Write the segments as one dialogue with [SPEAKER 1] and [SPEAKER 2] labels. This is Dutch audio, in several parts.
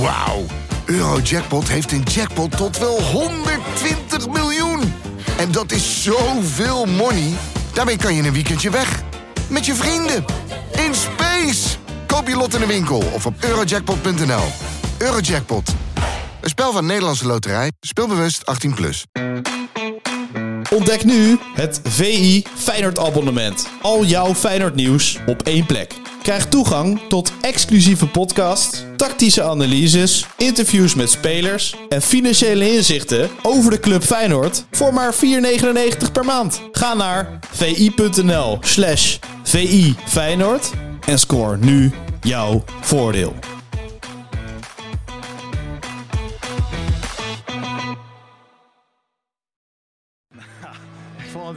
[SPEAKER 1] Wauw. Eurojackpot heeft een jackpot tot wel 120 miljoen. En dat is zoveel money. Daarmee kan je in een weekendje weg. Met je vrienden. In space. Koop je lot in de winkel of op eurojackpot.nl. Eurojackpot. Een spel van Nederlandse Loterij. Speelbewust 18+. Plus.
[SPEAKER 2] Ontdek nu het VI Feyenoord abonnement. Al jouw Feyenoord nieuws op één plek. Krijg toegang tot exclusieve podcasts, tactische analyses, interviews met spelers en financiële inzichten over de club Feyenoord voor maar 4,99 per maand. Ga naar vi.nl slash vi Feyenoord en score nu jouw voordeel.
[SPEAKER 3] Ik vond het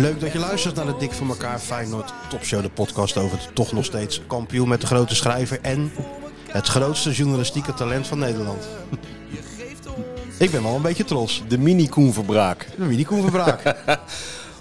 [SPEAKER 4] Leuk dat je luistert naar de Dik voor elkaar Feyenoord Topshow, de podcast over de toch nog steeds kampioen met de grote schrijver en het grootste journalistieke talent van Nederland. Ik ben wel een beetje trots.
[SPEAKER 5] De mini-Koen Verbraak.
[SPEAKER 4] De mini Koen Verbraak.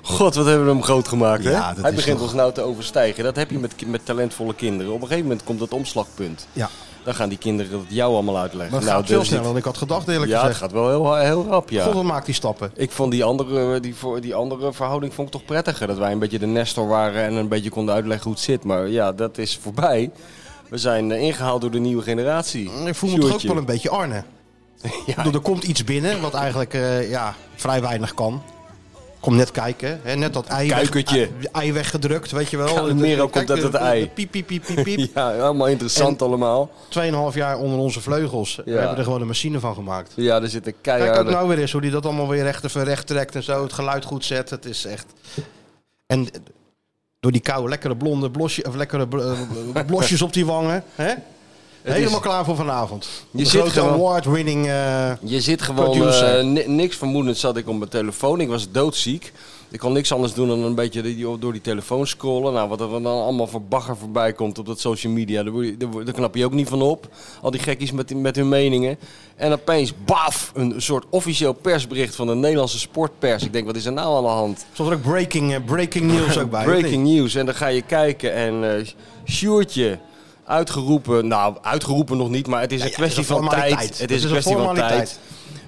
[SPEAKER 5] God, wat hebben we hem groot gemaakt, hè?
[SPEAKER 4] Ja, dat
[SPEAKER 5] Hij
[SPEAKER 4] is
[SPEAKER 5] begint
[SPEAKER 4] toch-
[SPEAKER 5] ons nou te overstijgen. Dat heb je met, ki- met talentvolle kinderen. Op een gegeven moment komt dat omslagpunt.
[SPEAKER 4] Ja,
[SPEAKER 5] Dan gaan die kinderen het jou allemaal uitleggen.
[SPEAKER 4] maar het
[SPEAKER 5] Nou,
[SPEAKER 4] gaat veel
[SPEAKER 5] dus
[SPEAKER 4] sneller
[SPEAKER 5] dit-
[SPEAKER 4] dan ik had gedacht eerlijk
[SPEAKER 5] Ja, het
[SPEAKER 4] gezegd.
[SPEAKER 5] gaat wel heel, heel rap, ja.
[SPEAKER 4] God, wat maakt die stappen.
[SPEAKER 5] Ik vond die andere, die, voor- die andere verhouding vond ik toch prettiger. Dat wij een beetje de Nestor waren en een beetje konden uitleggen hoe het zit. Maar ja, dat is voorbij. We zijn eh, ingehaald door de nieuwe generatie.
[SPEAKER 4] Ik voel me toch ook
[SPEAKER 5] Sjoerdje.
[SPEAKER 4] wel een beetje Arne. Ik
[SPEAKER 5] Ja,
[SPEAKER 4] bedoel, er komt iets binnen wat eigenlijk eh, ja, vrij weinig kan. Kom net kijken. Hè? Net dat ei, weg-
[SPEAKER 5] Kuikertje.
[SPEAKER 4] ei- ei weggedrukt, weet je wel.
[SPEAKER 5] Calimero
[SPEAKER 4] Kijk,
[SPEAKER 5] komt uit het ei.
[SPEAKER 4] de Piep, piep, piep, piep, piep.
[SPEAKER 5] ja, allemaal interessant allemaal.
[SPEAKER 4] Tweeënhalf jaar onder onze vleugels. We
[SPEAKER 5] Ja.
[SPEAKER 4] hebben er gewoon een machine van gemaakt.
[SPEAKER 5] Ja, er zit een
[SPEAKER 4] Kijk ook
[SPEAKER 5] keiharde...
[SPEAKER 4] nou weer eens hoe die dat allemaal weer recht even recht trekt en zo. Het geluid goed zet. Het is echt. En door die koude, lekkere blonde blosje, of lekkere bl- eh, blosjes op die wangen. Hè? Helemaal klaar voor vanavond.
[SPEAKER 5] Je
[SPEAKER 4] de
[SPEAKER 5] zit
[SPEAKER 4] grote
[SPEAKER 5] gewoon-
[SPEAKER 4] award-winning. eh,
[SPEAKER 5] Je zit gewoon,
[SPEAKER 4] Producer.
[SPEAKER 5] eh, ni- niks vermoedend zat ik op mijn telefoon. Ik was doodziek. Ik kon niks anders doen dan een beetje die- die- door die telefoon scrollen. Nou, wat er dan allemaal voor bagger voorbij komt op dat social media, daar, word je- daar word- daar knap je ook niet van op. Al die gekkies met, die- met hun meningen. En opeens, baf, een soort officieel persbericht van de Nederlandse sportpers. Ik denk, wat is er nou aan de hand?
[SPEAKER 4] stond er ook breaking, eh, breaking news ook bij. of
[SPEAKER 5] Breaking
[SPEAKER 4] niet?
[SPEAKER 5] news. En dan ga je kijken en eh Sjoertje uitgeroepen. Nou, uitgeroepen nog niet, maar het is een
[SPEAKER 4] ja,
[SPEAKER 5] kwestie
[SPEAKER 4] het is een
[SPEAKER 5] van tijd.
[SPEAKER 4] formaliteit.
[SPEAKER 5] Het
[SPEAKER 4] Dat
[SPEAKER 5] is een kwestie van tijd.
[SPEAKER 4] formaliteit.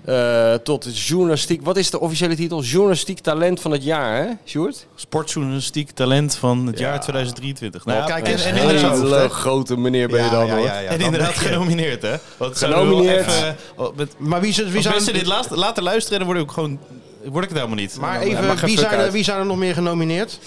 [SPEAKER 5] Eh, tot journalistiek. Wat is de officiële titel? Journalistiek talent van het jaar, hè, Sjoerd?
[SPEAKER 2] Sportjournalistiek talent van het jaar 2023. Nou,
[SPEAKER 4] Oh,
[SPEAKER 2] ja,
[SPEAKER 4] kijk eens.
[SPEAKER 2] en- en
[SPEAKER 4] Hey,
[SPEAKER 2] inderdaad-
[SPEAKER 4] zo.
[SPEAKER 5] hele grote meneer ben je
[SPEAKER 4] Ja,
[SPEAKER 5] dan,
[SPEAKER 4] ja,
[SPEAKER 5] hoor.
[SPEAKER 4] ja, ja,
[SPEAKER 2] en
[SPEAKER 4] dan
[SPEAKER 2] inderdaad
[SPEAKER 4] ben je-
[SPEAKER 2] genomineerd, hè? Want
[SPEAKER 5] Genomineerd.
[SPEAKER 2] Zouden we wel even, oh, met,
[SPEAKER 4] Maar wie, zijn- wie
[SPEAKER 2] als
[SPEAKER 4] zijn
[SPEAKER 2] mensen dit laat, later luisteren, dan word ik, ook gewoon, word ik het helemaal niet.
[SPEAKER 4] Maar
[SPEAKER 2] Dan, eh,
[SPEAKER 4] even,
[SPEAKER 5] mag
[SPEAKER 4] wie,
[SPEAKER 5] even
[SPEAKER 4] zijn er,
[SPEAKER 5] uit.
[SPEAKER 4] wie zijn er nog meer genomineerd?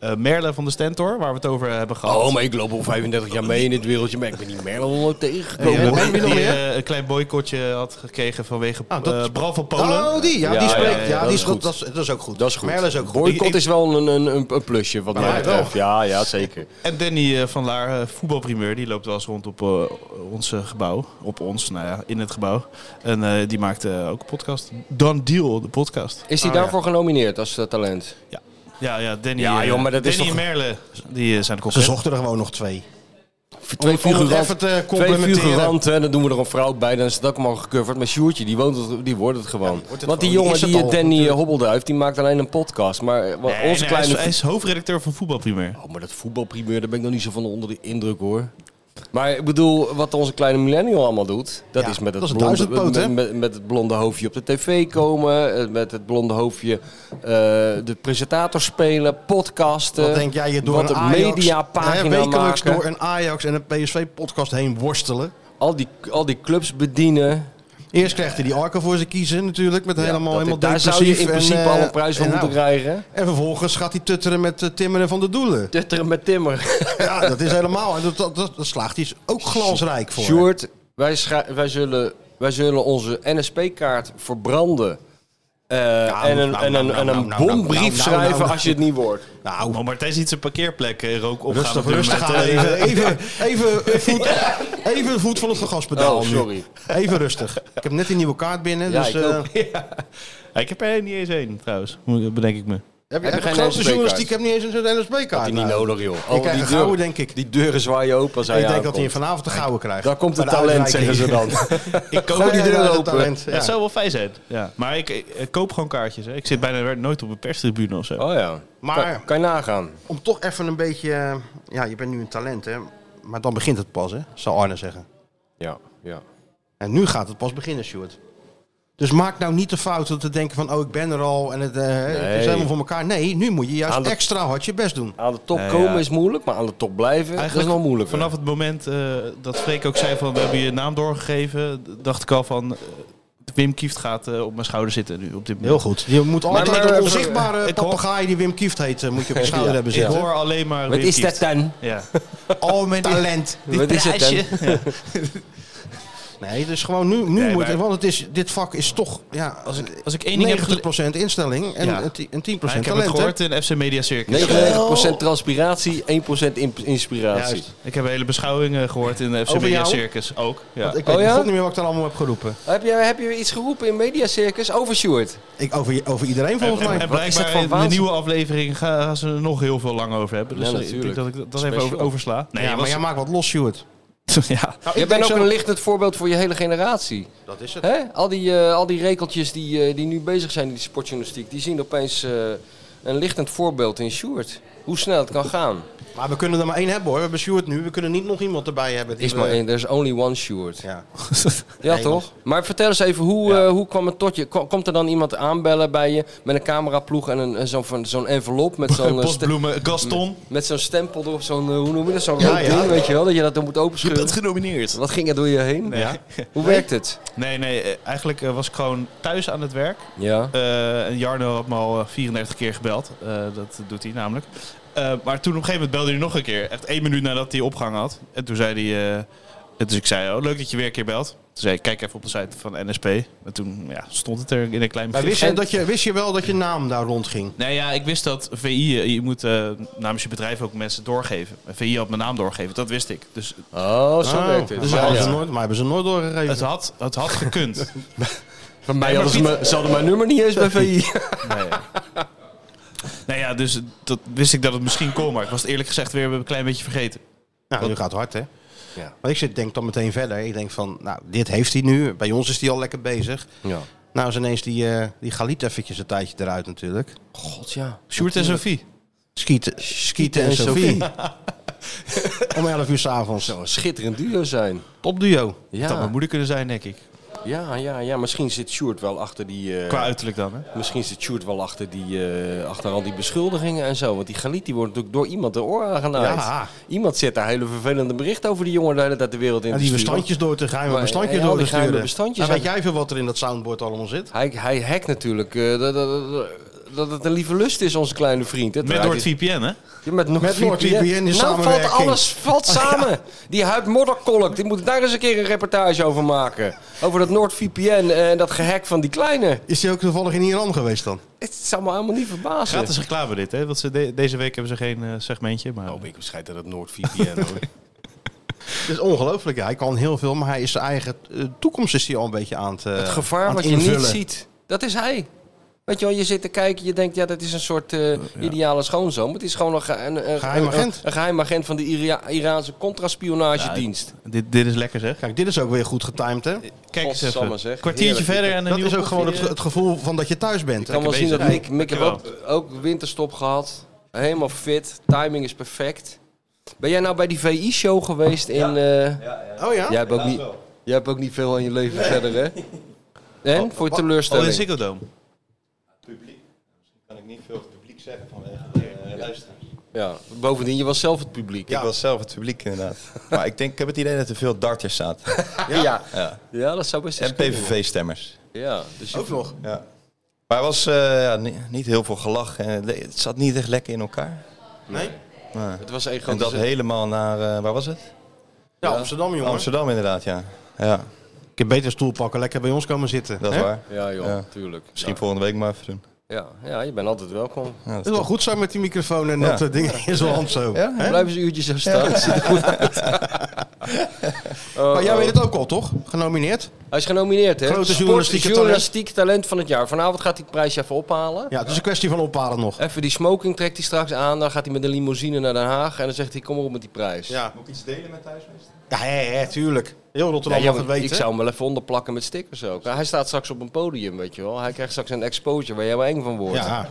[SPEAKER 2] eh, Merle van de Stentor, waar we het over eh, hebben gehad.
[SPEAKER 5] Oh, maar ik loop al 35 jaar mee in dit wereldje, maar ik ben niet meer al
[SPEAKER 2] Die,
[SPEAKER 5] tegengekomen.
[SPEAKER 4] Ja,
[SPEAKER 2] eh,
[SPEAKER 4] dat ben je
[SPEAKER 2] die,
[SPEAKER 4] nog meer?
[SPEAKER 2] eh, een klein boycotje had gekregen vanwege
[SPEAKER 4] Ah,
[SPEAKER 2] ah,
[SPEAKER 4] dat-
[SPEAKER 2] Bral van Polen.
[SPEAKER 4] Oh, die. Ja,
[SPEAKER 5] Ja,
[SPEAKER 4] die
[SPEAKER 5] ja,
[SPEAKER 4] spreekt. Ja,
[SPEAKER 5] ja,
[SPEAKER 4] die
[SPEAKER 5] dat
[SPEAKER 4] is
[SPEAKER 5] is
[SPEAKER 4] goed.
[SPEAKER 5] goed.
[SPEAKER 4] Dat, is, dat is ook goed.
[SPEAKER 5] Dat is goed.
[SPEAKER 4] Merle is ook goed.
[SPEAKER 5] Boycott
[SPEAKER 2] Ik-
[SPEAKER 5] is wel een, een, een, een plusje, wat mij
[SPEAKER 4] Ja,
[SPEAKER 5] betreft.
[SPEAKER 4] wel.
[SPEAKER 5] Ja, ja, zeker.
[SPEAKER 2] En Danny eh, van Laar, eh, voetbalprimeur, die loopt wel eens rond op eh, ons eh, gebouw. Op ons, nou ja, in het gebouw. En eh, die maakt eh, ook een podcast. Dan Deal, de podcast.
[SPEAKER 5] Is hij daarvoor genomineerd als eh, talent?
[SPEAKER 2] Ja, ja, Danny,
[SPEAKER 5] Ja,
[SPEAKER 2] eh,
[SPEAKER 5] joh, maar dat is
[SPEAKER 2] Danny
[SPEAKER 5] toch-
[SPEAKER 2] en Merle, die eh, zijn de
[SPEAKER 4] Ze
[SPEAKER 2] concert.
[SPEAKER 4] zochten er gewoon nog twee.
[SPEAKER 5] Twee
[SPEAKER 4] Om- om het
[SPEAKER 5] figuranten.
[SPEAKER 4] even te
[SPEAKER 5] Twee
[SPEAKER 4] complementeren.
[SPEAKER 5] figuranten, en dan doen we er een vrouw bij, dan is het ook allemaal gecoverd. Maar Sjoertje, die, woont het, die wordt het gewoon. Want
[SPEAKER 4] gewoon.
[SPEAKER 5] die jongen,
[SPEAKER 4] Is het
[SPEAKER 5] die
[SPEAKER 4] al,
[SPEAKER 5] Danny
[SPEAKER 4] natuurlijk.
[SPEAKER 5] Hobbelduif, die maakt alleen een podcast. Maar eh,
[SPEAKER 2] Nee,
[SPEAKER 5] wat onze
[SPEAKER 2] nee, hij,
[SPEAKER 5] kleine...
[SPEAKER 2] is, hij is hoofdredacteur van voetbalprimeur.
[SPEAKER 5] Oh, maar dat voetbalprimeur, daar ben ik nog niet zo van onder de indruk, hoor. Maar ik bedoel, wat onze kleine millennial allemaal doet, dat
[SPEAKER 4] Ja,
[SPEAKER 5] is met
[SPEAKER 4] dat
[SPEAKER 5] het,
[SPEAKER 4] is een
[SPEAKER 5] blonde,
[SPEAKER 4] duizendpoot, hè?
[SPEAKER 5] met, met, met het blonde hoofdje op de tv komen, eh, met het blonde hoofdje eh, de presentator spelen, podcasten.
[SPEAKER 4] Wat denk jij je door
[SPEAKER 5] wat
[SPEAKER 4] een
[SPEAKER 5] een
[SPEAKER 4] Ajax, hè,
[SPEAKER 5] mediapagina
[SPEAKER 4] wekelijks
[SPEAKER 5] maken.
[SPEAKER 4] door een Ajax en een PSV podcast heen worstelen?
[SPEAKER 5] Al die, al die clubs bedienen.
[SPEAKER 4] Eerst kreeg hij die Arco voor zijn kiezen natuurlijk. Met helemaal,
[SPEAKER 5] dat-
[SPEAKER 4] helemaal
[SPEAKER 5] daar zou je
[SPEAKER 4] depressief
[SPEAKER 5] in principe
[SPEAKER 4] en, eh,
[SPEAKER 5] al een prijs voor
[SPEAKER 4] en
[SPEAKER 5] moeten
[SPEAKER 4] nou,
[SPEAKER 5] krijgen.
[SPEAKER 4] En vervolgens gaat hij tutteren met eh, Timmeren van de Doelen.
[SPEAKER 5] Tutteren met Timmer.
[SPEAKER 4] ja, dat is helemaal. En dat, dat, dat, dat slaagt hij ook glansrijk voor.
[SPEAKER 5] Sjoerd, wij, scha- wij, zullen, wij zullen onze NSP-kaart verbranden. Eh, en een,
[SPEAKER 4] nou,
[SPEAKER 5] en
[SPEAKER 4] nou,
[SPEAKER 5] een,
[SPEAKER 4] nou,
[SPEAKER 5] en
[SPEAKER 4] nou, nou,
[SPEAKER 5] een
[SPEAKER 4] nou,
[SPEAKER 5] bombrief
[SPEAKER 4] nou, nou,
[SPEAKER 5] schrijven
[SPEAKER 4] nou.
[SPEAKER 5] als je het niet wordt.
[SPEAKER 4] Nou,
[SPEAKER 2] Oh, Maar Martijn ziet zijn parkeerplek eh, er ook op Eh,
[SPEAKER 4] rustig,
[SPEAKER 2] gaan.
[SPEAKER 4] rustig aan. Even,
[SPEAKER 5] eh,
[SPEAKER 4] even, even, een voet, even een voet van het gaspedaal
[SPEAKER 5] Oh,
[SPEAKER 4] nu.
[SPEAKER 5] sorry.
[SPEAKER 4] Even rustig. Ik heb net een nieuwe kaart binnen.
[SPEAKER 5] Ja,
[SPEAKER 4] dus,
[SPEAKER 5] ik
[SPEAKER 4] eh,
[SPEAKER 5] ook.
[SPEAKER 2] Ik heb er niet eens één trouwens, moet- bedenk ik me.
[SPEAKER 4] heb,
[SPEAKER 5] Heb
[SPEAKER 4] je
[SPEAKER 5] je geen
[SPEAKER 4] geen grote
[SPEAKER 5] NSB-kaart?
[SPEAKER 4] journalistiek heb niet eens een NSB-kaart.
[SPEAKER 5] Had hij niet nodig, joh.
[SPEAKER 4] nou. ik krijg een gouden, denk ik.
[SPEAKER 5] Die deuren zwaaien open als hij
[SPEAKER 4] ik denk dat
[SPEAKER 5] aankomt.
[SPEAKER 4] hij vanavond de gouden krijgt.
[SPEAKER 5] Dan komt
[SPEAKER 4] Bij
[SPEAKER 5] het
[SPEAKER 4] de
[SPEAKER 5] talent, zeggen
[SPEAKER 4] uitreiking.
[SPEAKER 5] ze dan.
[SPEAKER 2] Ik koop
[SPEAKER 4] Gooi die
[SPEAKER 5] deur
[SPEAKER 4] deur
[SPEAKER 5] open.
[SPEAKER 4] open.
[SPEAKER 2] Ja, Het zou wel fijn zijn. Ja. Maar ik, ik- ik koop gewoon kaartjes. Hè. Ik zit bijna nooit op een perstribune of zo.
[SPEAKER 5] Oh ja.
[SPEAKER 4] Maar-
[SPEAKER 5] Kan, kan je nagaan.
[SPEAKER 4] Om toch even een beetje... eh, Ja, je bent nu een talent, hè. Maar dan begint het pas, hè. Zou Arne zeggen.
[SPEAKER 5] Ja, ja.
[SPEAKER 4] En nu gaat het pas beginnen, Stuart. Dus maak nou niet de fout om te denken van... Oh, ik ben er al en het, eh, het is
[SPEAKER 5] Nee.
[SPEAKER 4] helemaal voor elkaar. Nee, nu moet je juist
[SPEAKER 5] Aan de-
[SPEAKER 4] extra hard je best doen.
[SPEAKER 5] Aan de top
[SPEAKER 2] Ja,
[SPEAKER 5] komen
[SPEAKER 2] ja.
[SPEAKER 5] is moeilijk, maar aan de top blijven dat is wel moeilijk.
[SPEAKER 2] Eh, Vanaf het moment eh, dat Freek ook zei van we hebben je naam doorgegeven, d- dacht ik al van eh, Wim Kieft gaat eh, op mijn schouder zitten nu op dit moment.
[SPEAKER 4] Heel goed. Je moet altijd
[SPEAKER 5] maar-
[SPEAKER 4] een
[SPEAKER 5] maar-
[SPEAKER 4] onzichtbare
[SPEAKER 2] eh, ik hoor-
[SPEAKER 4] papegaai die Wim Kieft heet... eh, moet je op je schouder
[SPEAKER 5] Ja,
[SPEAKER 4] hebben
[SPEAKER 2] Ik
[SPEAKER 4] zitten.
[SPEAKER 2] hoor alleen maar
[SPEAKER 5] Wat
[SPEAKER 2] Wim
[SPEAKER 5] is
[SPEAKER 2] Kieft.
[SPEAKER 5] dat dan?
[SPEAKER 2] Ja.
[SPEAKER 4] Al mijn talent.
[SPEAKER 5] Wat is het dan?
[SPEAKER 4] Nee, dus gewoon nu, nu
[SPEAKER 2] Nee,
[SPEAKER 4] moet
[SPEAKER 2] maar-
[SPEAKER 4] je... Want het is, dit vak is toch... Ja, als ik,
[SPEAKER 2] Als ik één ding heb gele-
[SPEAKER 4] 90% instelling en,
[SPEAKER 2] Ja.
[SPEAKER 4] en ti- en 10%
[SPEAKER 2] Maar ik
[SPEAKER 4] talent.
[SPEAKER 2] heb het
[SPEAKER 4] hè?
[SPEAKER 2] gehoord in FC Media Circus.
[SPEAKER 5] 99% transpiratie, 1% imp- inspiratie.
[SPEAKER 4] Juist.
[SPEAKER 2] Ik heb hele beschouwingen gehoord in de FC
[SPEAKER 4] Over
[SPEAKER 2] Media
[SPEAKER 4] jou?
[SPEAKER 2] Circus. Ook. Ja.
[SPEAKER 4] Want ik
[SPEAKER 5] Oh
[SPEAKER 4] weet
[SPEAKER 5] ja?
[SPEAKER 4] god niet meer wat ik daar allemaal heb geroepen.
[SPEAKER 5] Heb je, heb je iets geroepen in Media Circus over Sjoerd?
[SPEAKER 4] Ik, over, over iedereen
[SPEAKER 2] En,
[SPEAKER 4] volgens
[SPEAKER 2] en,
[SPEAKER 4] mij.
[SPEAKER 2] en
[SPEAKER 5] Wat is dat
[SPEAKER 2] blijkbaar
[SPEAKER 5] voor
[SPEAKER 2] in de
[SPEAKER 5] waanzin?
[SPEAKER 2] nieuwe aflevering ga- gaan ze er nog heel veel lang over hebben. Dus
[SPEAKER 5] Ja,
[SPEAKER 2] eh, ik denk
[SPEAKER 5] natuurlijk.
[SPEAKER 2] dat ik dat- dat even over,
[SPEAKER 5] Special.
[SPEAKER 2] oversla. Nee,
[SPEAKER 4] ja, maar jij maakt wat los, Nou, Stuart.
[SPEAKER 2] was- ja.
[SPEAKER 5] Je bent ook een lichtend voorbeeld voor je hele generatie.
[SPEAKER 4] Dat is
[SPEAKER 5] Hè? Al, die, eh, al die rekeltjes die, eh, die nu bezig zijn in die sportjournalistiek, die zien opeens eh, een lichtend voorbeeld in Sjoerd. Hoe snel het kan gaan.
[SPEAKER 4] Maar we kunnen er maar één hebben hoor. We hebben Stuart nu. We kunnen niet nog iemand erbij hebben. die
[SPEAKER 5] Is maar
[SPEAKER 4] we-
[SPEAKER 5] één, Eh, there's only one Sjoerd.
[SPEAKER 4] Ja.
[SPEAKER 5] Ja,
[SPEAKER 4] Nee,
[SPEAKER 5] toch? Maar vertel eens even, hoe, eh, hoe kwam het tot je? Ko- Komt er dan iemand aanbellen bij je met een cameraploeg en een, en zo'n van- zo'n envelop met zo'n eh, ste-
[SPEAKER 2] Postbloemen, Gaston.
[SPEAKER 5] met zo'n stempel erop, zo'n, eh, hoe noem je dat, zo'n
[SPEAKER 4] Ja,
[SPEAKER 5] rood
[SPEAKER 4] ja.
[SPEAKER 5] ding, weet je wel, dat je dat dan moet openscheuren?
[SPEAKER 2] genomineerd.
[SPEAKER 5] Wat ging er door je heen?
[SPEAKER 2] Ja.
[SPEAKER 5] Hoe werkt het?
[SPEAKER 2] Nee, nee, eh, eigenlijk eh, was ik gewoon thuis aan het werk.
[SPEAKER 5] Ja.
[SPEAKER 2] Eh, en Jarno had me al eh, 34 keer gebeld. Eh, dat doet hij namelijk. Eh, maar toen op een gegeven moment belde hij nog een keer. Echt één minuut nadat hij opgang had. En toen zei hij... eh, en dus ik zei, oh, leuk dat je weer een keer belt. Toen zei ik, kijk even op de site van NSP. En toen ja, stond het er in een klein
[SPEAKER 4] Maar
[SPEAKER 2] bericht.
[SPEAKER 4] wist je, dat je, wist je wel dat je naam daar rondging?
[SPEAKER 2] Nee, ja, ik wist dat VI, eh, je moet eh, namens je bedrijf ook mensen doorgeven. En VI had mijn naam doorgeven, dat wist ik. Dus
[SPEAKER 5] Oh, zo werkt het.
[SPEAKER 4] Dus
[SPEAKER 5] Ja,
[SPEAKER 4] hadden
[SPEAKER 5] ja.
[SPEAKER 4] ze nooit, maar hebben ze nooit doorgegeven.
[SPEAKER 2] het had, het had gekund.
[SPEAKER 5] Van mij
[SPEAKER 2] Nee, maar
[SPEAKER 5] hadden ze,
[SPEAKER 2] Piet-
[SPEAKER 5] me- ze hadden mijn nummer niet eens bij VI.
[SPEAKER 2] Nee, ja. Nou ja, dus dat wist ik dat het misschien kon, maar ik was het eerlijk gezegd weer een klein beetje vergeten.
[SPEAKER 4] Nou, nu gaat het hard, hè?
[SPEAKER 5] Ja.
[SPEAKER 4] Maar ik zit, denk dan meteen verder. Ik denk van, nou, dit heeft hij nu. Bij ons is hij al lekker bezig.
[SPEAKER 5] Ja.
[SPEAKER 4] Nou is ineens die, eh, die Galit eventjes een tijdje eruit natuurlijk.
[SPEAKER 5] God, ja.
[SPEAKER 2] Sjoerd en Sophie.
[SPEAKER 4] Skieten, Skieten en
[SPEAKER 5] en
[SPEAKER 4] Sophie. Om 11 uur s'avonds.
[SPEAKER 5] Zou een schitterend duo zijn.
[SPEAKER 4] Topduo.
[SPEAKER 2] Dat had mijn
[SPEAKER 5] Ja,
[SPEAKER 2] moeder kunnen zijn, denk ik.
[SPEAKER 5] ja, ja, ja. Misschien zit Sjoerd wel achter die... eh,
[SPEAKER 2] Qua uiterlijk dan, hè?
[SPEAKER 5] Misschien zit Sjoerd wel achter, die, eh, achter al die beschuldigingen en zo. Want die Galit die wordt natuurlijk door iemand de oren aangenaaid.
[SPEAKER 4] Ja.
[SPEAKER 5] Iemand zet daar hele vervelende berichten over die jongen de hele tijd de wereld in
[SPEAKER 4] En
[SPEAKER 5] te
[SPEAKER 4] die
[SPEAKER 5] sturen.
[SPEAKER 4] bestandjes door te geheime
[SPEAKER 5] Maar,
[SPEAKER 4] bestandjes
[SPEAKER 5] ja,
[SPEAKER 4] door te
[SPEAKER 5] die geheime
[SPEAKER 4] sturen.
[SPEAKER 5] bestandjes.
[SPEAKER 4] Nou, weet jij veel wat er in dat soundboard allemaal zit?
[SPEAKER 5] Hij, hij hackt natuurlijk eh, dat, dat, dat- dat het een lieve lust is, onze kleine vriend. Het
[SPEAKER 2] Met
[SPEAKER 5] raakt-
[SPEAKER 2] NoordVPN, hè?
[SPEAKER 5] Ja, met Noord-
[SPEAKER 4] Met NoordVPN in
[SPEAKER 5] Nou valt
[SPEAKER 4] samenwerking.
[SPEAKER 5] alles valt samen. Die huid modderkolk, die moet daar eens een keer een reportage over maken. Over dat NoordVPN en dat gehack van die kleine.
[SPEAKER 4] Is die ook toevallig in Iran geweest dan?
[SPEAKER 5] Het zou me helemaal niet verbazen.
[SPEAKER 2] Gratis reclame dit, hè? Want ze de- deze week hebben ze geen eh, segmentje, maar...
[SPEAKER 5] Oh, ik bescheid dat het NoordVPN hoor.
[SPEAKER 4] Het is ongelooflijk. ja. Hij kan heel veel, maar hij is zijn eigen eh, toekomst is hij al een beetje aan het, eh,
[SPEAKER 5] Het
[SPEAKER 4] aan
[SPEAKER 5] gevaar
[SPEAKER 4] het
[SPEAKER 5] wat je niet
[SPEAKER 4] invullen.
[SPEAKER 5] ziet, dat is hij. Weet je wel, je zit te kijken, je denkt, ja, dat is een soort eh, ideale schoonzoon. Maar het is gewoon een, ge- een, een-
[SPEAKER 4] Geheim agent.
[SPEAKER 5] een- een geheim agent van de Ira- Iraanse contraspionagedienst.
[SPEAKER 2] Dit, dit is lekker, zeg.
[SPEAKER 4] Kijk, dit is ook weer goed getimed, hè?
[SPEAKER 2] Kijk eens
[SPEAKER 5] Godsamme,
[SPEAKER 2] even.
[SPEAKER 5] zeg.
[SPEAKER 2] Kwartiertje
[SPEAKER 5] Heerlijk.
[SPEAKER 2] verder en een
[SPEAKER 4] Dat
[SPEAKER 2] nieuwe
[SPEAKER 4] is ook gewoon het,
[SPEAKER 2] koffie,
[SPEAKER 4] ge- het gevoel van dat je thuis bent.
[SPEAKER 5] Ik kan wel zien
[SPEAKER 2] bezig.
[SPEAKER 5] dat Mick,
[SPEAKER 2] Ja,
[SPEAKER 5] Mick heeft ook,
[SPEAKER 2] dankjewel.
[SPEAKER 5] ook winterstop gehad. Helemaal fit, timing is perfect. Ben jij nou bij die VI-show geweest in... eh,
[SPEAKER 4] Oh ja?
[SPEAKER 5] jij, hebt ook niet, jij hebt ook niet veel aan je leven verder, hè? En? Voor je
[SPEAKER 2] eh, Al in
[SPEAKER 5] teleurstelling?
[SPEAKER 2] Ziggo Dome.
[SPEAKER 6] kan ik niet veel over het publiek zeggen vanwege de eh, luisteraars.
[SPEAKER 5] Ja, bovendien, je was zelf het publiek.
[SPEAKER 6] Ik was zelf het publiek inderdaad. maar ik denk, ik heb het idee dat er veel darters zaten.
[SPEAKER 5] ja. Ja.
[SPEAKER 6] Ja.
[SPEAKER 5] dat zou best eens
[SPEAKER 6] En
[SPEAKER 5] kunnen,
[SPEAKER 6] PVV-stemmers.
[SPEAKER 5] hoor. Ja, dus je-
[SPEAKER 6] nog? Ja. Maar er was eh, ja, ni- niet, heel veel gelach. En het le- het zat niet echt lekker in elkaar.
[SPEAKER 4] Nee?
[SPEAKER 6] Maar-
[SPEAKER 5] het was één
[SPEAKER 6] en
[SPEAKER 5] grote
[SPEAKER 6] dat
[SPEAKER 5] zin.
[SPEAKER 6] helemaal naar, eh, waar was het?
[SPEAKER 4] Ja, Amsterdam, jongen.
[SPEAKER 6] Amsterdam inderdaad, ja. Ja,
[SPEAKER 4] Ik heb beter een stoel pakken, lekker bij ons komen zitten.
[SPEAKER 6] dat is
[SPEAKER 4] hè?
[SPEAKER 6] waar.
[SPEAKER 5] Ja, joh,
[SPEAKER 6] Ja.
[SPEAKER 5] tuurlijk.
[SPEAKER 6] Misschien
[SPEAKER 5] ja.
[SPEAKER 6] volgende week maar even doen.
[SPEAKER 5] Ja. ja, je bent altijd welkom.
[SPEAKER 6] Ja, dat
[SPEAKER 4] Het is wel goed zo met die microfoon en dat
[SPEAKER 6] Ja.
[SPEAKER 4] eh, ding in zijn hand zo.
[SPEAKER 6] Ja?
[SPEAKER 4] Hè?
[SPEAKER 5] Blijf eens een uurtje zo staan. Ziet er goed uit. Oh,
[SPEAKER 4] Maar jij
[SPEAKER 5] oh.
[SPEAKER 4] weet het ook al, toch? Genomineerd?
[SPEAKER 5] Hij is genomineerd, hè?
[SPEAKER 4] Grote
[SPEAKER 5] Sport-
[SPEAKER 4] journalistieke talent.
[SPEAKER 5] journalistiek talent van het jaar. Vanavond gaat hij het prijsje even ophalen.
[SPEAKER 4] Ja, het is een kwestie van ophalen nog.
[SPEAKER 5] Even die smoking trekt hij straks aan. Dan gaat hij met een limousine naar Den Haag. En dan zegt hij, kom maar op met die prijs.
[SPEAKER 4] Ja,
[SPEAKER 6] Moet ik iets delen met thuismeester?
[SPEAKER 4] ja hè, hè, tuurlijk. Heel
[SPEAKER 5] Ja,
[SPEAKER 4] Rotterdam
[SPEAKER 5] ja,
[SPEAKER 4] mag het
[SPEAKER 5] maar
[SPEAKER 4] weten.
[SPEAKER 5] ik zou hem wel even onderplakken met stickers ook. Hij staat straks op een podium, weet je wel. Hij krijgt straks een exposure waar jij wel eng van wordt.
[SPEAKER 4] Ja.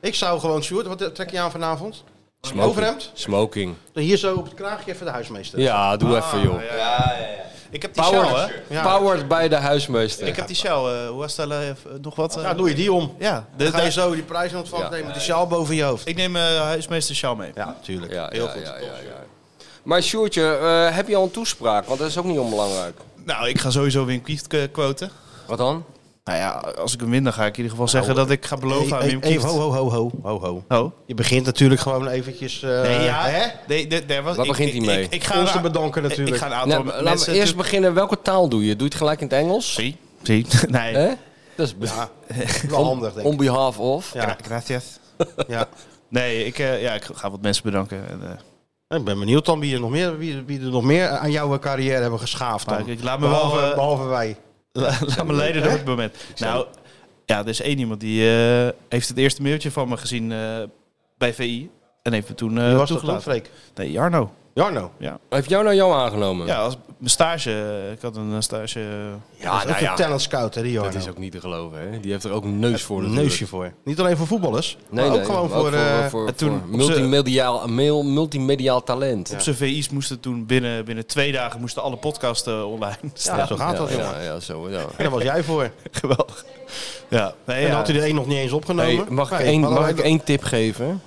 [SPEAKER 4] Ik zou gewoon, Sjoerd, wat eh, trek je aan vanavond?
[SPEAKER 5] Smoking.
[SPEAKER 4] Overhemd?
[SPEAKER 5] Smoking.
[SPEAKER 4] Nou, Hier zo op het kraagje even de huismeester.
[SPEAKER 5] Ja, doe even,
[SPEAKER 4] Ah,
[SPEAKER 5] joh.
[SPEAKER 6] Ik heb die
[SPEAKER 5] Powered,
[SPEAKER 6] sjaal, hè?
[SPEAKER 4] Ja.
[SPEAKER 5] powered bij de huismeester.
[SPEAKER 6] Ik heb die sjaal. eh, hoe was dat? eh, v- nog wat? eh?
[SPEAKER 4] Ja, Nou, doe je die om.
[SPEAKER 6] Ja, de-
[SPEAKER 4] Dan ga je
[SPEAKER 6] de-
[SPEAKER 4] zo die prijs in ontvangst
[SPEAKER 5] Ja.
[SPEAKER 4] nemen met die sjaal boven je hoofd.
[SPEAKER 6] ik neem eh, huismeester sjaal mee.
[SPEAKER 4] Ja, tuurlijk.
[SPEAKER 5] ja,
[SPEAKER 6] heel
[SPEAKER 5] ja,
[SPEAKER 6] goed.
[SPEAKER 5] Ja, ja, ja. Maar Sjoertje, eh, heb je al een toespraak? Want dat is ook niet onbelangrijk.
[SPEAKER 6] Nou, ik ga sowieso Wim Kieft eh, quoten.
[SPEAKER 5] Wat dan?
[SPEAKER 6] Nou ja, als ik hem win, dan ga ik in ieder geval
[SPEAKER 2] Nou,
[SPEAKER 6] zeggen dat ik ga beloven aan
[SPEAKER 4] Hey,
[SPEAKER 6] Wim
[SPEAKER 4] hey,
[SPEAKER 6] Kieft.
[SPEAKER 4] even, ho, ho, ho, ho, ho, ho.
[SPEAKER 6] Oh.
[SPEAKER 4] Je begint natuurlijk gewoon eventjes... eh,
[SPEAKER 6] Nee, ja.
[SPEAKER 4] hè?
[SPEAKER 6] Nee, nee, nee, was,
[SPEAKER 5] Waar begint hij mee?
[SPEAKER 6] Ik, ik ga
[SPEAKER 4] Ons te
[SPEAKER 6] een-
[SPEAKER 4] bedanken natuurlijk.
[SPEAKER 6] Ik ga een aantal
[SPEAKER 5] Nou, laten
[SPEAKER 6] mensen...
[SPEAKER 5] we eerst beginnen. Welke taal doe je? Doe je het gelijk in het Engels?
[SPEAKER 6] Zie, zie. Nee.
[SPEAKER 5] Hè? Dat is be-
[SPEAKER 4] Wel handig, denk
[SPEAKER 5] on
[SPEAKER 4] ik.
[SPEAKER 5] behalf of.
[SPEAKER 4] Ja,
[SPEAKER 6] Gracias.
[SPEAKER 4] ja.
[SPEAKER 6] Nee, ik, eh, ja, ik ga wat mensen bedanken. En, eh,
[SPEAKER 4] Ik ben benieuwd dan wie er nog meer, wie, wie er nog meer aan jouw carrière hebben geschaafd.
[SPEAKER 6] maar
[SPEAKER 4] Dan.
[SPEAKER 6] ik, ik laat me
[SPEAKER 4] Behalve,
[SPEAKER 6] wel... eh,
[SPEAKER 4] behalve wij.
[SPEAKER 6] La- Laat me leiden door het moment. Nou, ja, er is één iemand die eh, heeft het eerste mailtje van me gezien eh, bij VI. En heeft me toen eh
[SPEAKER 4] Wie was dat dan,
[SPEAKER 6] toegelaten.
[SPEAKER 4] Freek?
[SPEAKER 6] Nee, Jarno.
[SPEAKER 4] Jarno.
[SPEAKER 5] Heeft jou nou jou aangenomen?
[SPEAKER 6] Ja, als mijn stage. Ik had een stage. eh,
[SPEAKER 5] Ja,
[SPEAKER 4] nou dat is ook een talent scout, hè, die Jarno.
[SPEAKER 5] Dat is ook niet te geloven, hè? Die heeft er ook een neus voor.
[SPEAKER 4] een
[SPEAKER 5] natuurlijk.
[SPEAKER 4] nou. neusje voor. Niet alleen voor voetballers,
[SPEAKER 5] Nee,
[SPEAKER 4] maar ook
[SPEAKER 5] nee,
[SPEAKER 4] gewoon voor... eh,
[SPEAKER 5] voor,
[SPEAKER 6] en toen
[SPEAKER 5] voor
[SPEAKER 6] op z'n-
[SPEAKER 5] multimediaal, mail- multimediaal talent.
[SPEAKER 6] Op zijn VI's moesten toen binnen, binnen twee dagen moesten alle podcasten online staan.
[SPEAKER 4] ja, zo gaat dat,
[SPEAKER 5] ja,
[SPEAKER 4] jongen.
[SPEAKER 5] ja, ja, zo, ja.
[SPEAKER 4] En daar was jij voor.
[SPEAKER 6] Geweldig. Ja, nee,
[SPEAKER 4] En
[SPEAKER 6] ja.
[SPEAKER 4] dan had hij de een nog niet eens opgenomen.
[SPEAKER 5] Hey, mag ik,
[SPEAKER 4] Nee,
[SPEAKER 5] één,
[SPEAKER 4] maar dan
[SPEAKER 5] mag ik
[SPEAKER 4] hebben-
[SPEAKER 5] één tip geven?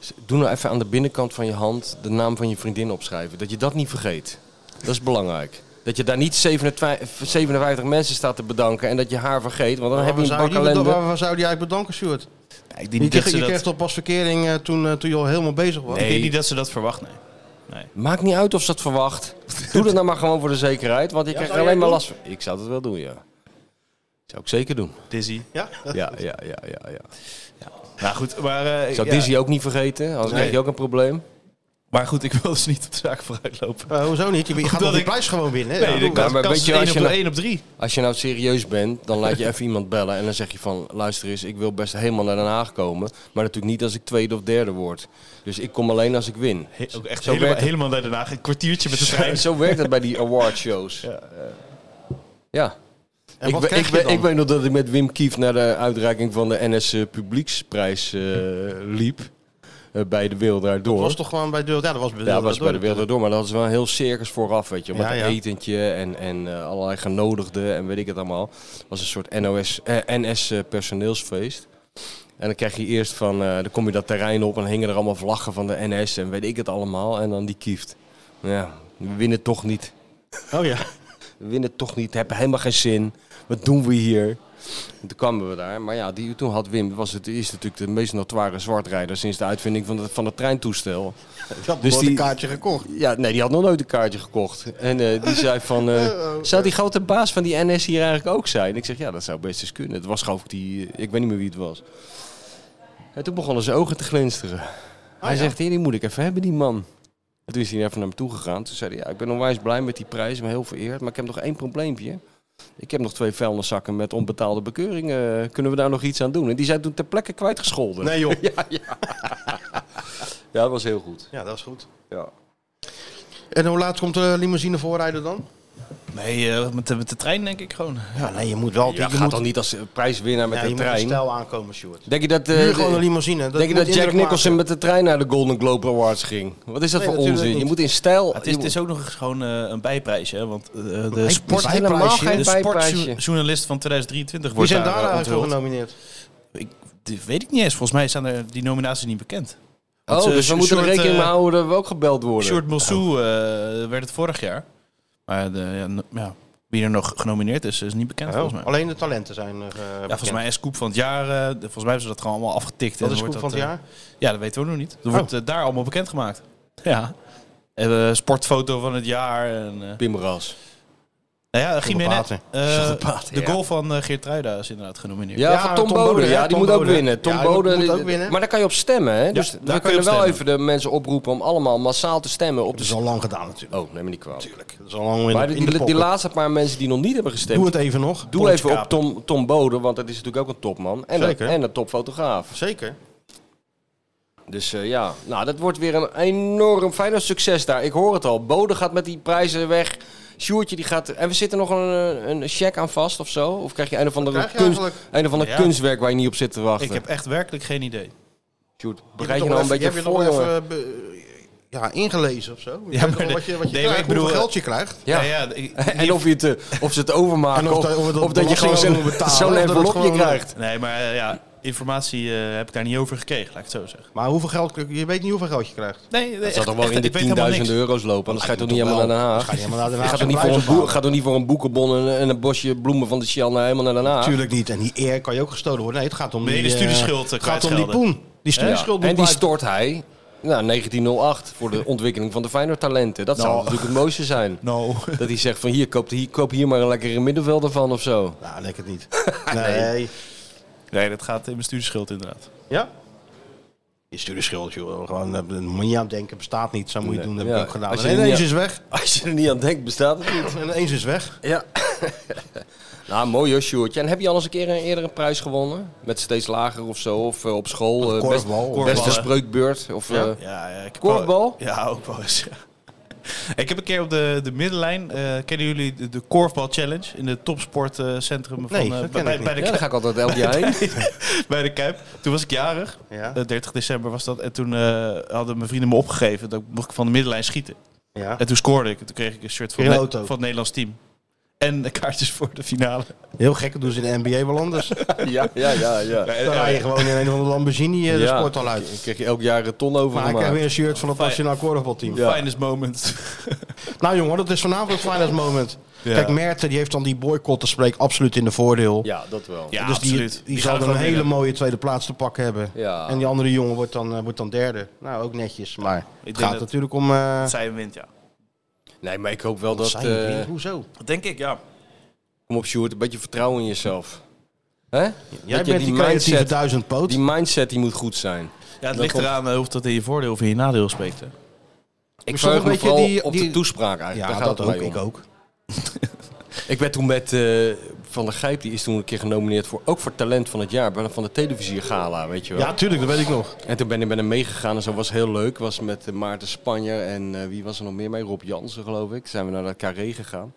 [SPEAKER 5] S- Doe nou even aan de binnenkant van je hand de naam van je vriendin opschrijven. Dat je dat niet vergeet. Dat is belangrijk. Dat je daar niet 57, 57 mensen staat te bedanken en dat je haar vergeet. Want dan heb je
[SPEAKER 4] Waar
[SPEAKER 5] een
[SPEAKER 4] zou
[SPEAKER 5] bak
[SPEAKER 4] die bedan-
[SPEAKER 5] ellende.
[SPEAKER 4] Waar waar zou die eigenlijk bedanken, Stuart?
[SPEAKER 6] Nee, ik
[SPEAKER 4] Je,
[SPEAKER 6] denk niet dat
[SPEAKER 4] kreeg-
[SPEAKER 6] ze
[SPEAKER 4] je
[SPEAKER 6] dat-
[SPEAKER 4] kreeg toch pas verkering eh, toen, eh, toen je al helemaal bezig was?
[SPEAKER 6] ik denk niet dat ze dat verwacht. Nee.
[SPEAKER 5] Maakt niet uit of ze dat verwacht. Doe dat nou maar gewoon voor de zekerheid. Want je krijgt er alleen maar last van. Ik zou dat wel doen, ja. Zou ik zeker doen.
[SPEAKER 6] Dizzy.
[SPEAKER 4] Ja?
[SPEAKER 5] Ja, ja, ja, ja. ja.
[SPEAKER 6] Nou goed, maar, eh,
[SPEAKER 5] Ik zou
[SPEAKER 6] ja.
[SPEAKER 5] Dizzy ook niet vergeten. Anders krijg je ook een probleem.
[SPEAKER 6] maar goed, ik wil dus niet op de zaak vooruit lopen.
[SPEAKER 4] Eh, hoezo niet? Je, je gaat
[SPEAKER 6] Omdat
[SPEAKER 4] wel die
[SPEAKER 6] ik-
[SPEAKER 4] prijs gewoon winnen.
[SPEAKER 6] Nee,
[SPEAKER 4] Ja,
[SPEAKER 6] de
[SPEAKER 4] doe
[SPEAKER 6] kans,
[SPEAKER 5] maar
[SPEAKER 6] kans
[SPEAKER 5] weet je,
[SPEAKER 6] is
[SPEAKER 5] als
[SPEAKER 6] één
[SPEAKER 5] je
[SPEAKER 6] op,
[SPEAKER 5] nou-
[SPEAKER 6] één op drie.
[SPEAKER 5] Als je nou serieus bent, dan laat je even iemand bellen en dan zeg je van... luister eens, ik wil best helemaal naar Den Haag komen. Maar natuurlijk niet als ik tweede of derde word. Dus ik kom alleen als ik win.
[SPEAKER 6] He- ook echt
[SPEAKER 5] Zo
[SPEAKER 6] helemaal,
[SPEAKER 5] werkt het.
[SPEAKER 6] helemaal naar Den Haag. Een kwartiertje met de
[SPEAKER 5] En
[SPEAKER 6] trein.
[SPEAKER 5] zo werkt het bij die awardshows. Ja. ja.
[SPEAKER 4] En
[SPEAKER 5] ik,
[SPEAKER 4] wat
[SPEAKER 5] we-
[SPEAKER 4] krijg
[SPEAKER 5] ik,
[SPEAKER 4] je
[SPEAKER 5] we-
[SPEAKER 4] dan?
[SPEAKER 5] ik weet nog dat ik met Wim Kief naar de uitreiking van de NS Publieksprijs eh, liep. eh, bij de Wereldraad Door.
[SPEAKER 4] Dat was toch gewoon bij de... Ja, dat was bij
[SPEAKER 5] Ja, dat was
[SPEAKER 4] door-
[SPEAKER 5] bij de wereld door, maar dat was wel een heel circus vooraf, weet je. Met
[SPEAKER 4] Ja, ja.
[SPEAKER 5] een etentje en, en eh, allerlei genodigden en weet ik het allemaal. Het was een soort NOS, eh, NS eh, personeelsfeest. En dan krijg je eerst van, eh, dan kom je dat terrein op en hingen er allemaal vlaggen van de NS en weet ik het allemaal. En dan die kieft. Ja, we winnen toch niet.
[SPEAKER 4] Oh ja.
[SPEAKER 5] We winnen toch niet, hebben helemaal geen zin. Wat doen we hier? En toen kwamen we daar. Maar ja, die, toen had Wim, was het, is natuurlijk de meest notoire zwartrijder sinds de uitvinding van, de, van het treintoestel.
[SPEAKER 4] Ik had
[SPEAKER 5] Dus
[SPEAKER 4] dus
[SPEAKER 5] die-
[SPEAKER 4] een kaartje gekocht.
[SPEAKER 5] Ja, nee, die had nog nooit een kaartje gekocht. En eh, die zei van, eh,
[SPEAKER 4] Oh,
[SPEAKER 5] zou die grote baas van die NS hier eigenlijk ook zijn? Ik zeg, ja, dat zou best eens kunnen. Het was geloof ik die, eh, ik weet niet meer wie het was. En toen begonnen zijn ogen te glinsteren.
[SPEAKER 4] Ah,
[SPEAKER 5] hij zegt, hier, die moet ik even hebben, die man. En toen is hij even naar me toe gegaan. Toen zei hij, ja, ik ben onwijs blij met die prijs, maar heel vereerd. Maar ik heb nog één probleempje. Ik heb nog twee vuilniszakken met onbetaalde bekeuringen. Kunnen we daar nog iets aan doen? En die zijn toen ter plekke kwijtgescholden.
[SPEAKER 4] Nee, joh.
[SPEAKER 5] Ja, ja. ja, dat was heel goed.
[SPEAKER 4] Ja, dat is goed.
[SPEAKER 5] Ja.
[SPEAKER 4] En hoe laat komt de limousine voorrijden dan?
[SPEAKER 6] Nee, eh, met, de, met de trein denk ik gewoon.
[SPEAKER 4] Ja, nee, je moet wel...
[SPEAKER 5] Ja, gaat dan niet als eh, prijswinnaar met
[SPEAKER 4] Ja,
[SPEAKER 5] de
[SPEAKER 4] je moet een
[SPEAKER 5] trein.
[SPEAKER 4] stijl aankomen, Sjoerd.
[SPEAKER 5] Denk je dat, eh,
[SPEAKER 4] Huur
[SPEAKER 5] de-
[SPEAKER 4] gewoon een limousine.
[SPEAKER 5] denk je
[SPEAKER 4] moet
[SPEAKER 5] dat Jack
[SPEAKER 4] indruk
[SPEAKER 5] Nicholson
[SPEAKER 4] maken.
[SPEAKER 5] met de trein naar de Golden Globe Awards ging? Wat is
[SPEAKER 4] Nee,
[SPEAKER 5] dat voor
[SPEAKER 4] natuurlijk
[SPEAKER 5] onzin? Je
[SPEAKER 4] niet. dus
[SPEAKER 5] moet in stijl.
[SPEAKER 6] het, is,
[SPEAKER 5] je
[SPEAKER 6] het is ook nog eens gewoon eh, een bijprijs, hè? Want eh, de,
[SPEAKER 5] moet-
[SPEAKER 6] sport,
[SPEAKER 5] het is helemaal
[SPEAKER 4] bijprijsje.
[SPEAKER 5] geen
[SPEAKER 6] de
[SPEAKER 5] bijprijsje.
[SPEAKER 6] sportjournalist van 2023
[SPEAKER 4] Wie
[SPEAKER 6] wordt
[SPEAKER 4] zijn
[SPEAKER 6] daar,
[SPEAKER 4] daar
[SPEAKER 6] eh,
[SPEAKER 4] eigenlijk voor
[SPEAKER 6] onthuld.
[SPEAKER 4] genomineerd?
[SPEAKER 6] Ik
[SPEAKER 7] die weet ik niet eens. Volgens mij zijn er die nominaties niet bekend.
[SPEAKER 5] Oh,
[SPEAKER 7] Want, eh,
[SPEAKER 5] dus we
[SPEAKER 7] Sjo-
[SPEAKER 5] moeten er
[SPEAKER 7] Sjoerd,
[SPEAKER 5] rekening
[SPEAKER 7] eh,
[SPEAKER 5] mee houden dat we ook gebeld worden.
[SPEAKER 7] Short Mossou
[SPEAKER 6] Nou.
[SPEAKER 7] eh, werd het vorig jaar. Maar de, ja, no- ja, wie er nog genomineerd is, is niet
[SPEAKER 5] Oh.
[SPEAKER 7] bekend volgens mij.
[SPEAKER 4] Alleen de talenten zijn er. eh,
[SPEAKER 7] Ja,
[SPEAKER 4] bekend.
[SPEAKER 7] volgens mij is Koep van het jaar. eh, de- volgens mij hebben ze dat gewoon allemaal afgetikt.
[SPEAKER 4] Dat
[SPEAKER 7] en
[SPEAKER 4] is
[SPEAKER 7] wordt
[SPEAKER 4] Koep van het
[SPEAKER 7] dat,
[SPEAKER 4] jaar.
[SPEAKER 7] eh, ja, dat weten we nog niet. Dat wordt eh, daar allemaal bekendgemaakt. Ja. En, eh, sportfoto van het jaar. En, eh,
[SPEAKER 5] Pimras.
[SPEAKER 7] nou ja, Jiménez.
[SPEAKER 4] Paten.
[SPEAKER 7] eh,
[SPEAKER 4] Zonder Paten,
[SPEAKER 7] de
[SPEAKER 4] ja.
[SPEAKER 7] goal van eh Geert is inderdaad genomineerd.
[SPEAKER 5] Ja,
[SPEAKER 4] Ja,
[SPEAKER 5] van Tom, Bode. Ja, die
[SPEAKER 4] Tom
[SPEAKER 5] moet ook
[SPEAKER 4] Bode.
[SPEAKER 5] winnen. Tom
[SPEAKER 4] Ja, die
[SPEAKER 5] Bode.
[SPEAKER 4] moet ook winnen.
[SPEAKER 5] Maar daar kan je op stemmen, hè? Dus
[SPEAKER 7] daar
[SPEAKER 5] we
[SPEAKER 7] kun je
[SPEAKER 5] kunnen
[SPEAKER 7] op
[SPEAKER 5] wel
[SPEAKER 7] stemmen.
[SPEAKER 5] even de mensen oproepen om allemaal massaal te stemmen op de...
[SPEAKER 4] Dat is al lang gedaan natuurlijk.
[SPEAKER 5] Oh, neem me niet kwalijk.
[SPEAKER 4] Dat is al lang in,
[SPEAKER 5] Maar
[SPEAKER 4] de,
[SPEAKER 5] die,
[SPEAKER 4] in de
[SPEAKER 5] die, die
[SPEAKER 4] pocket.
[SPEAKER 5] laatste paar mensen die nog niet hebben gestemd,
[SPEAKER 4] Doe het even nog.
[SPEAKER 5] doe
[SPEAKER 7] Pontje
[SPEAKER 5] even op
[SPEAKER 7] kapen.
[SPEAKER 5] Tom, Tom Bode, want dat is natuurlijk ook een topman. En, een,
[SPEAKER 4] Zeker.
[SPEAKER 5] en een topfotograaf.
[SPEAKER 4] Zeker.
[SPEAKER 5] Dus eh, ja, nou, dat wordt weer een enorm fijn succes daar. Ik hoor het al. Bode gaat met die prijzen weg. Sjoertje die gaat... En we zitten nog een, een check aan vast of zo? Of krijg je een of andere,
[SPEAKER 4] krijg je
[SPEAKER 5] kunst,
[SPEAKER 4] eigenlijk?
[SPEAKER 5] een of andere
[SPEAKER 7] Ja.
[SPEAKER 5] kunstwerk waar je niet op zit te wachten?
[SPEAKER 7] Ik heb echt werkelijk geen idee.
[SPEAKER 5] Sjoerd,
[SPEAKER 4] Je
[SPEAKER 5] bereid je
[SPEAKER 4] hebt
[SPEAKER 5] nou
[SPEAKER 4] toch wel
[SPEAKER 5] een beetje
[SPEAKER 4] even-
[SPEAKER 5] voor,
[SPEAKER 4] je hebt je nog
[SPEAKER 5] jongen.
[SPEAKER 4] even eh, be- ja, ingelezen of zo. Ja,
[SPEAKER 7] maar
[SPEAKER 4] maar
[SPEAKER 7] de-
[SPEAKER 4] wat je, wat je
[SPEAKER 7] nee, maar
[SPEAKER 4] krijgt,
[SPEAKER 7] ik bedoel,
[SPEAKER 4] hoeveel
[SPEAKER 7] eh,
[SPEAKER 4] geld je krijgt.
[SPEAKER 5] Ja.
[SPEAKER 7] ja, die-
[SPEAKER 5] En of, je het, eh, of ze het overmaken
[SPEAKER 4] En of
[SPEAKER 5] of,
[SPEAKER 4] dat- of we
[SPEAKER 5] of,
[SPEAKER 4] dat
[SPEAKER 5] dat je gewoon
[SPEAKER 4] belasting
[SPEAKER 5] zo'n
[SPEAKER 4] over betalen,
[SPEAKER 5] zo'n
[SPEAKER 4] of dat het
[SPEAKER 5] envelopje
[SPEAKER 4] gewoon-
[SPEAKER 5] krijgt.
[SPEAKER 7] Nee, maar eh, ja, informatie eh, heb ik daar niet over gekregen, laat ik het zo zeggen.
[SPEAKER 4] Maar hoeveel geld, je weet niet hoeveel geld je krijgt.
[SPEAKER 7] Nee, nee,
[SPEAKER 5] Dat zal
[SPEAKER 7] echt-
[SPEAKER 5] toch wel
[SPEAKER 7] echt,
[SPEAKER 5] in
[SPEAKER 7] ik weet helemaal
[SPEAKER 5] de 10.000
[SPEAKER 7] niks.
[SPEAKER 5] euro's lopen, anders ga je toch niet
[SPEAKER 4] Toch
[SPEAKER 5] helemaal
[SPEAKER 4] wel.
[SPEAKER 5] naar Den
[SPEAKER 4] Dan
[SPEAKER 5] Haag.
[SPEAKER 4] Ga je helemaal naar Den
[SPEAKER 5] Je
[SPEAKER 4] Haag.
[SPEAKER 5] gaat toch niet,
[SPEAKER 4] zijn
[SPEAKER 5] voor een
[SPEAKER 4] prijs
[SPEAKER 5] boek,
[SPEAKER 4] ophalen?
[SPEAKER 5] gaat toch niet voor een boekenbon en, en een bosje bloemen van de Shell naar, helemaal naar Den Haag?
[SPEAKER 4] Natuurlijk niet. En die eer kan je ook gestolen worden. Nee, het gaat om
[SPEAKER 7] Nee,
[SPEAKER 4] die...
[SPEAKER 7] de
[SPEAKER 4] eh,
[SPEAKER 7] studieschuld, eh,
[SPEAKER 4] Het gaat om die
[SPEAKER 7] kwijtschelden.
[SPEAKER 4] poen. Die studieschuld
[SPEAKER 5] En
[SPEAKER 4] moet
[SPEAKER 5] die
[SPEAKER 4] blijven.
[SPEAKER 5] stort hij nou, 1908 voor de ontwikkeling van de Feyenoord talenten. Dat
[SPEAKER 4] Nou.
[SPEAKER 5] zou natuurlijk het mooiste zijn.
[SPEAKER 7] No.
[SPEAKER 5] Dat hij zegt van hier koop, hier, koop hier maar een lekkere middenvelder van of zo.
[SPEAKER 4] Nou, lekker niet. Nee.
[SPEAKER 7] Nee, dat gaat in mijn studieschuld inderdaad.
[SPEAKER 4] Ja? Die studieschuld, joh. Gewoon, eh, daar moet je niet aan denken. Bestaat niet. Zo moet je
[SPEAKER 5] Nee.
[SPEAKER 4] doen. Dat
[SPEAKER 5] Ja,
[SPEAKER 4] heb ik ook gedaan.
[SPEAKER 5] als
[SPEAKER 4] En
[SPEAKER 5] je er
[SPEAKER 4] ineens
[SPEAKER 5] niet-
[SPEAKER 4] is weg.
[SPEAKER 5] Als je er niet aan denkt, bestaat het niet.
[SPEAKER 4] En ineens is weg.
[SPEAKER 5] Ja. nou, mooi hoor, Sjoerdje. En heb je al eens een keer een, eerder een prijs gewonnen? Met steeds lager of zo? Of eh, op school? eh, best-
[SPEAKER 4] korfbal.
[SPEAKER 5] beste
[SPEAKER 7] Korfbal, hè?
[SPEAKER 5] spreukbeurt? Of, eh,
[SPEAKER 7] Ja, ja, ik heb
[SPEAKER 5] Korfbal?
[SPEAKER 7] wel- ja, ook wel eens. ja. ik heb een keer op de, de middenlijn. eh, kennen jullie de, de Korfbal Challenge in het topsportcentrum van
[SPEAKER 4] Nee,
[SPEAKER 7] eh,
[SPEAKER 4] dat ken
[SPEAKER 7] bij,
[SPEAKER 4] ik
[SPEAKER 7] bij,
[SPEAKER 4] niet.
[SPEAKER 7] bij de
[SPEAKER 5] Ja, daar
[SPEAKER 7] Kuip-
[SPEAKER 5] ga ik altijd elk jaar heen.
[SPEAKER 7] bij de Kuip? Toen was ik jarig.
[SPEAKER 4] Ja.
[SPEAKER 7] Eh, 30 december was dat. En toen eh, hadden mijn vrienden me opgegeven. Dat mocht ik van de middenlijn schieten.
[SPEAKER 4] Ja.
[SPEAKER 7] En toen scoorde ik. En toen kreeg ik een shirt van,
[SPEAKER 4] In een
[SPEAKER 7] Ne-
[SPEAKER 4] auto.
[SPEAKER 7] van het Nederlands team. En de kaartjes voor de finale.
[SPEAKER 4] Heel gek. Dat doen ze in de NBA wel anders.
[SPEAKER 5] ja, ja, ja, ja.
[SPEAKER 4] Dan rij je gewoon in een of andere Lamborghini eh, de
[SPEAKER 5] Ja.
[SPEAKER 4] sport al uit.
[SPEAKER 5] Dan krijg je elk jaar een ton over
[SPEAKER 4] Maar ik heb weer
[SPEAKER 5] gemaakt.
[SPEAKER 4] een shirt van het
[SPEAKER 7] Fijn.
[SPEAKER 4] Nationaal Korfbalteam.
[SPEAKER 7] Finest moment.
[SPEAKER 4] Nou jongen, dat is vanavond het finest moment.
[SPEAKER 7] Ja.
[SPEAKER 4] Kijk, Merten die heeft dan die boycott te spreken absoluut in de voordeel.
[SPEAKER 5] Ja, dat wel.
[SPEAKER 7] Ja,
[SPEAKER 4] dus die,
[SPEAKER 7] absoluut.
[SPEAKER 4] die, zal
[SPEAKER 7] gaan
[SPEAKER 4] dan een
[SPEAKER 7] gewoon
[SPEAKER 4] hele
[SPEAKER 7] winnen.
[SPEAKER 4] mooie tweede plaats te pakken hebben.
[SPEAKER 5] Ja.
[SPEAKER 4] En die andere jongen wordt dan, eh, wordt dan derde. Nou, ook netjes. Maar
[SPEAKER 7] denk
[SPEAKER 4] het gaat
[SPEAKER 7] dat-
[SPEAKER 4] natuurlijk om... eh
[SPEAKER 7] Zij hem wint, ja.
[SPEAKER 5] Nee, maar ik hoop wel dat...
[SPEAKER 4] zijn
[SPEAKER 5] eh,
[SPEAKER 4] vrienden. Hoezo?
[SPEAKER 7] Dat denk ik, ja.
[SPEAKER 5] kom op, Sjoerd. Een beetje vertrouwen in jezelf. Hè?
[SPEAKER 4] Jij bent die creatieve
[SPEAKER 5] mindset,
[SPEAKER 4] duizend poot.
[SPEAKER 5] die mindset die moet goed zijn.
[SPEAKER 7] Ja, het
[SPEAKER 5] Dan
[SPEAKER 7] ligt
[SPEAKER 5] komt-
[SPEAKER 7] eraan eh, of dat in je voordeel of in je nadeel spreekt. hè.
[SPEAKER 5] Ik
[SPEAKER 4] soms
[SPEAKER 5] verheug me
[SPEAKER 4] weet je
[SPEAKER 5] vooral
[SPEAKER 4] die-
[SPEAKER 5] op de
[SPEAKER 4] die-
[SPEAKER 5] toespraak eigenlijk.
[SPEAKER 4] ja,
[SPEAKER 5] Daar gaat
[SPEAKER 4] dat
[SPEAKER 5] het
[SPEAKER 4] ook.
[SPEAKER 5] mij om.
[SPEAKER 4] Ik ook.
[SPEAKER 5] Ik ben toen met eh, Van der Gijp, die is toen een keer genomineerd voor, ook voor talent van het jaar, bij- van de televisie gala, weet je wel.
[SPEAKER 4] Ja, tuurlijk. Dat weet ik nog.
[SPEAKER 5] En toen ben ik met hem meegegaan en zo was heel leuk. Was met eh, Maarten Spanjer en eh, wie was er nog meer mee? Rob Jansen geloof ik. Zijn we naar dat carré gegaan.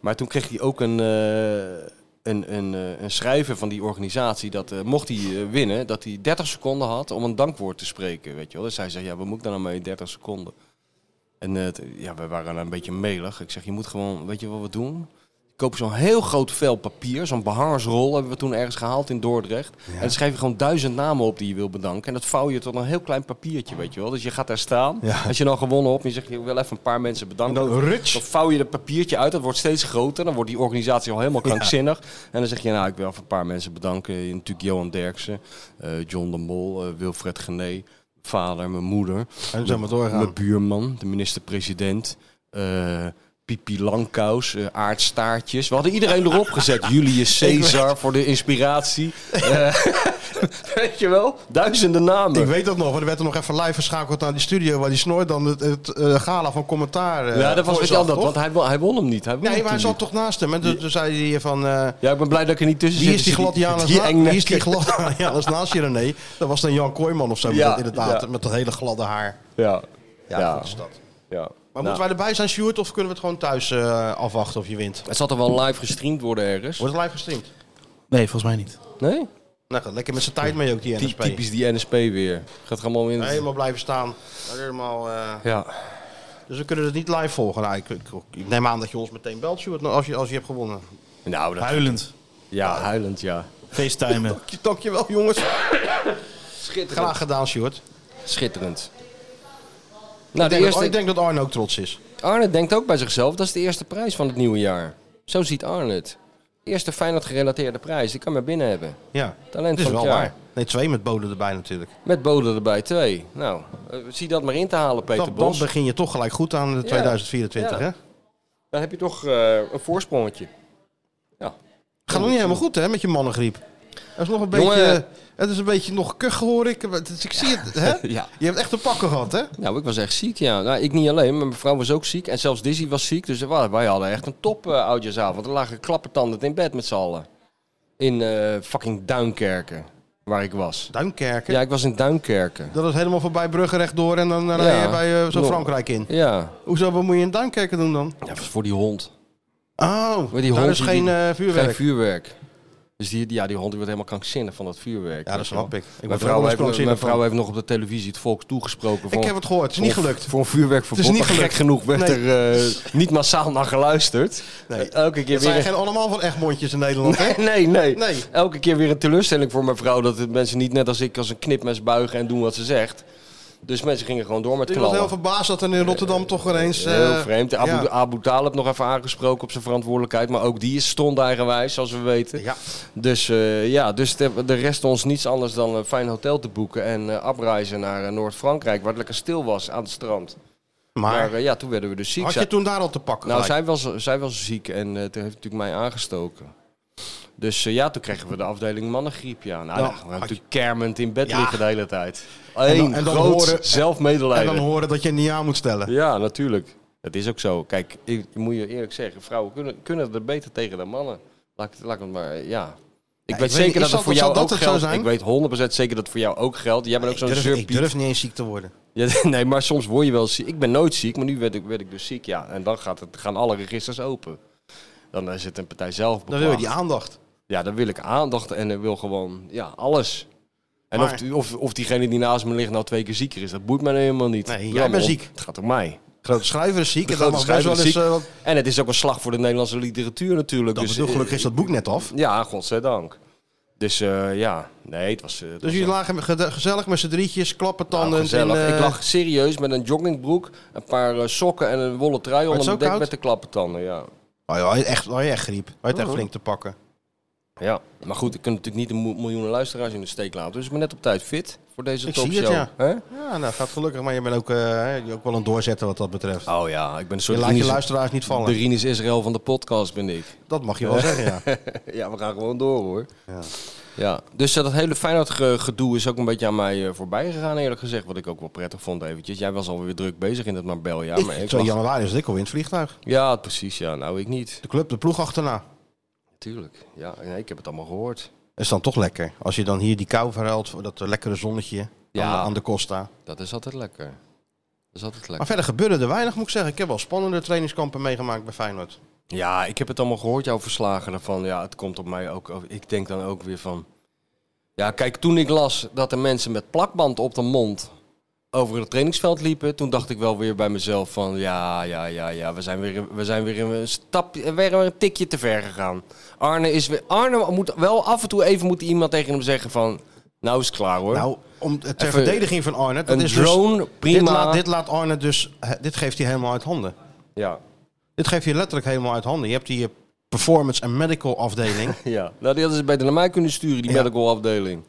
[SPEAKER 5] Maar toen kreeg hij ook een, eh, een, een, eh, een schrijver van die organisatie dat eh, mocht hij eh, winnen, dat hij 30 seconden had om een dankwoord te spreken, weet je wel. Dus hij zei, ja, wat moet ik daar nou mee 30 seconden? En eh, t- ja, we waren een beetje melig. Ik zeg, je moet gewoon, weet je wat we doen? Koop zo'n heel groot vel papier, zo'n behangersrol hebben we toen ergens gehaald in Dordrecht. En dan schrijf je gewoon duizend namen op die je wil bedanken. En dat vouw je tot een heel klein papiertje, weet je wel. Dus je gaat daar staan. Als je dan gewonnen hebt en je zegt, je wil even een paar mensen bedanken.
[SPEAKER 4] Dan ruts.
[SPEAKER 5] Dan vouw je dat papiertje uit, dat wordt steeds groter. Dan wordt die organisatie al helemaal krankzinnig. En dan zeg je, nou, ik wil even een paar mensen bedanken. Natuurlijk Johan Derksen, eh, John de Mol, eh, Wilfred Gené, vader, mijn moeder.
[SPEAKER 4] En zo maar
[SPEAKER 5] Mijn
[SPEAKER 4] doorgaan.
[SPEAKER 5] buurman, de minister-president. eh Pipi Langkous, eh, Aard Staartjes. We hadden iedereen erop gezet. Julius Caesar voor de inspiratie. Eh, weet je wel? Duizenden namen.
[SPEAKER 4] Ik weet dat nog, want er werd er nog even live geschakeld naar die studio waar die snoor dan het, het eh, gala van commentaar. eh,
[SPEAKER 5] ja, dat was wat
[SPEAKER 4] voorzag,
[SPEAKER 5] anders,
[SPEAKER 4] toch?
[SPEAKER 5] want hij won, hij won hem niet. Hij won
[SPEAKER 4] Nee,
[SPEAKER 5] hem
[SPEAKER 4] maar hij
[SPEAKER 5] toen
[SPEAKER 4] zat
[SPEAKER 5] niet.
[SPEAKER 4] toch naast hem. En toen, toen zei hij van... eh,
[SPEAKER 5] Ja, ik ben blij dat ik er niet tussen
[SPEAKER 4] Wie
[SPEAKER 5] zit.
[SPEAKER 4] is die gladianus
[SPEAKER 5] Die,
[SPEAKER 4] na-
[SPEAKER 5] engnekker.
[SPEAKER 4] Wie is die gladianus naast je, René? Dat was dan Jan Kooijman of zo,
[SPEAKER 5] Ja,
[SPEAKER 4] met dat, inderdaad.
[SPEAKER 5] ja.
[SPEAKER 4] Met dat hele gladde haar.
[SPEAKER 5] Ja.
[SPEAKER 4] Ja,
[SPEAKER 5] Ja.
[SPEAKER 4] goed is dat.
[SPEAKER 5] ja.
[SPEAKER 4] Maar
[SPEAKER 5] Nou,
[SPEAKER 4] moeten wij erbij zijn, Sjoerd? Of kunnen we het gewoon thuis eh, afwachten of je wint?
[SPEAKER 5] Het zal toch wel live gestreamd worden ergens?
[SPEAKER 4] Wordt het live gestreamd?
[SPEAKER 7] Nee, volgens mij niet.
[SPEAKER 5] Nee?
[SPEAKER 4] Nou, gaat lekker met zijn tijd mee ook, die
[SPEAKER 5] Die,
[SPEAKER 4] NSP.
[SPEAKER 5] typisch die NSP weer. Gaat allemaal in.
[SPEAKER 4] Helemaal blijven staan. Helemaal, eh,
[SPEAKER 5] Ja.
[SPEAKER 4] dus we kunnen het niet live volgen. Nou, ik, ik- ik nou, neem aan dat je ons meteen belt, Sjoerd, als je, als je hebt gewonnen.
[SPEAKER 5] Nou, dat...
[SPEAKER 7] Huilend.
[SPEAKER 5] ja, huilend, ja.
[SPEAKER 6] facetimen.
[SPEAKER 4] Dankjewel, jongens.
[SPEAKER 5] Schitterend.
[SPEAKER 4] Graag gedaan, Sjoerd.
[SPEAKER 5] Schitterend. Nou,
[SPEAKER 4] Ik
[SPEAKER 5] de
[SPEAKER 4] denk, dat,
[SPEAKER 5] eerste,
[SPEAKER 4] ik denk dat Arne ook trots is.
[SPEAKER 5] Arne denkt ook bij zichzelf, dat is de eerste prijs van het nieuwe jaar. Zo ziet Arne het. Eerste Feyenoord gerelateerde prijs, die kan maar binnen hebben.
[SPEAKER 4] Ja,
[SPEAKER 5] Talent
[SPEAKER 4] dat is
[SPEAKER 5] van
[SPEAKER 4] wel
[SPEAKER 5] het jaar.
[SPEAKER 4] waar. Nee, twee met boden erbij natuurlijk.
[SPEAKER 5] Met Bode erbij, twee. Nou, eh, zie dat maar in te halen, Peter
[SPEAKER 4] Dan, dan
[SPEAKER 5] Bos.
[SPEAKER 4] begin je toch gelijk goed aan de 2024,
[SPEAKER 5] Ja.
[SPEAKER 4] hè?
[SPEAKER 5] Dan heb je toch eh, een voorsprongetje.
[SPEAKER 4] Gaat nog niet helemaal goed, hè, met je mannengriep. Dat is nog een
[SPEAKER 5] Jongen.
[SPEAKER 4] beetje... Het is een beetje nog kuch, hoor ik. Het is- Ik zie het, hè?
[SPEAKER 5] Ja.
[SPEAKER 4] Je hebt echt een pakken gehad, hè?
[SPEAKER 5] Nou, ik was echt ziek, ja. Nou, ik niet alleen, maar mijn vrouw was ook ziek. En zelfs Dizzy was ziek. Dus wa- wij hadden echt een top eh oudjaarsavond. Er lagen klappertandend in bed met z'n allen. In eh, fucking Duinkerken, waar ik was.
[SPEAKER 4] Duinkerken.
[SPEAKER 5] Ja, ik was in Duinkerken.
[SPEAKER 4] Dat is helemaal voorbij Brugge rechtdoor en dan rij je
[SPEAKER 5] Ja.
[SPEAKER 4] bij eh, zo
[SPEAKER 5] Nog.
[SPEAKER 4] Frankrijk in.
[SPEAKER 5] Ja,
[SPEAKER 4] Hoezo, wat moet je in Duinkerken doen dan?
[SPEAKER 5] ja dat was voor die hond.
[SPEAKER 4] Oh,
[SPEAKER 5] Maar die
[SPEAKER 4] daar
[SPEAKER 5] hond
[SPEAKER 4] is
[SPEAKER 5] die-
[SPEAKER 4] geen
[SPEAKER 5] die-
[SPEAKER 4] eh, vuurwerk.
[SPEAKER 5] Geen vuurwerk. Dus die, die- ja, die hond die wordt helemaal krankzinnig van dat vuurwerk.
[SPEAKER 4] Ja, dat
[SPEAKER 5] Weet je
[SPEAKER 4] snap
[SPEAKER 5] wel.
[SPEAKER 4] ik. Ik word
[SPEAKER 5] Mijn
[SPEAKER 4] er
[SPEAKER 5] vrouw,
[SPEAKER 4] anders
[SPEAKER 5] heeft,
[SPEAKER 4] krankzinnig
[SPEAKER 5] mijn vrouw
[SPEAKER 4] van.
[SPEAKER 5] heeft nog op de televisie het volk toegesproken. Voor,
[SPEAKER 4] Ik heb het gehoord, het is niet
[SPEAKER 5] voor-
[SPEAKER 4] gelukt.
[SPEAKER 5] Voor een vuurwerkverbod.
[SPEAKER 4] Het is niet
[SPEAKER 5] Maar
[SPEAKER 4] gelukt.
[SPEAKER 5] Gek genoeg werd
[SPEAKER 4] Nee.
[SPEAKER 5] er eh, niet massaal naar geluisterd. Eh,
[SPEAKER 4] Nee.
[SPEAKER 5] Elke keer
[SPEAKER 4] Het zijn
[SPEAKER 5] weer...
[SPEAKER 4] geen allemaal van Egmondjes in Nederland, hè?
[SPEAKER 5] Nee, nee,
[SPEAKER 4] Nee.
[SPEAKER 5] Elke keer weer een teleurstelling voor mijn vrouw. Dat het mensen niet net als ik als een knipmes buigen en doen wat ze zegt. Dus mensen gingen gewoon door met
[SPEAKER 4] Ik was
[SPEAKER 5] knallen.
[SPEAKER 4] heel verbaasd dat er in Rotterdam toch weer eens... eh,
[SPEAKER 5] Heel vreemd. Abu,
[SPEAKER 4] ja.
[SPEAKER 5] Abu Talib nog even aangesproken op zijn verantwoordelijkheid. Maar ook die is strond eigenwijs, zoals we weten.
[SPEAKER 4] Ja.
[SPEAKER 5] Dus eh, ja, dus de, de rest ons niets anders dan een fijn hotel te boeken. En eh afreizen naar eh, Noord-Frankrijk, waar het lekker stil was aan het strand. Maar
[SPEAKER 4] Maar
[SPEAKER 5] eh, ja, toen werden we dus ziek.
[SPEAKER 4] had
[SPEAKER 5] Zij-
[SPEAKER 4] je toen daar al te pakken?
[SPEAKER 5] nou,
[SPEAKER 4] gelijk?
[SPEAKER 5] zij was, zij was ziek en eh, toen heeft natuurlijk mij aangestoken. Dus eh, ja, toen kregen we de afdeling mannengriep. Ja, nou,
[SPEAKER 4] Ja,
[SPEAKER 5] dan gaan
[SPEAKER 4] had
[SPEAKER 5] we
[SPEAKER 4] je-
[SPEAKER 5] natuurlijk kermend in bed
[SPEAKER 4] Ja.
[SPEAKER 5] liggen de hele tijd. Eén
[SPEAKER 4] en dan
[SPEAKER 5] groot
[SPEAKER 4] horen- En
[SPEAKER 5] zelfmedelijden.
[SPEAKER 4] dan horen dat je niet aan moet stellen.
[SPEAKER 5] Ja, natuurlijk. Dat is ook zo. Kijk, ik, ik moet je eerlijk zeggen, vrouwen kunnen, kunnen er beter tegen dan mannen. Laat ik, laat ik het maar, eh, ja. Ik
[SPEAKER 4] ik weet
[SPEAKER 5] weet
[SPEAKER 4] niet,
[SPEAKER 5] zeker
[SPEAKER 4] is
[SPEAKER 5] dat
[SPEAKER 4] dat-
[SPEAKER 5] het voor
[SPEAKER 4] zal
[SPEAKER 5] jou
[SPEAKER 4] dat
[SPEAKER 5] ook
[SPEAKER 4] het zo
[SPEAKER 5] geldt.
[SPEAKER 4] zijn?
[SPEAKER 5] Ik weet 100% zeker dat het voor jou ook geldt. Jij bent
[SPEAKER 4] Ik
[SPEAKER 5] ook zo'n
[SPEAKER 4] durf, ik
[SPEAKER 5] surpiet.
[SPEAKER 4] durf niet eens ziek te worden.
[SPEAKER 5] Ja, nee, maar soms word je wel ziek. Ik ben nooit ziek, maar nu werd ik, werd ik dus ziek, ja. En dan gaat het, gaan alle registers open. Dan eh, zit een partij
[SPEAKER 4] Dan
[SPEAKER 5] zelf
[SPEAKER 4] wil je die
[SPEAKER 5] beklaagd.
[SPEAKER 4] aandacht.
[SPEAKER 5] Ja, dan wil ik aandacht en dan wil gewoon, ja, alles. En
[SPEAKER 4] Maar-
[SPEAKER 5] of, die- of, of diegene die naast me ligt nou twee keer zieker is, dat boeit mij helemaal niet.
[SPEAKER 4] Nee, jij
[SPEAKER 5] Jammer,
[SPEAKER 4] bent
[SPEAKER 5] om-
[SPEAKER 4] ziek.
[SPEAKER 5] Het gaat om mij.
[SPEAKER 4] Grote schrijver is ziek.
[SPEAKER 5] De
[SPEAKER 4] En dat mag
[SPEAKER 5] grote
[SPEAKER 4] best wel
[SPEAKER 5] schrijver
[SPEAKER 4] eens...
[SPEAKER 5] is
[SPEAKER 4] eh, wat-
[SPEAKER 5] En het is ook een slag voor de Nederlandse literatuur natuurlijk.
[SPEAKER 4] Dat
[SPEAKER 5] dus,
[SPEAKER 4] bedoel, gelukkig is dat boek net af.
[SPEAKER 5] eh, Ja, godzijdank. Dus eh, ja, nee, het was... eh, het
[SPEAKER 4] Dus
[SPEAKER 5] was
[SPEAKER 4] jullie
[SPEAKER 5] een-
[SPEAKER 4] lagen gede- gezellig met z'n drietjes,
[SPEAKER 5] nou,
[SPEAKER 4] klappertanden.
[SPEAKER 5] gezellig.
[SPEAKER 4] en, eh,
[SPEAKER 5] Ik lag serieus met een joggingbroek, een paar eh, sokken en een wollen trui onder
[SPEAKER 4] zo
[SPEAKER 5] mijn dek
[SPEAKER 4] koud?
[SPEAKER 5] met de klappertanden, ja.
[SPEAKER 4] Oh, ja, had je echt, had je echt griep. Had je
[SPEAKER 5] Oh.
[SPEAKER 4] het echt flink te pakken.
[SPEAKER 5] Ja, maar goed, ik kan natuurlijk niet de mo- miljoenen luisteraars in de steek laten. Dus ik ben net op tijd fit voor deze
[SPEAKER 4] Ik
[SPEAKER 5] topshow.
[SPEAKER 4] zie het, ja.
[SPEAKER 5] Hè?
[SPEAKER 4] Ja, nou gaat gelukkig. Maar je bent ook, eh, hè, je bent ook wel een doorzetter wat dat betreft.
[SPEAKER 5] Oh ja, ik ben een
[SPEAKER 4] Je
[SPEAKER 5] soort
[SPEAKER 4] laat je
[SPEAKER 5] Rinus-
[SPEAKER 4] luisteraars niet
[SPEAKER 5] de
[SPEAKER 4] vallen.
[SPEAKER 5] Rinus Israël van de podcast ben ik.
[SPEAKER 4] Dat mag je wel zeggen, ja.
[SPEAKER 5] ja, we gaan gewoon door hoor. Ja. Dus eh, dat hele Feyenoord ge- gedoe is ook een beetje aan mij eh, voorbij gegaan eerlijk gezegd. Wat ik ook wel prettig vond eventjes. Jij was alweer druk bezig in het Marbella. Maar
[SPEAKER 4] 2
[SPEAKER 5] ik lag-
[SPEAKER 4] januari is ik al in het vliegtuig.
[SPEAKER 5] Ja, precies. Ja, nou ik niet.
[SPEAKER 4] De club, de ploeg achterna.
[SPEAKER 5] Tuurlijk. Ja, nee, ik heb het allemaal gehoord.
[SPEAKER 4] Dat is dan toch lekker. Als je dan hier die kou verruilt voor dat eh, lekkere zonnetje aan de-
[SPEAKER 5] Ja.
[SPEAKER 4] aan, de Costa.
[SPEAKER 5] Dat is altijd lekker. Dat is altijd
[SPEAKER 4] Maar
[SPEAKER 5] lekker.
[SPEAKER 4] verder gebeuren er weinig, moet ik zeggen. Ik heb wel spannende trainingskampen meegemaakt bij Feyenoord.
[SPEAKER 5] Ja, ik heb het allemaal gehoord, jouw verslagen daarvan. Ja, het komt op mij ook. ook- Ik denk dan ook weer van. Ja, kijk, toen ik las dat er mensen met plakband op de mond over het trainingsveld liepen, toen dacht ik wel weer bij mezelf van ja, ja, ja, ja, we zijn weer, we zijn weer een stap, weer een tikje te ver gegaan. Arne is weer, Arne moet wel af en toe even moet iemand tegen hem zeggen van, nou is het klaar hoor.
[SPEAKER 4] Nou, om, ter
[SPEAKER 5] Even
[SPEAKER 4] verdediging van Arne. Dat
[SPEAKER 5] een
[SPEAKER 4] is
[SPEAKER 5] drone,
[SPEAKER 4] dus,
[SPEAKER 5] prima.
[SPEAKER 4] Dit laat, dit laat Arne dus... he- Dit geeft hij helemaal uit handen.
[SPEAKER 5] ja,
[SPEAKER 4] Dit geeft je letterlijk helemaal uit handen. Je hebt die eh, performance en medical afdeling.
[SPEAKER 5] ja. Nou, die hadden ze beter naar mij kunnen sturen, die
[SPEAKER 4] Ja.
[SPEAKER 5] medical afdeling.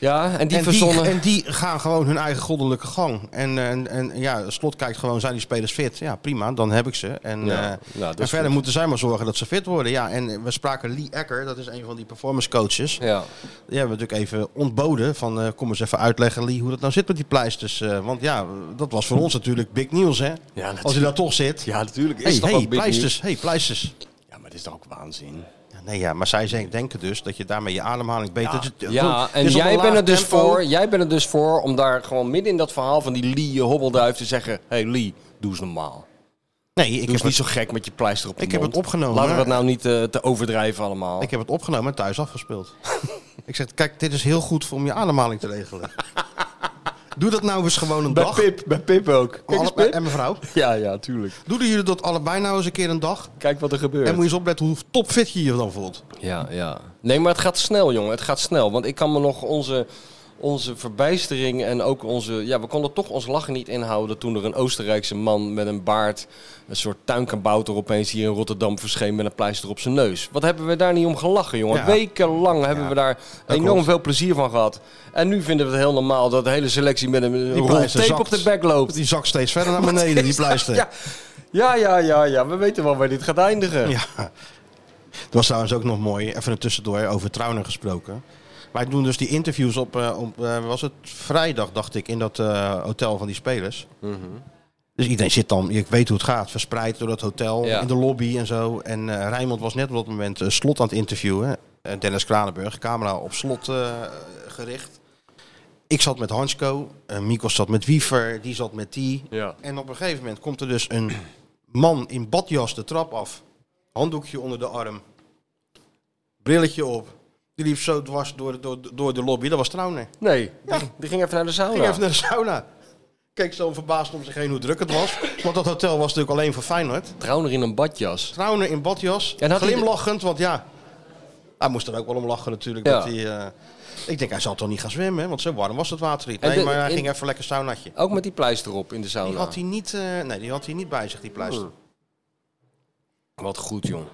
[SPEAKER 5] Ja, en die
[SPEAKER 4] en,
[SPEAKER 5] verzonnen.
[SPEAKER 4] die, en die gaan gewoon hun eigen goddelijke gang. En, eh, en, en ja, slot kijkt gewoon, zijn die spelers fit? Ja, prima, dan heb ik ze. En,
[SPEAKER 5] Ja,
[SPEAKER 4] eh,
[SPEAKER 5] nou, dat
[SPEAKER 4] en
[SPEAKER 5] is
[SPEAKER 4] verder
[SPEAKER 5] goed.
[SPEAKER 4] moeten zij maar zorgen dat ze fit worden. Ja, en eh, we spraken Lee Ecker, dat is een van die performance coaches.
[SPEAKER 5] ja.
[SPEAKER 4] Die hebben we natuurlijk even ontboden van, eh, kom eens even uitleggen Lee hoe dat nou zit met die pleisters. eh, want ja, dat was voor ons natuurlijk big news hè.
[SPEAKER 5] natuurlijk.
[SPEAKER 4] Als hij daar toch zit.
[SPEAKER 5] Ja, natuurlijk. Is
[SPEAKER 4] hey,
[SPEAKER 5] het toch
[SPEAKER 4] hey,
[SPEAKER 5] ook big
[SPEAKER 4] pleisters, hey, pleisters.
[SPEAKER 5] nieuws? Ja, maar het is toch ook waanzin?
[SPEAKER 4] Ja, nee, ja, maar zij zijn- denken dus dat je daarmee je ademhaling beter... Het is-
[SPEAKER 5] Ja,
[SPEAKER 4] het
[SPEAKER 5] en
[SPEAKER 4] is op een
[SPEAKER 5] jij
[SPEAKER 4] laag
[SPEAKER 5] bent, er dus
[SPEAKER 4] tempo.
[SPEAKER 5] voor, jij bent er dus voor om daar gewoon midden in dat verhaal van die Lee, je hobbelduif, te zeggen... Hé hey Lee, doe eens normaal.
[SPEAKER 4] Nee, ik
[SPEAKER 5] Doe
[SPEAKER 4] heb
[SPEAKER 5] eens
[SPEAKER 4] het
[SPEAKER 5] niet zo gek met je pleister op de
[SPEAKER 4] Ik heb
[SPEAKER 5] mond.
[SPEAKER 4] het opgenomen,
[SPEAKER 5] Laten we
[SPEAKER 4] maar-
[SPEAKER 5] dat nou niet eh, te overdrijven allemaal.
[SPEAKER 4] Ik heb het opgenomen en thuis afgespeeld. ik zeg, kijk, dit is heel goed voor om je ademhaling te regelen. Doe dat nou eens gewoon een
[SPEAKER 5] Bij
[SPEAKER 4] dag.
[SPEAKER 5] Pip, bij Pip ook. Kijk eens,
[SPEAKER 4] Allebei,
[SPEAKER 5] Pip.
[SPEAKER 4] en mevrouw.
[SPEAKER 5] Ja, ja, tuurlijk.
[SPEAKER 4] Doen jullie dat allebei nou eens een keer een dag?
[SPEAKER 5] Kijk wat er gebeurt.
[SPEAKER 4] En moet je eens opletten hoe topfit je je dan voelt.
[SPEAKER 5] Ja, ja. Nee, maar het gaat snel, jongen. Het gaat snel. Want ik kan me nog onze, onze verbijstering en ook onze... Ja, we konden toch ons lachen niet inhouden toen er een Oostenrijkse man met een baard... een soort tuinkabouter opeens hier in Rotterdam verscheen met een pleister op zijn neus. Wat hebben we daar niet om gelachen, jongen?
[SPEAKER 4] Ja.
[SPEAKER 5] Wekenlang hebben we daar enorm
[SPEAKER 4] klopt.
[SPEAKER 5] veel plezier van gehad. En nu vinden we het heel normaal dat de hele selectie met een rol tape
[SPEAKER 4] pleister zakt.
[SPEAKER 5] op de bek loopt.
[SPEAKER 4] Die zak steeds verder naar beneden, die pleister.
[SPEAKER 5] Ja. ja, ja, ja, ja. We weten wel waar dit gaat eindigen.
[SPEAKER 4] Ja. Dat was trouwens ook nog mooi. Even er tussendoor over Trouwner gesproken. Wij doen dus die interviews op, eh, op eh, was het vrijdag, dacht ik, in dat eh, hotel van die spelers. Dus iedereen zit dan, je weet hoe het gaat, verspreid door dat hotel,
[SPEAKER 5] Ja.
[SPEAKER 4] in de lobby en zo. En eh Rijnmond was net op dat moment eh, slot aan het interviewen. Eh, Dennis Kranenburg, camera op slot eh, gericht. Ik zat met Hansko, eh Mikos zat met Wiever, die zat met die.
[SPEAKER 5] Ja.
[SPEAKER 4] En op een gegeven moment komt er dus een man in badjas de trap af. Handdoekje onder de arm. Brilletje op. Die liep zo dwars door, door, door de lobby. Dat was Trouwner.
[SPEAKER 5] Nee, die, die ging even naar de sauna.
[SPEAKER 4] Ging even naar de sauna. Keek zo verbaasd om zich heen hoe druk het was. Want dat hotel was natuurlijk alleen voor Feyenoord.
[SPEAKER 5] Trouwner in een badjas.
[SPEAKER 4] Trouwner in badjas.
[SPEAKER 5] En had hij-
[SPEAKER 4] glimlachend, want ja. Hij moest er ook wel om lachen natuurlijk.
[SPEAKER 5] Ja.
[SPEAKER 4] Dat hij, eh, ik denk, hij zal toch niet gaan zwemmen, hè? want zo warm was het water niet.
[SPEAKER 5] En
[SPEAKER 4] Nee,
[SPEAKER 5] de-
[SPEAKER 4] maar hij
[SPEAKER 5] in-
[SPEAKER 4] ging even lekker saunatje.
[SPEAKER 5] Ook met die pleister op in de sauna.
[SPEAKER 4] Die had hij niet, eh, nee, die had hij niet bij zich, die pleister.
[SPEAKER 5] Wat goed, jong.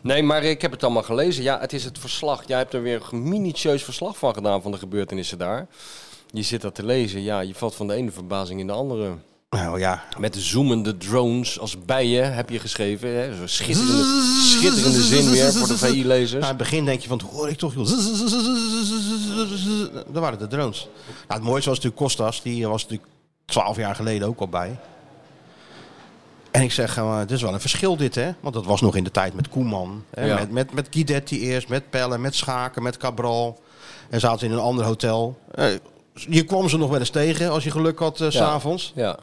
[SPEAKER 5] Nee, maar ik heb het allemaal gelezen. Ja, het is het verslag. Jij hebt er weer een minutieus verslag van gedaan van de gebeurtenissen daar. Je zit dat te lezen. Ja, je valt van de ene verbazing in de andere.
[SPEAKER 4] Nou ja,
[SPEAKER 5] Met zoemende drones als bijen heb je geschreven. Hè? Zo'n schitterende, schitterende zin weer voor de
[SPEAKER 4] Nou,
[SPEAKER 5] VI-lezers.
[SPEAKER 4] in het begin denk je van, hoor ik toch, joh. Dat waren de drones. Nou, het mooiste was natuurlijk Kostas, die was natuurlijk twaalf jaar geleden ook al bij. En ik zeg, eh, het is wel een verschil dit, hè? Want dat was nog in de tijd met Koeman. Hè?
[SPEAKER 5] Ja.
[SPEAKER 4] Met, met, met Guidetti eerst, met Pelle, met Schaken, met Cabral. En zaten in een ander hotel. Eh, je kwam ze nog wel eens tegen als je geluk had eh, s s'avonds.
[SPEAKER 5] Ja.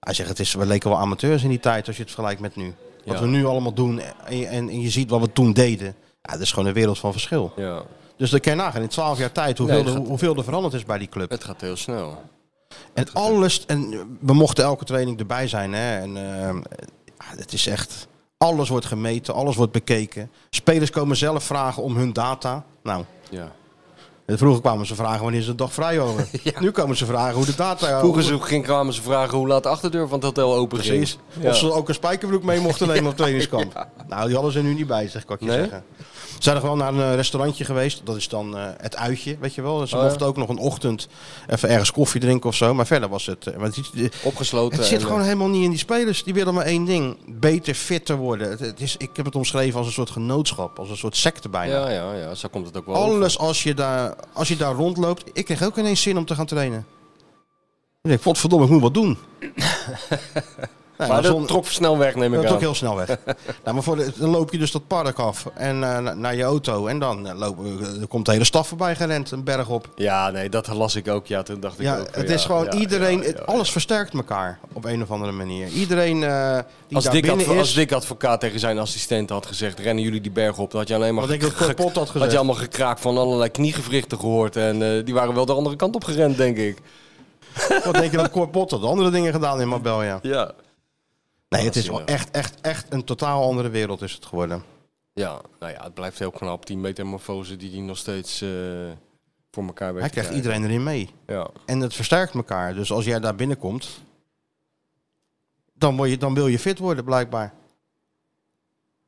[SPEAKER 4] Hij zegt, het is, we leken wel amateurs in die tijd als je het vergelijkt met nu. Wat
[SPEAKER 5] Ja.
[SPEAKER 4] we nu allemaal doen en, en, en je ziet wat we toen deden. Ja, dat is gewoon een wereld van verschil.
[SPEAKER 5] ja,
[SPEAKER 4] Dus dat kan je nagaan in 12 jaar tijd hoeveel,
[SPEAKER 5] Nee,
[SPEAKER 4] er,
[SPEAKER 5] gaat-
[SPEAKER 4] hoeveel er veranderd is bij die club.
[SPEAKER 5] het gaat heel snel.
[SPEAKER 4] en alles, en we mochten elke training erbij zijn. Hè, en ehm, ja, het is echt, alles wordt gemeten, alles wordt bekeken. Spelers komen zelf vragen om hun data. Nou,
[SPEAKER 5] Ja.
[SPEAKER 4] vroeger kwamen ze vragen wanneer ze een dag vrij hadden.
[SPEAKER 5] Ja.
[SPEAKER 4] Nu komen ze vragen hoe de data...
[SPEAKER 5] Vroeger zo ging, kwamen ze vragen hoe laat de achterdeur van het hotel open ging.
[SPEAKER 4] Precies.
[SPEAKER 5] Ja.
[SPEAKER 4] Of ze ook een spijkerbroek mee mochten nemen op trainingskamp. Nou, die hadden ze nu niet bij zich, kan ik je
[SPEAKER 5] Nee?
[SPEAKER 4] zeggen. Ze zijn er gewoon naar een eh, restaurantje geweest. Dat is dan eh, het uitje, weet je wel. Ze
[SPEAKER 5] Oh, ja.
[SPEAKER 4] mochten ook nog een ochtend even ergens koffie drinken of zo. Maar verder was het... eh, want het,
[SPEAKER 5] Opgesloten.
[SPEAKER 4] het zit
[SPEAKER 5] en, eh,
[SPEAKER 4] gewoon helemaal niet in die spelers. Die willen maar één ding. Beter, fitter worden. Het, het is, ik heb het omschreven als een soort genootschap. Als een soort secte bijna.
[SPEAKER 5] Ja, ja, ja. Zo komt het ook wel. over.
[SPEAKER 4] Alles als je, daar, als je daar rondloopt. Ik kreeg ook ineens zin om te gaan trainen. Ik denk, potverdomme, ik moet wat doen. Nou,
[SPEAKER 5] Maar
[SPEAKER 4] zon-
[SPEAKER 5] dat trok snel weg, neem ik
[SPEAKER 4] dat is ook
[SPEAKER 5] aan.
[SPEAKER 4] heel snel weg. nou, maar voor de- dan loop je dus dat park af en eh, na- naar je auto. En dan eh, lopen, eh, er komt de hele staf voorbij gerend, een berg op.
[SPEAKER 5] Ja, nee, dat las ik ook. Ja, toen dacht ik
[SPEAKER 4] Ja,
[SPEAKER 5] ook.
[SPEAKER 4] het
[SPEAKER 5] ja,
[SPEAKER 4] is gewoon
[SPEAKER 5] ja,
[SPEAKER 4] iedereen,
[SPEAKER 5] ja,
[SPEAKER 4] het-
[SPEAKER 5] ja.
[SPEAKER 4] alles versterkt elkaar op een of andere manier. Iedereen eh die
[SPEAKER 5] Als
[SPEAKER 4] daar
[SPEAKER 5] Dick,
[SPEAKER 4] binnen
[SPEAKER 5] adv-
[SPEAKER 4] is,
[SPEAKER 5] als Dick advocaat tegen zijn assistent had gezegd: rennen jullie die berg op, dan had je alleen maar.
[SPEAKER 4] wat ik ook
[SPEAKER 5] ge- ge-
[SPEAKER 4] kapot had
[SPEAKER 5] had
[SPEAKER 4] gezegd.
[SPEAKER 5] je allemaal gekraak van allerlei kniegewrichten gehoord. En eh, die waren wel de andere kant op gerend, denk ik.
[SPEAKER 4] Wat denk je dat Cor Pot had andere dingen gedaan in Marbella?
[SPEAKER 5] Ja.
[SPEAKER 4] Nee, het is wel
[SPEAKER 5] Waanzinnig.
[SPEAKER 4] echt, echt, echt een totaal andere wereld is het geworden.
[SPEAKER 5] Ja, nou ja, het blijft heel knap. Die metamorfose die hij nog steeds eh, voor elkaar weet.
[SPEAKER 4] Hij
[SPEAKER 5] te
[SPEAKER 4] krijgt
[SPEAKER 5] krijgen.
[SPEAKER 4] iedereen erin mee.
[SPEAKER 5] Ja.
[SPEAKER 4] En het versterkt elkaar. Dus als jij daar binnenkomt, dan, word je, dan wil je fit worden blijkbaar.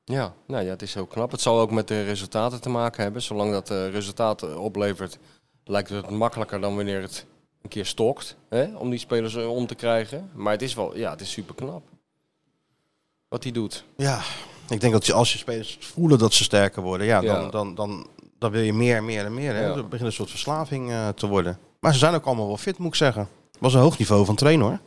[SPEAKER 5] Ja, nou ja, het is heel knap. Het zal ook met de resultaten te maken hebben. Zolang dat eh resultaten oplevert, lijkt het makkelijker dan wanneer het een keer stokt. Hè? Om die spelers eh, om te krijgen. Maar het is wel, ja, het is super knap. Wat hij doet.
[SPEAKER 4] Ja, ik denk dat je- als je spelers voelen dat ze sterker worden, ja, dan,
[SPEAKER 5] Ja.
[SPEAKER 4] Dan, dan, dan wil je meer, meer en meer. Hè?
[SPEAKER 5] Ja.
[SPEAKER 4] Dan begint een soort verslaving eh, te worden. Maar ze zijn ook allemaal wel fit, moet ik zeggen. Het was een hoog niveau van trainen hoor.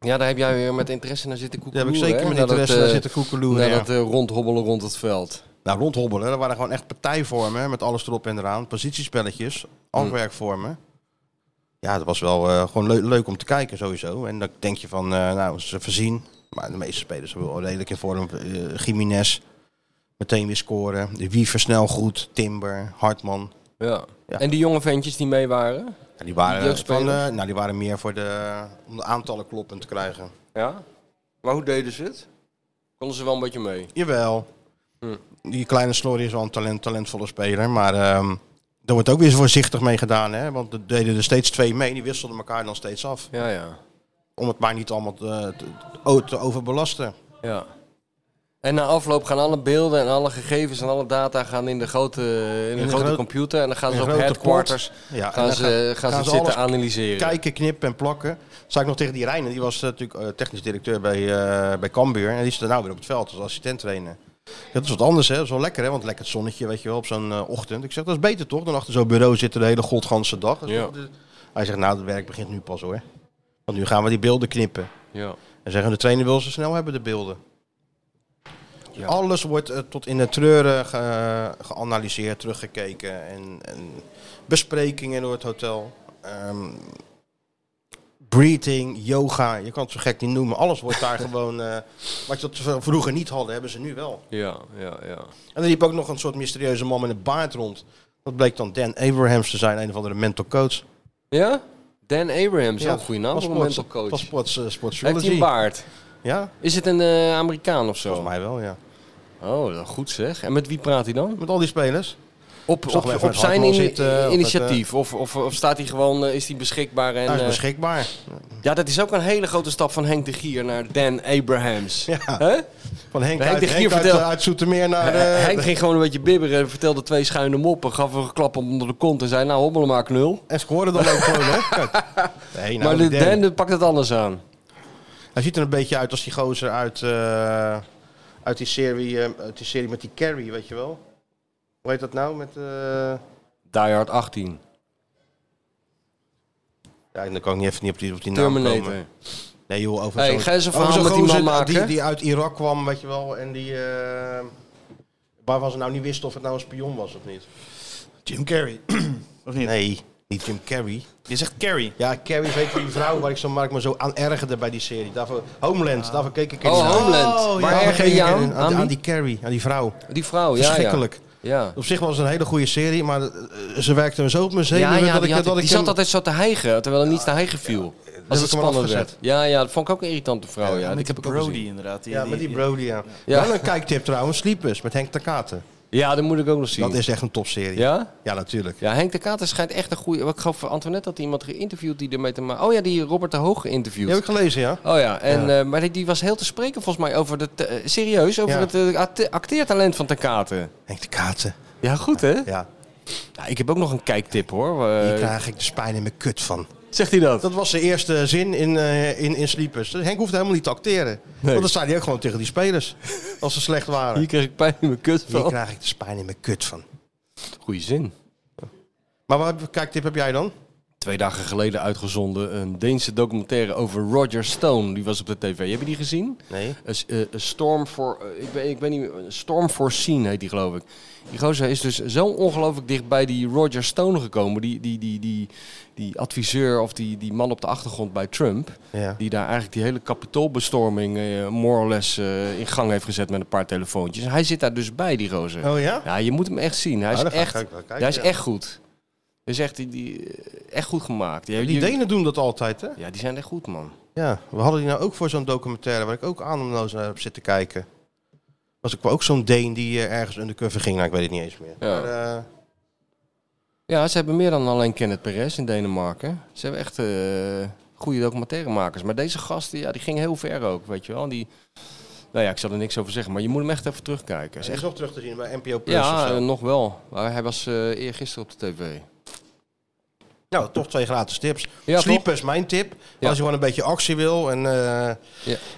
[SPEAKER 5] Ja, daar heb jij weer met interesse naar zitten
[SPEAKER 4] Daar
[SPEAKER 5] koeken.
[SPEAKER 4] heb ik zeker met interesse naar zitten koekeloeren.
[SPEAKER 5] eh, Naar
[SPEAKER 4] Ja.
[SPEAKER 5] dat eh, rondhobbelen rond het veld.
[SPEAKER 4] Nou, rondhobbelen, dat waren gewoon echt partijvormen hè, met alles erop en eraan. Positiespelletjes, afwerkvormen. Ja, dat was wel eh, gewoon leu- leuk om te kijken sowieso. En dan denk je van, eh, nou, ze voorzien. Maar de meeste spelers zijn wel redelijk in vorm. Eh Jiménez, meteen weer scoren. De Wiever snel goed, Timber, Hartman.
[SPEAKER 5] Ja.
[SPEAKER 4] Ja.
[SPEAKER 5] En die jonge ventjes die mee waren?
[SPEAKER 4] Ja, die
[SPEAKER 5] Die
[SPEAKER 4] waren,
[SPEAKER 5] ook
[SPEAKER 4] van,
[SPEAKER 5] spelers?
[SPEAKER 4] eh, nou, die waren meer voor de, om de aantallen kloppend te krijgen.
[SPEAKER 5] Ja? Maar hoe deden ze het? Konden ze wel een beetje mee?
[SPEAKER 4] Jawel.
[SPEAKER 5] Hm.
[SPEAKER 4] Die kleine Slory is wel een talent, talentvolle speler. Maar ehm daar wordt ook weer voorzichtig mee gedaan. Hè? Want er deden er steeds twee mee. Die wisselden elkaar dan steeds af.
[SPEAKER 5] Ja, ja.
[SPEAKER 4] Om het maar niet allemaal te, te- o- te overbelasten.
[SPEAKER 5] ja. En na afloop gaan alle beelden en alle gegevens en alle data gaan in de grote, in de
[SPEAKER 4] een
[SPEAKER 5] grote
[SPEAKER 4] groot-
[SPEAKER 5] computer. En dan gaan
[SPEAKER 4] in
[SPEAKER 5] ze
[SPEAKER 4] een
[SPEAKER 5] op
[SPEAKER 4] grote
[SPEAKER 5] headquarters
[SPEAKER 4] Ja, en
[SPEAKER 5] gaan
[SPEAKER 4] dan
[SPEAKER 5] ze, gaan ze,
[SPEAKER 4] alles
[SPEAKER 5] zitten analyseren.
[SPEAKER 4] kijken, knippen en plakken. Zag ik nog tegen die Reiner. Die was eh, natuurlijk eh, technisch directeur bij, eh, bij Cambuur. En die zit er nou weer op het veld als assistent trainer. Dat is wat anders, hè? Dat is wel lekker, hè? Want lekker het zonnetje, weet je wel, op zo'n eh, ochtend. Ik zeg, dat is beter toch? Dan achter zo'n bureau zitten de hele godganse dag. Dat is
[SPEAKER 5] Ja.
[SPEAKER 4] toch- dus- Hij zegt, nou, het werk begint nu pas hoor. Want nu gaan we die beelden knippen.
[SPEAKER 5] Ja.
[SPEAKER 4] En zeggen, de trainer wil ze snel hebben, de beelden.
[SPEAKER 5] Ja.
[SPEAKER 4] Alles wordt eh, tot in de treuren ge- geanalyseerd, teruggekeken. En, en besprekingen door het hotel. Ehm breathing, yoga, je kan het zo gek niet noemen. Alles wordt daar gewoon... eh, wat je dat vroeger niet hadden, hebben ze nu wel.
[SPEAKER 5] Ja, ja, ja.
[SPEAKER 4] En er liep ook nog een soort mysterieuze man met een baard rond. Dat bleek dan Dan Abrahams te zijn, een of andere mental coach.
[SPEAKER 5] Ja? Dan Abrams,
[SPEAKER 4] Ja,
[SPEAKER 5] zo'n goede naam
[SPEAKER 4] was
[SPEAKER 5] voor een
[SPEAKER 4] sports-
[SPEAKER 5] mental coach.
[SPEAKER 4] was sports, eh,
[SPEAKER 5] Heeft
[SPEAKER 4] sportsology.
[SPEAKER 5] hij een baard?
[SPEAKER 4] Ja,
[SPEAKER 5] Is het een eh, Amerikaan of zo?
[SPEAKER 4] volgens mij wel, ja.
[SPEAKER 5] Oh, dat goed zeg. En met wie praat hij dan?
[SPEAKER 4] Met al die spelers.
[SPEAKER 5] Op,
[SPEAKER 4] Zag hem
[SPEAKER 5] op,
[SPEAKER 4] even
[SPEAKER 5] op
[SPEAKER 4] met
[SPEAKER 5] zijn
[SPEAKER 4] Hartman
[SPEAKER 5] ini- eh,
[SPEAKER 4] zitten, of
[SPEAKER 5] initiatief? Of, of, of staat hij gewoon, eh, is hij beschikbaar? En,
[SPEAKER 4] Hij is
[SPEAKER 5] eh,
[SPEAKER 4] beschikbaar.
[SPEAKER 5] ja, dat is ook een hele grote stap van Henk de Gier naar Dan Abrahams.
[SPEAKER 4] Ja.
[SPEAKER 5] Hè?
[SPEAKER 4] Van Henk,
[SPEAKER 5] Henk de
[SPEAKER 4] uit,
[SPEAKER 5] Gier
[SPEAKER 4] Henk uit,
[SPEAKER 5] vertelt-
[SPEAKER 4] eh, uit Zoetermeer naar... eh,
[SPEAKER 5] Henk ging gewoon een beetje bibberen, vertelde twee schuine moppen, gaf een klap onder de kont en zei, nou hobbelen maar knul.
[SPEAKER 4] En scoorde dan ook gewoon, hè? Kijk. Nee, nou,
[SPEAKER 5] maar de
[SPEAKER 4] die Dan.
[SPEAKER 5] Dan die pakt het anders aan.
[SPEAKER 4] Hij ziet er een beetje uit als die gozer uit, eh, uit, die, serie, eh, uit die serie met die Carrie, weet je wel? Hoe heet dat nou? Met, eh,
[SPEAKER 5] Die Hard
[SPEAKER 4] Nou,
[SPEAKER 5] 18,
[SPEAKER 4] Ja, dan kan ik niet even niet op die, op die naam komen.
[SPEAKER 5] Terminator.
[SPEAKER 4] Nee joh, over
[SPEAKER 5] Hey,
[SPEAKER 4] zo'n...
[SPEAKER 5] ga eens een
[SPEAKER 4] over
[SPEAKER 5] verhaal
[SPEAKER 4] zo'n
[SPEAKER 5] met die
[SPEAKER 4] gozer nou,
[SPEAKER 5] man maken.
[SPEAKER 4] Die, die uit Irak kwam, weet je wel, en die... eh, waarvan ze nou niet wisten of het nou een spion was of niet.
[SPEAKER 6] Jim Carrey. of niet?
[SPEAKER 4] Nee, niet Jim Carrey.
[SPEAKER 6] Je zegt Carrey.
[SPEAKER 4] Ja, Carrey is weet je die vrouw waar ik, zo, waar ik me zo aan ergerde bij die serie. Daarvoor, Homeland, daarvoor keek ik in.
[SPEAKER 5] Oh, Homeland. Waar erger je je aan?
[SPEAKER 4] Aan,
[SPEAKER 5] Aan
[SPEAKER 4] aan
[SPEAKER 5] wie?
[SPEAKER 4] die Carrey, aan die vrouw.
[SPEAKER 5] Die vrouw, ja, ja.
[SPEAKER 4] Verschrikkelijk.
[SPEAKER 5] Ja.
[SPEAKER 4] Op zich was het een hele goede serie, maar eh, ze werkte me zo op mijn zenuwen
[SPEAKER 5] Ja, ja,
[SPEAKER 4] dat
[SPEAKER 5] die,
[SPEAKER 4] ik...
[SPEAKER 5] had,
[SPEAKER 4] dat
[SPEAKER 5] die
[SPEAKER 4] ik
[SPEAKER 5] zat
[SPEAKER 4] hem- Ah,
[SPEAKER 5] altijd zo te hijgen, terwijl er niets te hijgen viel.
[SPEAKER 4] ik
[SPEAKER 5] Als het
[SPEAKER 4] hem al
[SPEAKER 5] spannend werd.
[SPEAKER 4] afgezet.
[SPEAKER 5] Ja, ja, dat vond ik ook een irritante vrouw. Ja, die
[SPEAKER 6] met
[SPEAKER 5] heb
[SPEAKER 6] die
[SPEAKER 5] ik ook
[SPEAKER 6] Brody
[SPEAKER 5] gezien.
[SPEAKER 6] inderdaad. Die,
[SPEAKER 4] Ja, met die Brody, ja.
[SPEAKER 5] Ja.
[SPEAKER 4] Wel een kijktip trouwens, Sleepers met Henk Takate.
[SPEAKER 5] Ja, dat moet ik ook nog zien.
[SPEAKER 4] Dat is echt een topserie.
[SPEAKER 5] Ja?
[SPEAKER 4] ja, natuurlijk.
[SPEAKER 5] Ja, Henk de Kater schijnt echt een goede... Ik gaf Antoinette had iemand geïnterviewd die ermee te maken... Oh ja, die Robert de Hoog geïnterviewd.
[SPEAKER 4] Die heb ik gelezen, ja.
[SPEAKER 5] Oh ja, en, eh, maar die, die was heel te spreken volgens mij over het... eh, serieus, over
[SPEAKER 4] Ja.
[SPEAKER 5] het eh, acte- acteertalent van de Kater.
[SPEAKER 4] Henk de Katen.
[SPEAKER 5] Ja, goed hè?
[SPEAKER 4] Ja,
[SPEAKER 5] Ja, ik heb ook nog een kijktip hoor. Eh,
[SPEAKER 4] hier krijg ik de spijn in mijn kut van.
[SPEAKER 5] Zegt hij dat?
[SPEAKER 4] Dat was zijn eerste zin in, eh, in, in Sleepers. Dus Henk hoefde helemaal niet te acteren. Want dat zei hij ook gewoon tegen die spelers. Als ze slecht waren.
[SPEAKER 5] Hier
[SPEAKER 4] Hier,
[SPEAKER 5] kreeg ik pijn in mijn kut van.
[SPEAKER 4] krijg ik de spijn in mijn kut van.
[SPEAKER 5] Goeie zin.
[SPEAKER 4] Maar wat kijktip heb jij dan?
[SPEAKER 5] Twee dagen geleden uitgezonden een Deense documentaire over Roger Stone. Die was op de tv. Heb je die gezien?
[SPEAKER 4] Nee.
[SPEAKER 5] Een s- eh, een storm voor. eh, ik, ben, ik ben niet. meer- een Storm Foreseen heet die, geloof ik. Die gozer is dus zo ongelooflijk dicht bij die Roger Stone gekomen. Die, die, die, die, die adviseur of die, die man op de achtergrond bij Trump.
[SPEAKER 4] Ja.
[SPEAKER 5] Die daar eigenlijk die hele kapitoolbestorming. eh more or less eh, in gang heeft gezet met een paar telefoontjes. Hij zit daar dus bij, die gozer.
[SPEAKER 4] Oh ja?
[SPEAKER 5] Ja, je moet hem echt zien. Hij is,
[SPEAKER 4] Nou, dan ga ik
[SPEAKER 5] echt,
[SPEAKER 4] ook wel kijken,
[SPEAKER 5] hij is
[SPEAKER 4] ja.
[SPEAKER 5] echt goed. Hij is echt, die, die, eh, echt goed gemaakt. Die,
[SPEAKER 4] Die
[SPEAKER 5] die-
[SPEAKER 4] Denen doen dat altijd, hè?
[SPEAKER 5] ja, die zijn echt goed, man.
[SPEAKER 4] Ja. We hadden die nou ook voor zo'n documentaire waar ik ook ademloos naar heb zitten kijken. Was ik ook zo'n Deen die eh, ergens undercover ging? Nou, ik weet het niet eens meer.
[SPEAKER 5] Ja.
[SPEAKER 4] Maar, eh,
[SPEAKER 5] Ja, ze hebben meer dan alleen Kenneth Perez in Denemarken. Ze hebben echt eh, goede documentairemakers. Maar deze gasten, ja, die ging heel ver ook, weet je wel. Die, nou ja, ik zal er niks over zeggen, maar je moet hem echt even terugkijken. Is
[SPEAKER 4] is echt
[SPEAKER 5] echt,
[SPEAKER 4] nog terug te zien bij NPO Plus of
[SPEAKER 5] ja,
[SPEAKER 4] zo.
[SPEAKER 5] eh, nog wel. Maar hij was eh eergisteren op de tv.
[SPEAKER 4] Nou, toch twee gratis tips.
[SPEAKER 5] Ja,
[SPEAKER 4] Sleepers, mijn tip.
[SPEAKER 5] Ja.
[SPEAKER 4] Als je gewoon een beetje actie wil en, eh,
[SPEAKER 5] Ja.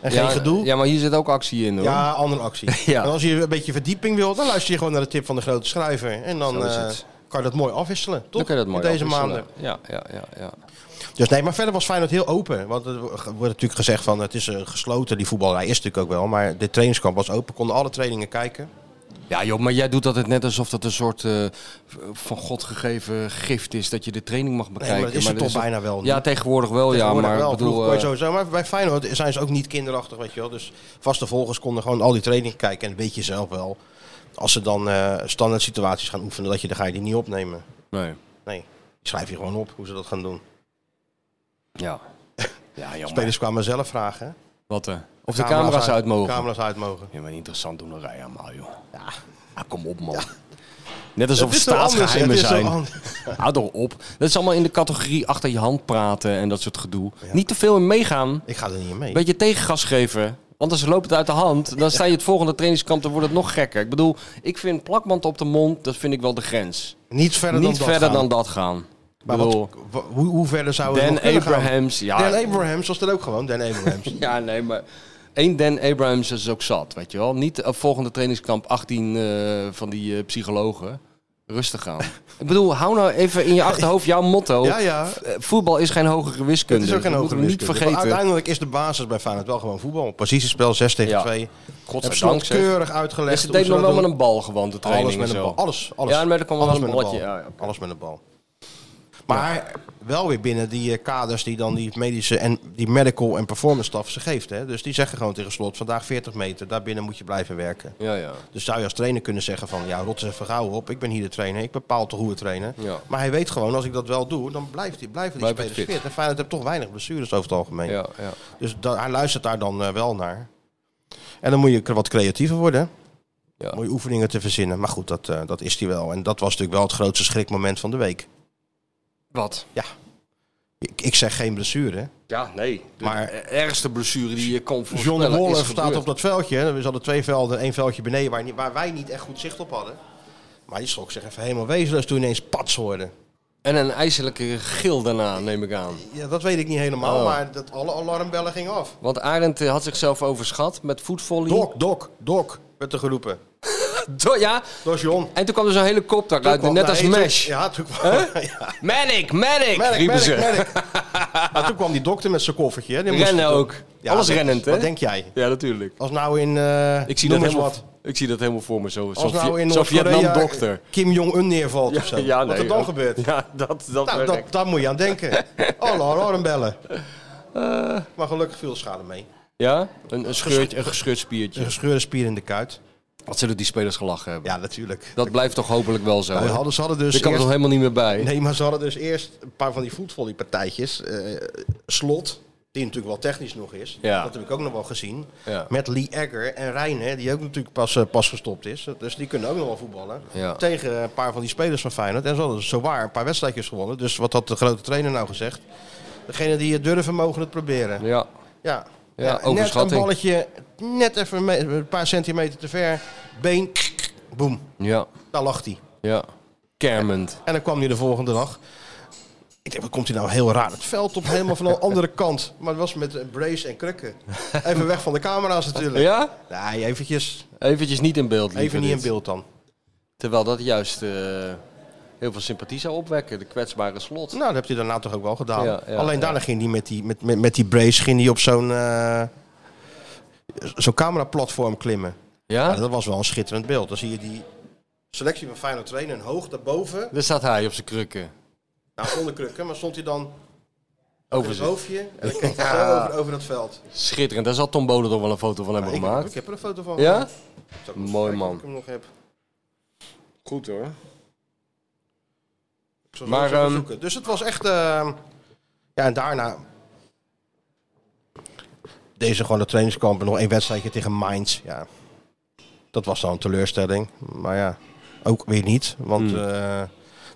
[SPEAKER 4] en geen
[SPEAKER 5] Ja,
[SPEAKER 4] gedoe.
[SPEAKER 5] Ja, maar hier zit ook actie in, hoor.
[SPEAKER 4] Ja, andere actie.
[SPEAKER 5] Ja.
[SPEAKER 4] En als je een beetje verdieping wilt, dan luister je gewoon naar de tip van de grote schrijver. En dan
[SPEAKER 5] Zo is
[SPEAKER 4] eh,
[SPEAKER 5] het.
[SPEAKER 4] kan je dat mooi afwisselen, toch?
[SPEAKER 5] Dan kun je dat
[SPEAKER 4] In
[SPEAKER 5] mooi
[SPEAKER 4] deze
[SPEAKER 5] afwisselen.
[SPEAKER 4] maanden.
[SPEAKER 5] Ja, ja, ja, ja.
[SPEAKER 4] Dus nee, maar verder was Feyenoord heel open. Want er wordt natuurlijk gezegd van het is eh, gesloten. Die voetballerij is natuurlijk ook wel. Maar de trainingskamp was open. Konden alle trainingen kijken.
[SPEAKER 5] Ja, joh, maar jij doet dat het net alsof dat een soort eh, van God gegeven gift is. Dat je de training mag bekijken.
[SPEAKER 4] maar dat is het toch bijna wel nu?
[SPEAKER 5] Ja, tegenwoordig wel,
[SPEAKER 4] Tegenwoordig
[SPEAKER 5] ja. Maar
[SPEAKER 4] wel.
[SPEAKER 5] ik bedoel,
[SPEAKER 4] Vroeger kon je
[SPEAKER 5] eh,
[SPEAKER 4] sowieso, maar bij Feyenoord zijn ze ook niet kinderachtig, weet je wel. Dus vaste volgers konden gewoon al die trainingen kijken. En weet je zelf wel. Als ze dan eh, standaard situaties gaan oefenen, dat je, dan ga je die niet opnemen.
[SPEAKER 5] nee.
[SPEAKER 4] Nee. schrijf je gewoon op hoe ze dat gaan doen.
[SPEAKER 5] Ja. Ja, jammer.
[SPEAKER 4] Spelers kwamen zelf vragen. hè?
[SPEAKER 5] Wat, eh, of de camera's uit mogen.
[SPEAKER 4] Camera's uit mogen.
[SPEAKER 5] Ja, maar interessant doen een rij aan, maar, joh. Ja. kom op, man. Net alsof
[SPEAKER 4] Het
[SPEAKER 5] het
[SPEAKER 4] is wel anders,
[SPEAKER 5] staatsgeheimen
[SPEAKER 4] het is wel
[SPEAKER 5] zijn.
[SPEAKER 4] anders.
[SPEAKER 5] Hou toch op. Dat is allemaal in de categorie achter je hand praten en dat soort gedoe. Niet te veel in meegaan.
[SPEAKER 4] Ik ga er niet in mee.
[SPEAKER 5] Een beetje tegengas geven. Anders loopt het uit de hand. Dan sta je het volgende trainingskamp, dan wordt het nog gekker. Ik bedoel, ik vind plakband op de mond, dat vind ik wel de grens.
[SPEAKER 4] Niet verder
[SPEAKER 5] Niet
[SPEAKER 4] dan
[SPEAKER 5] verder
[SPEAKER 4] dat. gaan.
[SPEAKER 5] dan dat gaan.
[SPEAKER 4] Maar
[SPEAKER 5] Ik
[SPEAKER 4] wat,
[SPEAKER 5] bedoel,
[SPEAKER 4] wa- hoe, hoe verder zouden we
[SPEAKER 5] Dan
[SPEAKER 4] nog kunnen gaan?
[SPEAKER 5] Abrahams. Ja,
[SPEAKER 4] Dan Abrahams was er ook gewoon, Dan Abrahams.
[SPEAKER 5] ja, nee, maar één Dan Abrahams is ook zat, weet je wel. Niet eh, volgende trainingskamp 18 eh, van die eh, psychologen. Rustig aan. ik bedoel, hou nou even in je achterhoofd jouw motto.
[SPEAKER 4] ja, ja.
[SPEAKER 5] Eh, Voetbal is geen hogere wiskunde.
[SPEAKER 4] Het is ook geen
[SPEAKER 5] Dat
[SPEAKER 4] hogere
[SPEAKER 5] moeten we
[SPEAKER 4] wiskunde.
[SPEAKER 5] Niet
[SPEAKER 4] Maar
[SPEAKER 5] vergeten.
[SPEAKER 4] Uiteindelijk is de basis bij Feyenoord wel gewoon voetbal. Positiespel 6 tegen
[SPEAKER 5] Ja.
[SPEAKER 4] 2. Hebben ze
[SPEAKER 5] Godzijdank
[SPEAKER 4] nog
[SPEAKER 5] zeg.
[SPEAKER 4] keurig
[SPEAKER 5] En
[SPEAKER 4] uitgelegd.
[SPEAKER 5] ze
[SPEAKER 4] hoe
[SPEAKER 5] deed nog
[SPEAKER 4] dat
[SPEAKER 5] wel met
[SPEAKER 4] doen.
[SPEAKER 5] een bal gewoon de training
[SPEAKER 4] Alles met
[SPEAKER 5] en
[SPEAKER 4] een
[SPEAKER 5] zo.
[SPEAKER 4] bal. Alles, alles.
[SPEAKER 5] Ja, maar er kwam wel
[SPEAKER 4] alles
[SPEAKER 5] een
[SPEAKER 4] met een
[SPEAKER 5] balletje.
[SPEAKER 4] bal.
[SPEAKER 5] Ja, ja, oké.
[SPEAKER 4] Alles met een bal. Maar wel weer binnen die eh, kaders die dan die medische en die medical en performance staf ze geeft. Hè? Dus die zeggen gewoon tegen slot, vandaag 40 meter, daarbinnen moet je blijven werken.
[SPEAKER 5] Ja, ja.
[SPEAKER 4] Dus zou je als trainer kunnen zeggen van, ja, rot eens even gauw op. Ik ben hier de trainer, ik bepaal toch hoe we trainen.
[SPEAKER 5] Ja.
[SPEAKER 4] Maar hij weet gewoon, als ik dat wel doe, dan blijft die, blijven die
[SPEAKER 5] Blijft het
[SPEAKER 4] spelers
[SPEAKER 5] fit.
[SPEAKER 4] fit. En Feyenoord heeft toch weinig blessures over het algemeen.
[SPEAKER 5] ja, ja.
[SPEAKER 4] Dus da- hij luistert daar dan eh, wel naar. En dan moet je wat creatiever worden. hè?
[SPEAKER 5] Ja.
[SPEAKER 4] Moet je oefeningen te verzinnen. Maar goed, dat, eh, dat is hij wel. En dat was natuurlijk wel het grootste schrikmoment van de week.
[SPEAKER 5] Wat?
[SPEAKER 4] Ik, ik zeg geen blessure. hè.
[SPEAKER 5] Ja, nee. De
[SPEAKER 4] Maar-
[SPEAKER 5] ergste blessure die je kon voorspellen
[SPEAKER 4] John de
[SPEAKER 5] is
[SPEAKER 4] Wolf
[SPEAKER 5] gebeurd.
[SPEAKER 4] staat op dat veldje. hè. We hadden twee velden, één veldje beneden waar, niet- waar wij niet echt goed zicht op hadden. Maar die schrok zich even helemaal wezenloos toen ineens pats hoorde.
[SPEAKER 5] En een ijselijke gil daarna, neem ik aan.
[SPEAKER 4] Ja, dat weet ik niet helemaal,
[SPEAKER 5] Oh.
[SPEAKER 4] maar dat alle alarmbellen gingen af.
[SPEAKER 5] Want Arend eh, had zichzelf overschat met voetvolley.
[SPEAKER 4] Dok, dok, dok, werd er geroepen.
[SPEAKER 5] Do- ja.
[SPEAKER 4] Dat is John.
[SPEAKER 5] En toen kwam er zo'n helikopter uit,
[SPEAKER 4] Toen
[SPEAKER 5] net
[SPEAKER 4] kwam-
[SPEAKER 5] als
[SPEAKER 4] nee, toen-
[SPEAKER 5] Mesh.
[SPEAKER 4] Ja, toen kwam... ja.
[SPEAKER 5] Manic, Manic,
[SPEAKER 4] Merk,
[SPEAKER 5] riepen
[SPEAKER 4] merk,
[SPEAKER 5] ze.
[SPEAKER 4] merk. Maar toen kwam die dokter met zijn koffertje. hè. Die moest-
[SPEAKER 5] Rennen ook.
[SPEAKER 4] Ja,
[SPEAKER 5] Alles
[SPEAKER 4] dat-
[SPEAKER 5] rennend, hè?
[SPEAKER 4] Wat denk jij?
[SPEAKER 5] Ja, natuurlijk.
[SPEAKER 4] Als nou in... eh,
[SPEAKER 5] Ik zie,
[SPEAKER 4] noem
[SPEAKER 5] dat
[SPEAKER 4] eens
[SPEAKER 5] helemaal,
[SPEAKER 4] wat.
[SPEAKER 5] ik zie dat helemaal voor me zo.
[SPEAKER 4] Als
[SPEAKER 5] Zo'n
[SPEAKER 4] nou in
[SPEAKER 5] Viet- zo'n Vietnam-dokter.
[SPEAKER 4] Noord-Korea Kim Jong-un neervalt of zo.
[SPEAKER 5] ja,
[SPEAKER 4] wat
[SPEAKER 5] nee,
[SPEAKER 4] er dan
[SPEAKER 5] ook.
[SPEAKER 4] gebeurt.
[SPEAKER 5] Ja, dat, dat
[SPEAKER 4] Nou,
[SPEAKER 5] werkt.
[SPEAKER 4] dat, daar moet je aan denken. Oh, Alle alarmbellen.
[SPEAKER 5] Eh.
[SPEAKER 4] Maar gelukkig viel de schade mee.
[SPEAKER 5] Ja? Een, een, scheurt, een gescheurd spiertje.
[SPEAKER 4] Een gescheurde spier in de kuit.
[SPEAKER 5] Wat zullen die spelers gelachen hebben?
[SPEAKER 4] Ja, natuurlijk.
[SPEAKER 5] Dat blijft toch hopelijk wel zo.
[SPEAKER 4] Nou,
[SPEAKER 5] hè?
[SPEAKER 4] hadden, ze hadden dus
[SPEAKER 5] Daar kan er
[SPEAKER 4] eerst-
[SPEAKER 5] toch helemaal niet meer bij?
[SPEAKER 4] Nee, maar ze hadden dus eerst een paar van die voetvolleypartijtjes. Eh slot, die natuurlijk wel technisch nog is.
[SPEAKER 5] Ja.
[SPEAKER 4] Dat heb ik ook nog wel gezien.
[SPEAKER 5] Ja.
[SPEAKER 4] Met Lee Egger en Reine, die ook natuurlijk pas, eh, pas gestopt is. Dus die kunnen ook nog wel voetballen.
[SPEAKER 5] Ja.
[SPEAKER 4] Tegen een paar van die spelers van Feyenoord. En ze hadden zowaar een paar wedstrijdjes gewonnen. Dus wat had de grote trainer nou gezegd? Degene die het durven, mogen het proberen. Ja.
[SPEAKER 5] Ja.
[SPEAKER 4] ja.
[SPEAKER 5] Ja,
[SPEAKER 4] net een
[SPEAKER 5] overschatting.
[SPEAKER 4] balletje, net even me- een paar centimeter te ver. Been, boem,
[SPEAKER 5] Ja.
[SPEAKER 4] daar lag hij.
[SPEAKER 5] Ja. Kermend.
[SPEAKER 4] En dan kwam hij de volgende dag. Ik denk, wat komt hij nou heel raar het veld op, helemaal van de andere kant. Maar het was met eh, brace en krukken. Even weg van de camera's natuurlijk.
[SPEAKER 5] Ja?
[SPEAKER 4] Nee, eventjes.
[SPEAKER 5] Eventjes niet in beeld. liever
[SPEAKER 4] Even niet in
[SPEAKER 5] dit.
[SPEAKER 4] beeld dan.
[SPEAKER 5] Terwijl dat juist eh, heel veel sympathie zou opwekken. De kwetsbare slot.
[SPEAKER 4] Nou, dat hebt hij daarna toch ook wel gedaan.
[SPEAKER 5] Ja, ja,
[SPEAKER 4] Alleen
[SPEAKER 5] ja.
[SPEAKER 4] daarna ging hij met die, met, met, met die brace ging hij op zo'n eh, zo'n cameraplatform klimmen.
[SPEAKER 5] ja?
[SPEAKER 4] Ja, dat was wel een schitterend beeld. Dan zie je die selectie van Feyenoord trainen. Hoog daarboven.
[SPEAKER 5] Daar staat hij op zijn krukken.
[SPEAKER 4] Nou, zonder krukken. Maar stond hij dan over
[SPEAKER 5] Over
[SPEAKER 4] het
[SPEAKER 5] zijn-
[SPEAKER 4] hoofdje. En dan keek hij zo over, over dat veld.
[SPEAKER 5] Schitterend. Daar zal Tom Bode toch wel een foto van hebben
[SPEAKER 4] Ik,
[SPEAKER 5] gemaakt.
[SPEAKER 4] ik heb er een foto van
[SPEAKER 5] Ja?
[SPEAKER 4] Zal ik eens
[SPEAKER 5] Mooi
[SPEAKER 4] kijken
[SPEAKER 5] man.
[SPEAKER 4] of Ik hem nog heb.
[SPEAKER 5] Goed hoor.
[SPEAKER 4] Ik zal
[SPEAKER 5] Maar,
[SPEAKER 4] maar,
[SPEAKER 5] ehm,
[SPEAKER 4] zoeken. Dus het was echt... ehm, ja, en daarna... Deze gewoon de trainingskamp en nog één wedstrijdje tegen Mainz. Ja. Dat was dan een teleurstelling. Maar ja, ook weer niet. Want
[SPEAKER 5] Hmm.
[SPEAKER 4] eh,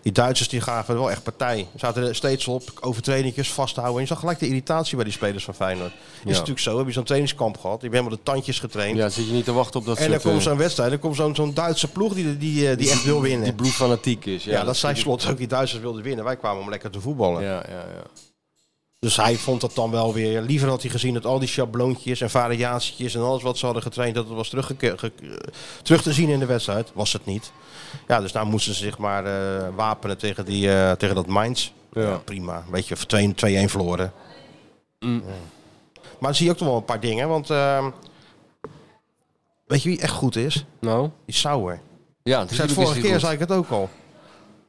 [SPEAKER 4] die Duitsers die gaven wel echt partij. Ze zaten er steeds op, overtredingjes vasthouden. En je zag gelijk de irritatie bij die spelers van Feyenoord. Is natuurlijk zo, heb je zo'n trainingskamp gehad. Je bent helemaal de tandjes getraind.
[SPEAKER 5] Ja, zit je niet te wachten op dat
[SPEAKER 4] En dan
[SPEAKER 5] soort...
[SPEAKER 4] komt
[SPEAKER 5] eh,
[SPEAKER 4] zo'n wedstrijd, dan komt zo'n zo'n Duitse ploeg die, die, eh, die echt wil winnen.
[SPEAKER 5] Die bloedfanatiek is. Ja,
[SPEAKER 4] Ja, dat zijn slot ook. Die Duitsers wilden winnen. Wij kwamen om lekker te voetballen.
[SPEAKER 5] Ja, ja, ja.
[SPEAKER 4] Dus hij vond dat dan wel weer. Liever had hij gezien dat al die schabloontjes en variatietjes en alles wat ze hadden getraind, dat het was teruggeke- ge- eh, terug te zien in de wedstrijd. Was het niet. Ja, dus daar moesten ze zich maar eh, wapenen tegen, die, eh, tegen dat Mainz. Ja.
[SPEAKER 5] Ja.
[SPEAKER 4] prima. Weet je, voor 2 2-1 verloren.
[SPEAKER 5] Mm.
[SPEAKER 4] Ja. Maar dan zie je ook nog wel een paar dingen. Want ehm, weet je wie echt goed is?
[SPEAKER 5] Nou?
[SPEAKER 4] Die Sauer.
[SPEAKER 5] Ja,
[SPEAKER 4] Ik zei
[SPEAKER 5] natuurlijk
[SPEAKER 4] het
[SPEAKER 5] is
[SPEAKER 4] vorige
[SPEAKER 5] die
[SPEAKER 4] keer
[SPEAKER 5] goed.
[SPEAKER 4] zei ik het ook al.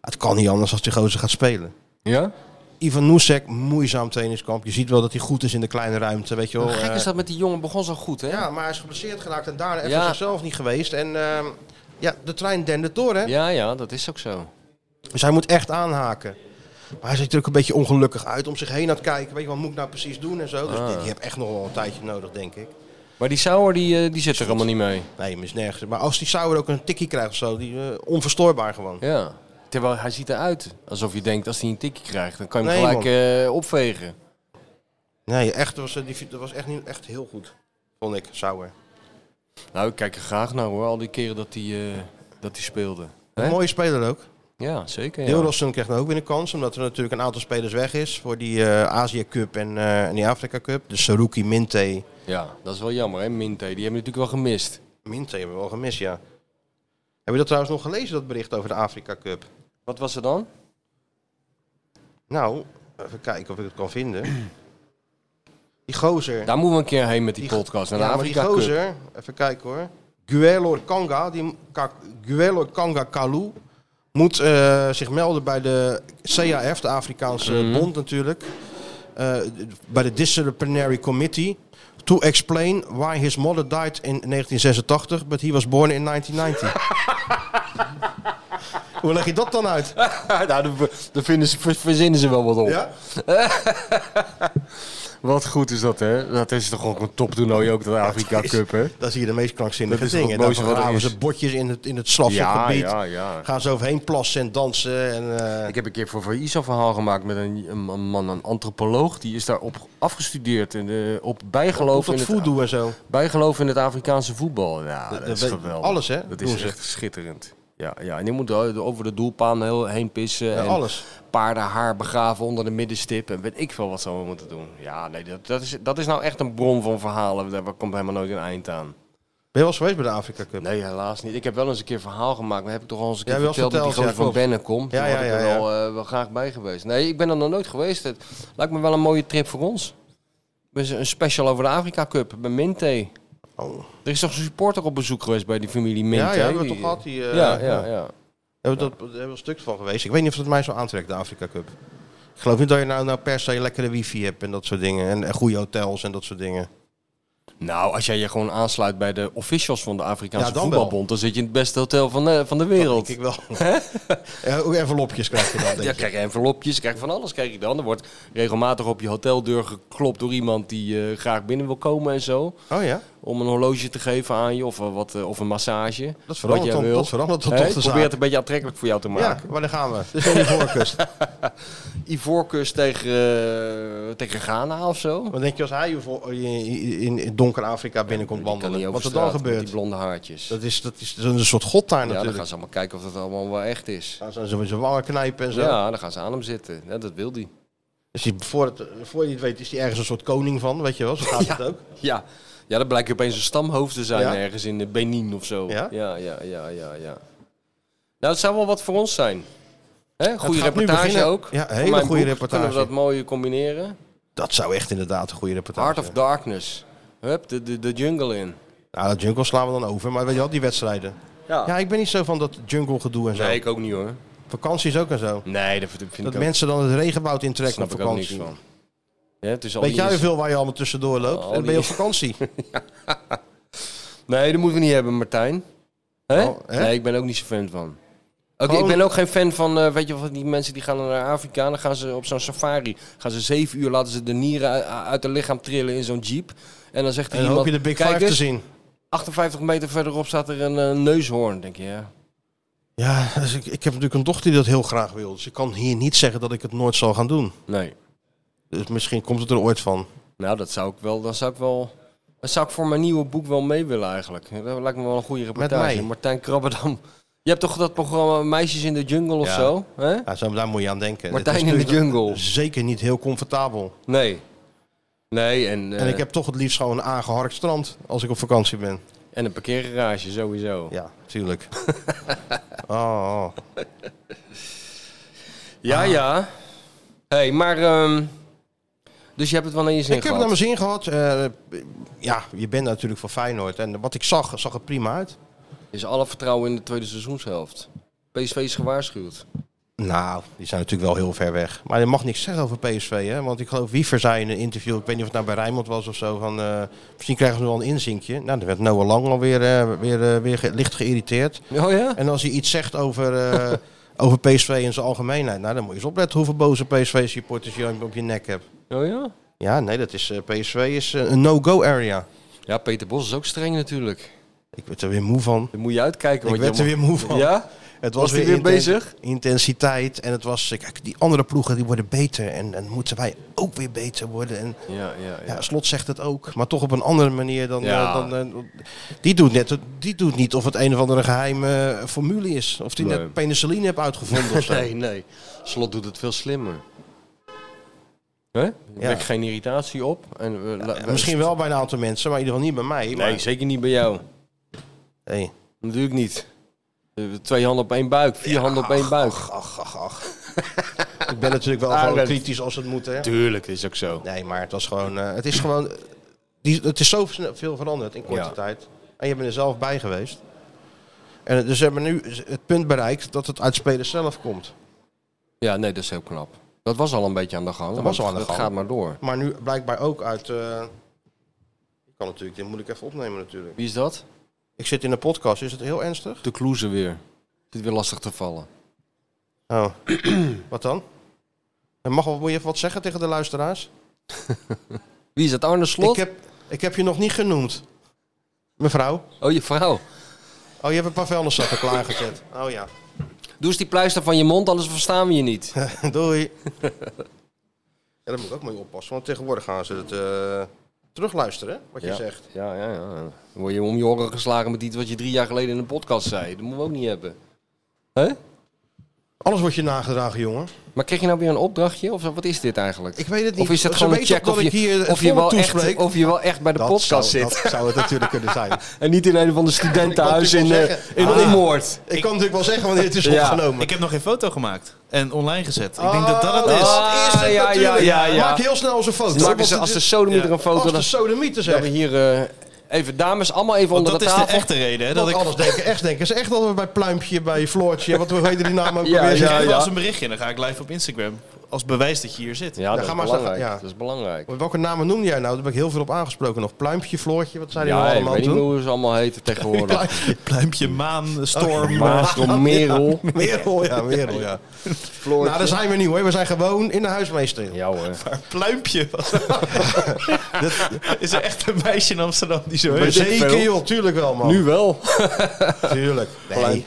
[SPEAKER 4] Het kan niet anders als die gozer gaat spelen.
[SPEAKER 5] Ja?
[SPEAKER 4] Ivan Noesek, moeizaam trainingskamp. Je ziet wel dat hij goed is in de kleine ruimte, weet je wel.
[SPEAKER 5] Hoe gek
[SPEAKER 4] eh.
[SPEAKER 5] is dat met die jongen? Begon zo goed, hè?
[SPEAKER 4] Ja, maar hij is geblesseerd geraakt en daarna even
[SPEAKER 5] Ja.
[SPEAKER 4] zichzelf niet geweest. En ehm, ja, de trein dendert door, hè?
[SPEAKER 5] ja, ja, dat is ook zo.
[SPEAKER 4] Dus hij moet echt aanhaken. Maar hij ziet er ook een beetje ongelukkig uit om zich heen aan het kijken. Weet je, wat moet ik nou precies doen en zo. Dus die, die heb echt nog wel een tijdje nodig, denk ik.
[SPEAKER 5] Maar die Sauer, die, eh, die zit er allemaal niet mee.
[SPEAKER 4] Nee, hem is nergens. Maar als die Sauer ook een tikkie krijgt of zo, die eh, onverstoorbaar gewoon.
[SPEAKER 5] Ja. Terwijl hij ziet eruit alsof je denkt, als hij een tikje krijgt, dan kan je hem
[SPEAKER 4] Nee,
[SPEAKER 5] gelijk eh, opvegen.
[SPEAKER 4] Nee, echt, dat was, eh, die, dat was echt, niet, echt heel goed. Vond ik, Sauer.
[SPEAKER 5] Nou, ik kijk er graag naar hoor, al die keren dat hij eh, dat hij speelde. Hè?
[SPEAKER 4] Een mooie speler ook.
[SPEAKER 5] Ja, zeker. Ja.
[SPEAKER 4] Deelrossen krijgt ook weer een kans, omdat er natuurlijk een aantal spelers weg is voor die eh Azië Cup en, eh, en die Afrika Cup. Dus Saruki, Minte.
[SPEAKER 5] ja, dat is wel jammer hè, Minte. Die hebben we natuurlijk wel gemist.
[SPEAKER 4] Minte hebben we wel gemist, ja. Heb je dat trouwens nog gelezen, dat bericht over de Afrika Cup?
[SPEAKER 5] Wat was er dan?
[SPEAKER 4] Nou, even kijken of ik het kan vinden. Die gozer.
[SPEAKER 5] Daar moeten we een keer heen met die,
[SPEAKER 4] Die-
[SPEAKER 5] podcast. Naar
[SPEAKER 4] ja,
[SPEAKER 5] de
[SPEAKER 4] maar die
[SPEAKER 5] Afrika Cup.
[SPEAKER 4] gozer, even kijken hoor. Guelor Kanga, die, Ka- Guelor Kanga Kalu moet eh, zich melden bij de CAF, de Afrikaanse
[SPEAKER 5] Mhm.
[SPEAKER 4] bond natuurlijk. Eh, bij de Disciplinary Committee. To explain why his mother died in 1986, but he was born in 1990. Hoe leg je dat dan uit?
[SPEAKER 5] nou, daar v- daar vinden ze, ver- verzinnen ze wel wat op.
[SPEAKER 4] Ja?
[SPEAKER 5] Wat goed is dat, hè? Dat is toch ook een toptoernooi, ook dat Afrika
[SPEAKER 4] is-
[SPEAKER 5] Cup, hè?
[SPEAKER 4] Dat zie je de meest krankzinnige
[SPEAKER 5] Dat is toch
[SPEAKER 4] dingen.
[SPEAKER 5] het
[SPEAKER 4] Dan
[SPEAKER 5] mooiste wat er
[SPEAKER 4] graven
[SPEAKER 5] is.
[SPEAKER 4] ze botjes in het, in het slafje
[SPEAKER 5] Ja,
[SPEAKER 4] gebied.
[SPEAKER 5] ja, ja.
[SPEAKER 4] Gaan ze overheen plassen en dansen. En, eh,
[SPEAKER 5] Ik heb een keer voor voor ISO verhaal gemaakt met een, een, een man, een antropoloog. Die is daarop afgestudeerd en eh, op bijgeloof
[SPEAKER 4] tot
[SPEAKER 5] in het
[SPEAKER 4] voedoe en zo.
[SPEAKER 5] Bijgeloof in het Afrikaanse voetbal. Ja, dat,
[SPEAKER 4] dat
[SPEAKER 5] is
[SPEAKER 4] weet-
[SPEAKER 5] geweldig.
[SPEAKER 4] alles, hè,
[SPEAKER 5] Dat
[SPEAKER 4] doen
[SPEAKER 5] is
[SPEAKER 4] ze.
[SPEAKER 5] echt schitterend. Ja, ja, en je moet er over de doelpaan heel heen pissen.
[SPEAKER 4] Ja,
[SPEAKER 5] en
[SPEAKER 4] alles.
[SPEAKER 5] Paardenhaar begraven onder de middenstip. En weet ik veel wat ze allemaal moeten doen. Ja, nee, dat, dat, is, dat is nou echt een bron van verhalen. Daar komt helemaal nooit een eind aan.
[SPEAKER 4] Ben je wel eens geweest bij de Afrika Cup?
[SPEAKER 5] Nee, helaas niet. Ik heb wel eens een keer verhaal gemaakt. Maar heb ik toch al eens een
[SPEAKER 4] Ja,
[SPEAKER 5] keer
[SPEAKER 4] wel eens
[SPEAKER 5] verteld, dat die
[SPEAKER 4] verteld,
[SPEAKER 5] gozer
[SPEAKER 4] ja,
[SPEAKER 5] van Bennen komt.
[SPEAKER 4] Ja,
[SPEAKER 5] Ja, ja,
[SPEAKER 4] ja,
[SPEAKER 5] ik er
[SPEAKER 4] ja, ja.
[SPEAKER 5] Wel, eh, wel graag bij geweest. Nee, ik ben er nog nooit geweest. Het lijkt me wel een mooie trip voor ons. We zijn een special over de Afrika Cup bij Minte.
[SPEAKER 4] Oh.
[SPEAKER 5] Er is toch een supporter op bezoek geweest bij die familie Minte?
[SPEAKER 4] Ja, ja, hebben we
[SPEAKER 5] die-
[SPEAKER 4] toch gehad? Die, eh,
[SPEAKER 5] ja, ja, ja.
[SPEAKER 4] Hebben we dat, daar hebben we een stuk van geweest. Ik weet niet of het mij zo aantrekt, de Afrika Cup. Ik geloof niet dat je nou, nou per se lekkere wifi hebt en dat soort dingen. En, en goede hotels en dat soort dingen.
[SPEAKER 5] Nou, als jij je gewoon aansluit bij de officials van de Afrikaanse
[SPEAKER 4] Ja, dan
[SPEAKER 5] voetbalbond,
[SPEAKER 4] wel.
[SPEAKER 5] dan zit je in het beste hotel van de, van de wereld.
[SPEAKER 4] Ik wel. ja, ook envelopjes krijg je dan, denk
[SPEAKER 5] Ja,
[SPEAKER 4] ik.
[SPEAKER 5] krijg je envelopjes, krijg je van alles krijg je dan. Er wordt regelmatig op je hoteldeur geklopt door iemand die eh, graag binnen wil komen en zo.
[SPEAKER 4] Oh ja?
[SPEAKER 5] Om een horloge te geven aan je of, eh, wat, eh, of een massage.
[SPEAKER 4] Dat verandert
[SPEAKER 5] Wat jij
[SPEAKER 4] dan-
[SPEAKER 5] wil.
[SPEAKER 4] dat verandert dan
[SPEAKER 5] Hè,
[SPEAKER 4] toch
[SPEAKER 5] ik
[SPEAKER 4] de
[SPEAKER 5] probeer het
[SPEAKER 4] zaak.
[SPEAKER 5] een beetje aantrekkelijk voor jou te
[SPEAKER 4] Ja,
[SPEAKER 5] maken.
[SPEAKER 4] waar dan gaan we? Dus dan die voorkust.
[SPEAKER 5] Ivoorkust tegen, eh, tegen Ghana of zo.
[SPEAKER 4] Wat denk je als hij je voor- je in, in donker Afrika binnenkomt
[SPEAKER 5] Die kan niet
[SPEAKER 4] wandelen?
[SPEAKER 5] over
[SPEAKER 4] Wat er
[SPEAKER 5] straat
[SPEAKER 4] dan
[SPEAKER 5] met Die
[SPEAKER 4] gebeurt?
[SPEAKER 5] blonde haartjes.
[SPEAKER 4] Dat is, dat is een soort god daar
[SPEAKER 5] ja, dan gaan
[SPEAKER 4] natuurlijk.
[SPEAKER 5] ze allemaal kijken of dat allemaal wel echt is.
[SPEAKER 4] Dan gaan ze met zijn wangen knijpen en zo.
[SPEAKER 5] Ja, dan gaan ze aan hem zitten. Ja, dat wil die.
[SPEAKER 4] Dus die, voor, het, voor je het weet is hij ergens een soort koning van, weet je wel. Zo gaat het ook.
[SPEAKER 5] Ja. Ja, dan blijkt opeens een stamhoofd te zijn
[SPEAKER 4] Ja.
[SPEAKER 5] ergens in de Benin of zo.
[SPEAKER 4] Ja?
[SPEAKER 5] Ja, ja, ja, ja, ja. Nou, het zou wel wat voor ons zijn. Hè? Goede
[SPEAKER 4] gaat nu
[SPEAKER 5] reportage
[SPEAKER 4] beginnen.
[SPEAKER 5] ook.
[SPEAKER 4] Ja,
[SPEAKER 5] Van
[SPEAKER 4] hele
[SPEAKER 5] mijn
[SPEAKER 4] goede
[SPEAKER 5] boek.
[SPEAKER 4] reportage.
[SPEAKER 5] Kunnen we dat mooi combineren?
[SPEAKER 4] Dat zou echt inderdaad een goede reportage
[SPEAKER 5] Heart of
[SPEAKER 4] zijn.
[SPEAKER 5] Darkness. Hup, de, de, de jungle in.
[SPEAKER 4] Nou, dat jungle slaan we dan over, maar weet je wel, die wedstrijden. Ja, ik ben niet zo van dat jungle gedoe en zo.
[SPEAKER 5] Nee, ik ook niet hoor.
[SPEAKER 4] Vakanties ook en zo.
[SPEAKER 5] Nee, dat vind ik
[SPEAKER 4] Dat
[SPEAKER 5] ook,
[SPEAKER 4] mensen dan het regenwoud intrekken op
[SPEAKER 5] snap ik ook niks
[SPEAKER 4] vakantie.
[SPEAKER 5] van. Ja, het is al
[SPEAKER 4] Weet
[SPEAKER 5] die
[SPEAKER 4] jij
[SPEAKER 5] ins-
[SPEAKER 4] hoeveel waar je allemaal tussendoor loopt?
[SPEAKER 5] Al
[SPEAKER 4] en dan ben je op
[SPEAKER 5] die-
[SPEAKER 4] vakantie.
[SPEAKER 5] Nee, dat moeten we niet hebben, Martijn. Hè?
[SPEAKER 4] Oh, hè?
[SPEAKER 5] Nee, ik ben ook niet zo fan van. Ook,
[SPEAKER 4] Gewoon-
[SPEAKER 5] Ik ben ook geen fan van, eh, weet je wat, die mensen die gaan dan naar Afrika en dan gaan ze op zo'n safari. Gaan ze zeven uur, laten ze de nieren uit, uit hun lichaam trillen in zo'n jeep. En dan zegt
[SPEAKER 4] En
[SPEAKER 5] er
[SPEAKER 4] dan
[SPEAKER 5] iemand,
[SPEAKER 4] hoop je de Big
[SPEAKER 5] kijk
[SPEAKER 4] Five te
[SPEAKER 5] eens,
[SPEAKER 4] zien.
[SPEAKER 5] 58 meter verderop staat er een eh, neushoorn, denk je. Ja.
[SPEAKER 4] Ja, dus ik, ik heb natuurlijk een dochter die dat heel graag wil. Dus ik kan hier niet zeggen dat ik het nooit zal gaan doen.
[SPEAKER 5] Nee,
[SPEAKER 4] Dus misschien komt het er ooit van.
[SPEAKER 5] nou dat zou ik wel, dan zou ik wel... Dat zou ik voor mijn nieuwe boek wel mee willen eigenlijk. Dat lijkt me wel een goede reportage.
[SPEAKER 4] mij?
[SPEAKER 5] Martijn Krabbedam. Je hebt toch dat programma Meisjes in de Jungle of
[SPEAKER 4] Ja.
[SPEAKER 5] zo? Hè?
[SPEAKER 4] Ja, zo- daar moet je aan denken.
[SPEAKER 5] Martijn
[SPEAKER 4] Dit
[SPEAKER 5] in de
[SPEAKER 4] natuurlijk
[SPEAKER 5] jungle.
[SPEAKER 4] Zeker niet heel comfortabel.
[SPEAKER 5] Nee. Nee, en, eh,
[SPEAKER 4] En ik heb toch het liefst gewoon een aangeharkt strand als ik op vakantie ben.
[SPEAKER 5] En een parkeergarage sowieso. Ja,
[SPEAKER 4] Ja, tuurlijk. oh, oh.
[SPEAKER 5] ja.
[SPEAKER 4] Ah.
[SPEAKER 5] hey, maar... ehm, dus je hebt het wel naar je zin
[SPEAKER 4] Ik heb het
[SPEAKER 5] gehad.
[SPEAKER 4] naar mijn zin gehad. Eh, ja, je bent natuurlijk van Feyenoord. En wat ik zag, zag er prima uit.
[SPEAKER 5] Is alle vertrouwen in de tweede seizoenshelft. PSV is gewaarschuwd.
[SPEAKER 4] Nou, die zijn natuurlijk wel heel ver weg. Maar je mag niks zeggen over PSV, hè? Want ik geloof Wiever zei in een interview, ik weet niet of het nou bij Rijnmond was of zo, van eh, misschien krijgen ze wel een inzinkje. Nou, dan werd Noah Lang alweer eh, weer, eh, weer ge- licht geïrriteerd.
[SPEAKER 5] Oh ja?
[SPEAKER 4] En als hij iets zegt over, eh, over PSV in zijn algemeenheid. Nou, dan moet je eens opletten hoeveel boze PSV-supporters je op je nek hebt.
[SPEAKER 5] Oh ja?
[SPEAKER 4] Ja, nee, dat is, eh, PSV is eh, een no-go area.
[SPEAKER 5] Ja, Peter Bos is ook streng natuurlijk.
[SPEAKER 4] Ik werd er weer moe van.
[SPEAKER 5] Daar moet je uitkijken.
[SPEAKER 4] Ik
[SPEAKER 5] wat je
[SPEAKER 4] werd er weer moe van.
[SPEAKER 5] allemaal- Ja?
[SPEAKER 4] Het
[SPEAKER 5] Was hij weer
[SPEAKER 4] inten-
[SPEAKER 5] bezig?
[SPEAKER 4] Intensiteit. En het was, eh, kijk, die andere ploegen die worden beter. En dan moeten wij ook weer beter worden. En
[SPEAKER 5] Ja, ja,
[SPEAKER 4] ja,
[SPEAKER 5] ja.
[SPEAKER 4] Slot zegt het ook. Maar toch op een andere manier dan...
[SPEAKER 5] Ja.
[SPEAKER 4] eh, dan eh, die, doet net, die doet niet of het een of andere geheime eh, formule is. Of die
[SPEAKER 5] Nee.
[SPEAKER 4] net penicilline heeft uitgevonden of zo.
[SPEAKER 5] Nee, nee. Slot doet het veel slimmer. Hè? Er Wekt geen irritatie op. En we- la-
[SPEAKER 4] Ja,
[SPEAKER 5] we-
[SPEAKER 4] misschien wel bij een aantal mensen, maar in ieder geval niet bij mij.
[SPEAKER 5] Nee,
[SPEAKER 4] maar,
[SPEAKER 5] zeker niet bij jou.
[SPEAKER 4] hey.
[SPEAKER 5] Natuurlijk niet. Eh, Twee handen op één buik, vier handen op één buik.
[SPEAKER 4] Ach, ach, ach. ik ben natuurlijk wel gewoon
[SPEAKER 5] Arend.
[SPEAKER 4] kritisch als het moet, hè.
[SPEAKER 5] Tuurlijk, dat is ook zo.
[SPEAKER 4] Nee, maar het was gewoon... eh, het is gewoon... eh, Die, het is zo snel- veel veranderd in korte
[SPEAKER 5] Ja.
[SPEAKER 4] tijd. En je bent er zelf bij geweest. En het- dus ze hebben nu het punt bereikt dat het uit spelers zelf komt.
[SPEAKER 5] Ja, nee, dat is heel knap. Dat was al een beetje aan de gang. maar
[SPEAKER 4] was al aan de
[SPEAKER 5] dat
[SPEAKER 4] gang.
[SPEAKER 5] gaat maar door.
[SPEAKER 4] Maar nu blijkbaar ook uit... eh, ik kan natuurlijk, dit moet ik even opnemen natuurlijk.
[SPEAKER 5] Wie is dat?
[SPEAKER 4] Ik zit in een podcast, is het heel ernstig?
[SPEAKER 5] De Kloeze weer. Zit weer lastig te vallen.
[SPEAKER 4] Oh, wat dan? En mag, moet je even wat zeggen tegen de luisteraars?
[SPEAKER 5] Wie is dat? Arne Slot?
[SPEAKER 4] Ik, heb, ik heb je nog niet genoemd. Mevrouw.
[SPEAKER 5] Oh, je vrouw.
[SPEAKER 4] Oh, je hebt een paar vuilniszakken klaargezet. Oh ja.
[SPEAKER 5] Doe eens die pleister van je mond, anders verstaan we je niet.
[SPEAKER 4] Doei. ja, daar moet ik ook mee oppassen, want tegenwoordig gaan ze het eh, terugluisteren, hè, wat je
[SPEAKER 5] Ja.
[SPEAKER 4] zegt.
[SPEAKER 5] Ja, ja, ja. Dan word je om je oren geslagen met iets wat je drie jaar geleden in een podcast zei. Dat moeten we ook niet hebben. Hè?
[SPEAKER 4] Alles wordt je nagedragen, jongen.
[SPEAKER 5] Maar kreeg je nou weer een opdrachtje? Of wat is dit eigenlijk?
[SPEAKER 4] Ik weet het niet.
[SPEAKER 5] Of is het
[SPEAKER 4] Ze
[SPEAKER 5] gewoon een
[SPEAKER 4] weten
[SPEAKER 5] check
[SPEAKER 4] dat
[SPEAKER 5] of
[SPEAKER 4] ik hier
[SPEAKER 5] je,
[SPEAKER 4] het
[SPEAKER 5] of, je
[SPEAKER 4] volk
[SPEAKER 5] wel echt,
[SPEAKER 4] toespreek?
[SPEAKER 5] of je wel echt bij de podcast
[SPEAKER 4] zou,
[SPEAKER 5] zit?
[SPEAKER 4] dat zou het natuurlijk kunnen zijn.
[SPEAKER 5] En niet in een van de studentenhuizen
[SPEAKER 4] Ik
[SPEAKER 5] in,
[SPEAKER 4] wou
[SPEAKER 5] eh,
[SPEAKER 4] natuurlijk
[SPEAKER 5] in
[SPEAKER 4] wel zeggen.
[SPEAKER 5] Olmoord.
[SPEAKER 4] Ik kan natuurlijk wel zeggen wanneer het is
[SPEAKER 5] Ja.
[SPEAKER 4] opgenomen.
[SPEAKER 6] Ik heb nog geen foto gemaakt en online gezet. Ik denk dat dat het
[SPEAKER 4] Oh,
[SPEAKER 6] is.
[SPEAKER 5] Ah,
[SPEAKER 4] dat is het
[SPEAKER 5] ja,
[SPEAKER 4] natuurlijk.
[SPEAKER 5] ja, ja, ja.
[SPEAKER 4] Maak heel snel zijn foto.
[SPEAKER 5] Dan maken ze
[SPEAKER 4] want
[SPEAKER 5] als de
[SPEAKER 4] het is-
[SPEAKER 5] sodemieter een
[SPEAKER 4] als
[SPEAKER 5] foto.
[SPEAKER 4] de
[SPEAKER 5] Dan
[SPEAKER 4] sodomieter
[SPEAKER 5] dan hebben we
[SPEAKER 4] zegt.
[SPEAKER 5] hier eh, even dames allemaal even
[SPEAKER 6] Want
[SPEAKER 5] onder
[SPEAKER 6] dat
[SPEAKER 5] de
[SPEAKER 6] is de
[SPEAKER 5] tafel.
[SPEAKER 6] echte reden. Hè, dat
[SPEAKER 4] Dat
[SPEAKER 6] ik
[SPEAKER 4] alles denken, echt denken. Ze echt dat we bij Pluimpje, bij Floortje, wat we weten die naam ook
[SPEAKER 5] Ja,
[SPEAKER 4] alweer
[SPEAKER 6] Ik
[SPEAKER 4] zeggen.
[SPEAKER 6] krijg
[SPEAKER 5] ja.
[SPEAKER 6] wel eens een berichtje en dan ga ik live op Instagram. Als bewijs dat je hier zit.
[SPEAKER 5] Ja, dat
[SPEAKER 4] ga
[SPEAKER 5] is
[SPEAKER 4] maar eens
[SPEAKER 5] belangrijk.
[SPEAKER 4] even- ja.
[SPEAKER 5] Dat is belangrijk.
[SPEAKER 4] Welke namen noemde jij nou? Daar ben ik heel veel op aangesproken nog. Pluimpje, Floortje, wat zijn die nou
[SPEAKER 5] Ja, ik
[SPEAKER 4] allemaal
[SPEAKER 5] weet niet
[SPEAKER 4] toen?
[SPEAKER 5] hoe ze allemaal heten tegenwoordig.
[SPEAKER 6] Pluimpje, maan, storm.
[SPEAKER 5] Maar door Merel.
[SPEAKER 4] Merel, ja, Merel, ja. Nou, daar zijn we niet hoor. We zijn gewoon in de huismeester.
[SPEAKER 5] Ja hoor.
[SPEAKER 6] Pluimpje was Is er echt een meisje in Amsterdam die zo heet?
[SPEAKER 4] Zeker joh, tuurlijk wel man.
[SPEAKER 5] Nu wel.
[SPEAKER 4] Tuurlijk. Nee,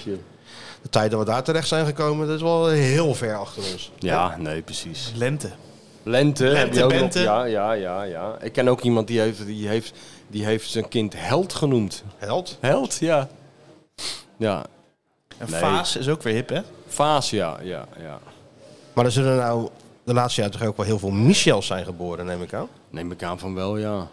[SPEAKER 4] de tijd dat we daar terecht zijn gekomen, dat is wel heel ver achter ons.
[SPEAKER 5] Ja, nee, precies.
[SPEAKER 6] Lente.
[SPEAKER 5] Lente. heb je ook nog-
[SPEAKER 6] Bente.
[SPEAKER 5] Ja, ja, ja, ja. Ik ken ook iemand die heeft, die heeft, die heeft zijn kind held genoemd.
[SPEAKER 4] Held?
[SPEAKER 5] Held, ja. Ja.
[SPEAKER 6] En
[SPEAKER 5] Nee.
[SPEAKER 6] Vaas is ook weer hip, hè?
[SPEAKER 5] Vaas, ja, ja, ja.
[SPEAKER 4] Maar er zullen nou de laatste jaren toch ook wel heel veel Michels zijn geboren, neem ik aan.
[SPEAKER 5] Neem ik aan van wel, ja.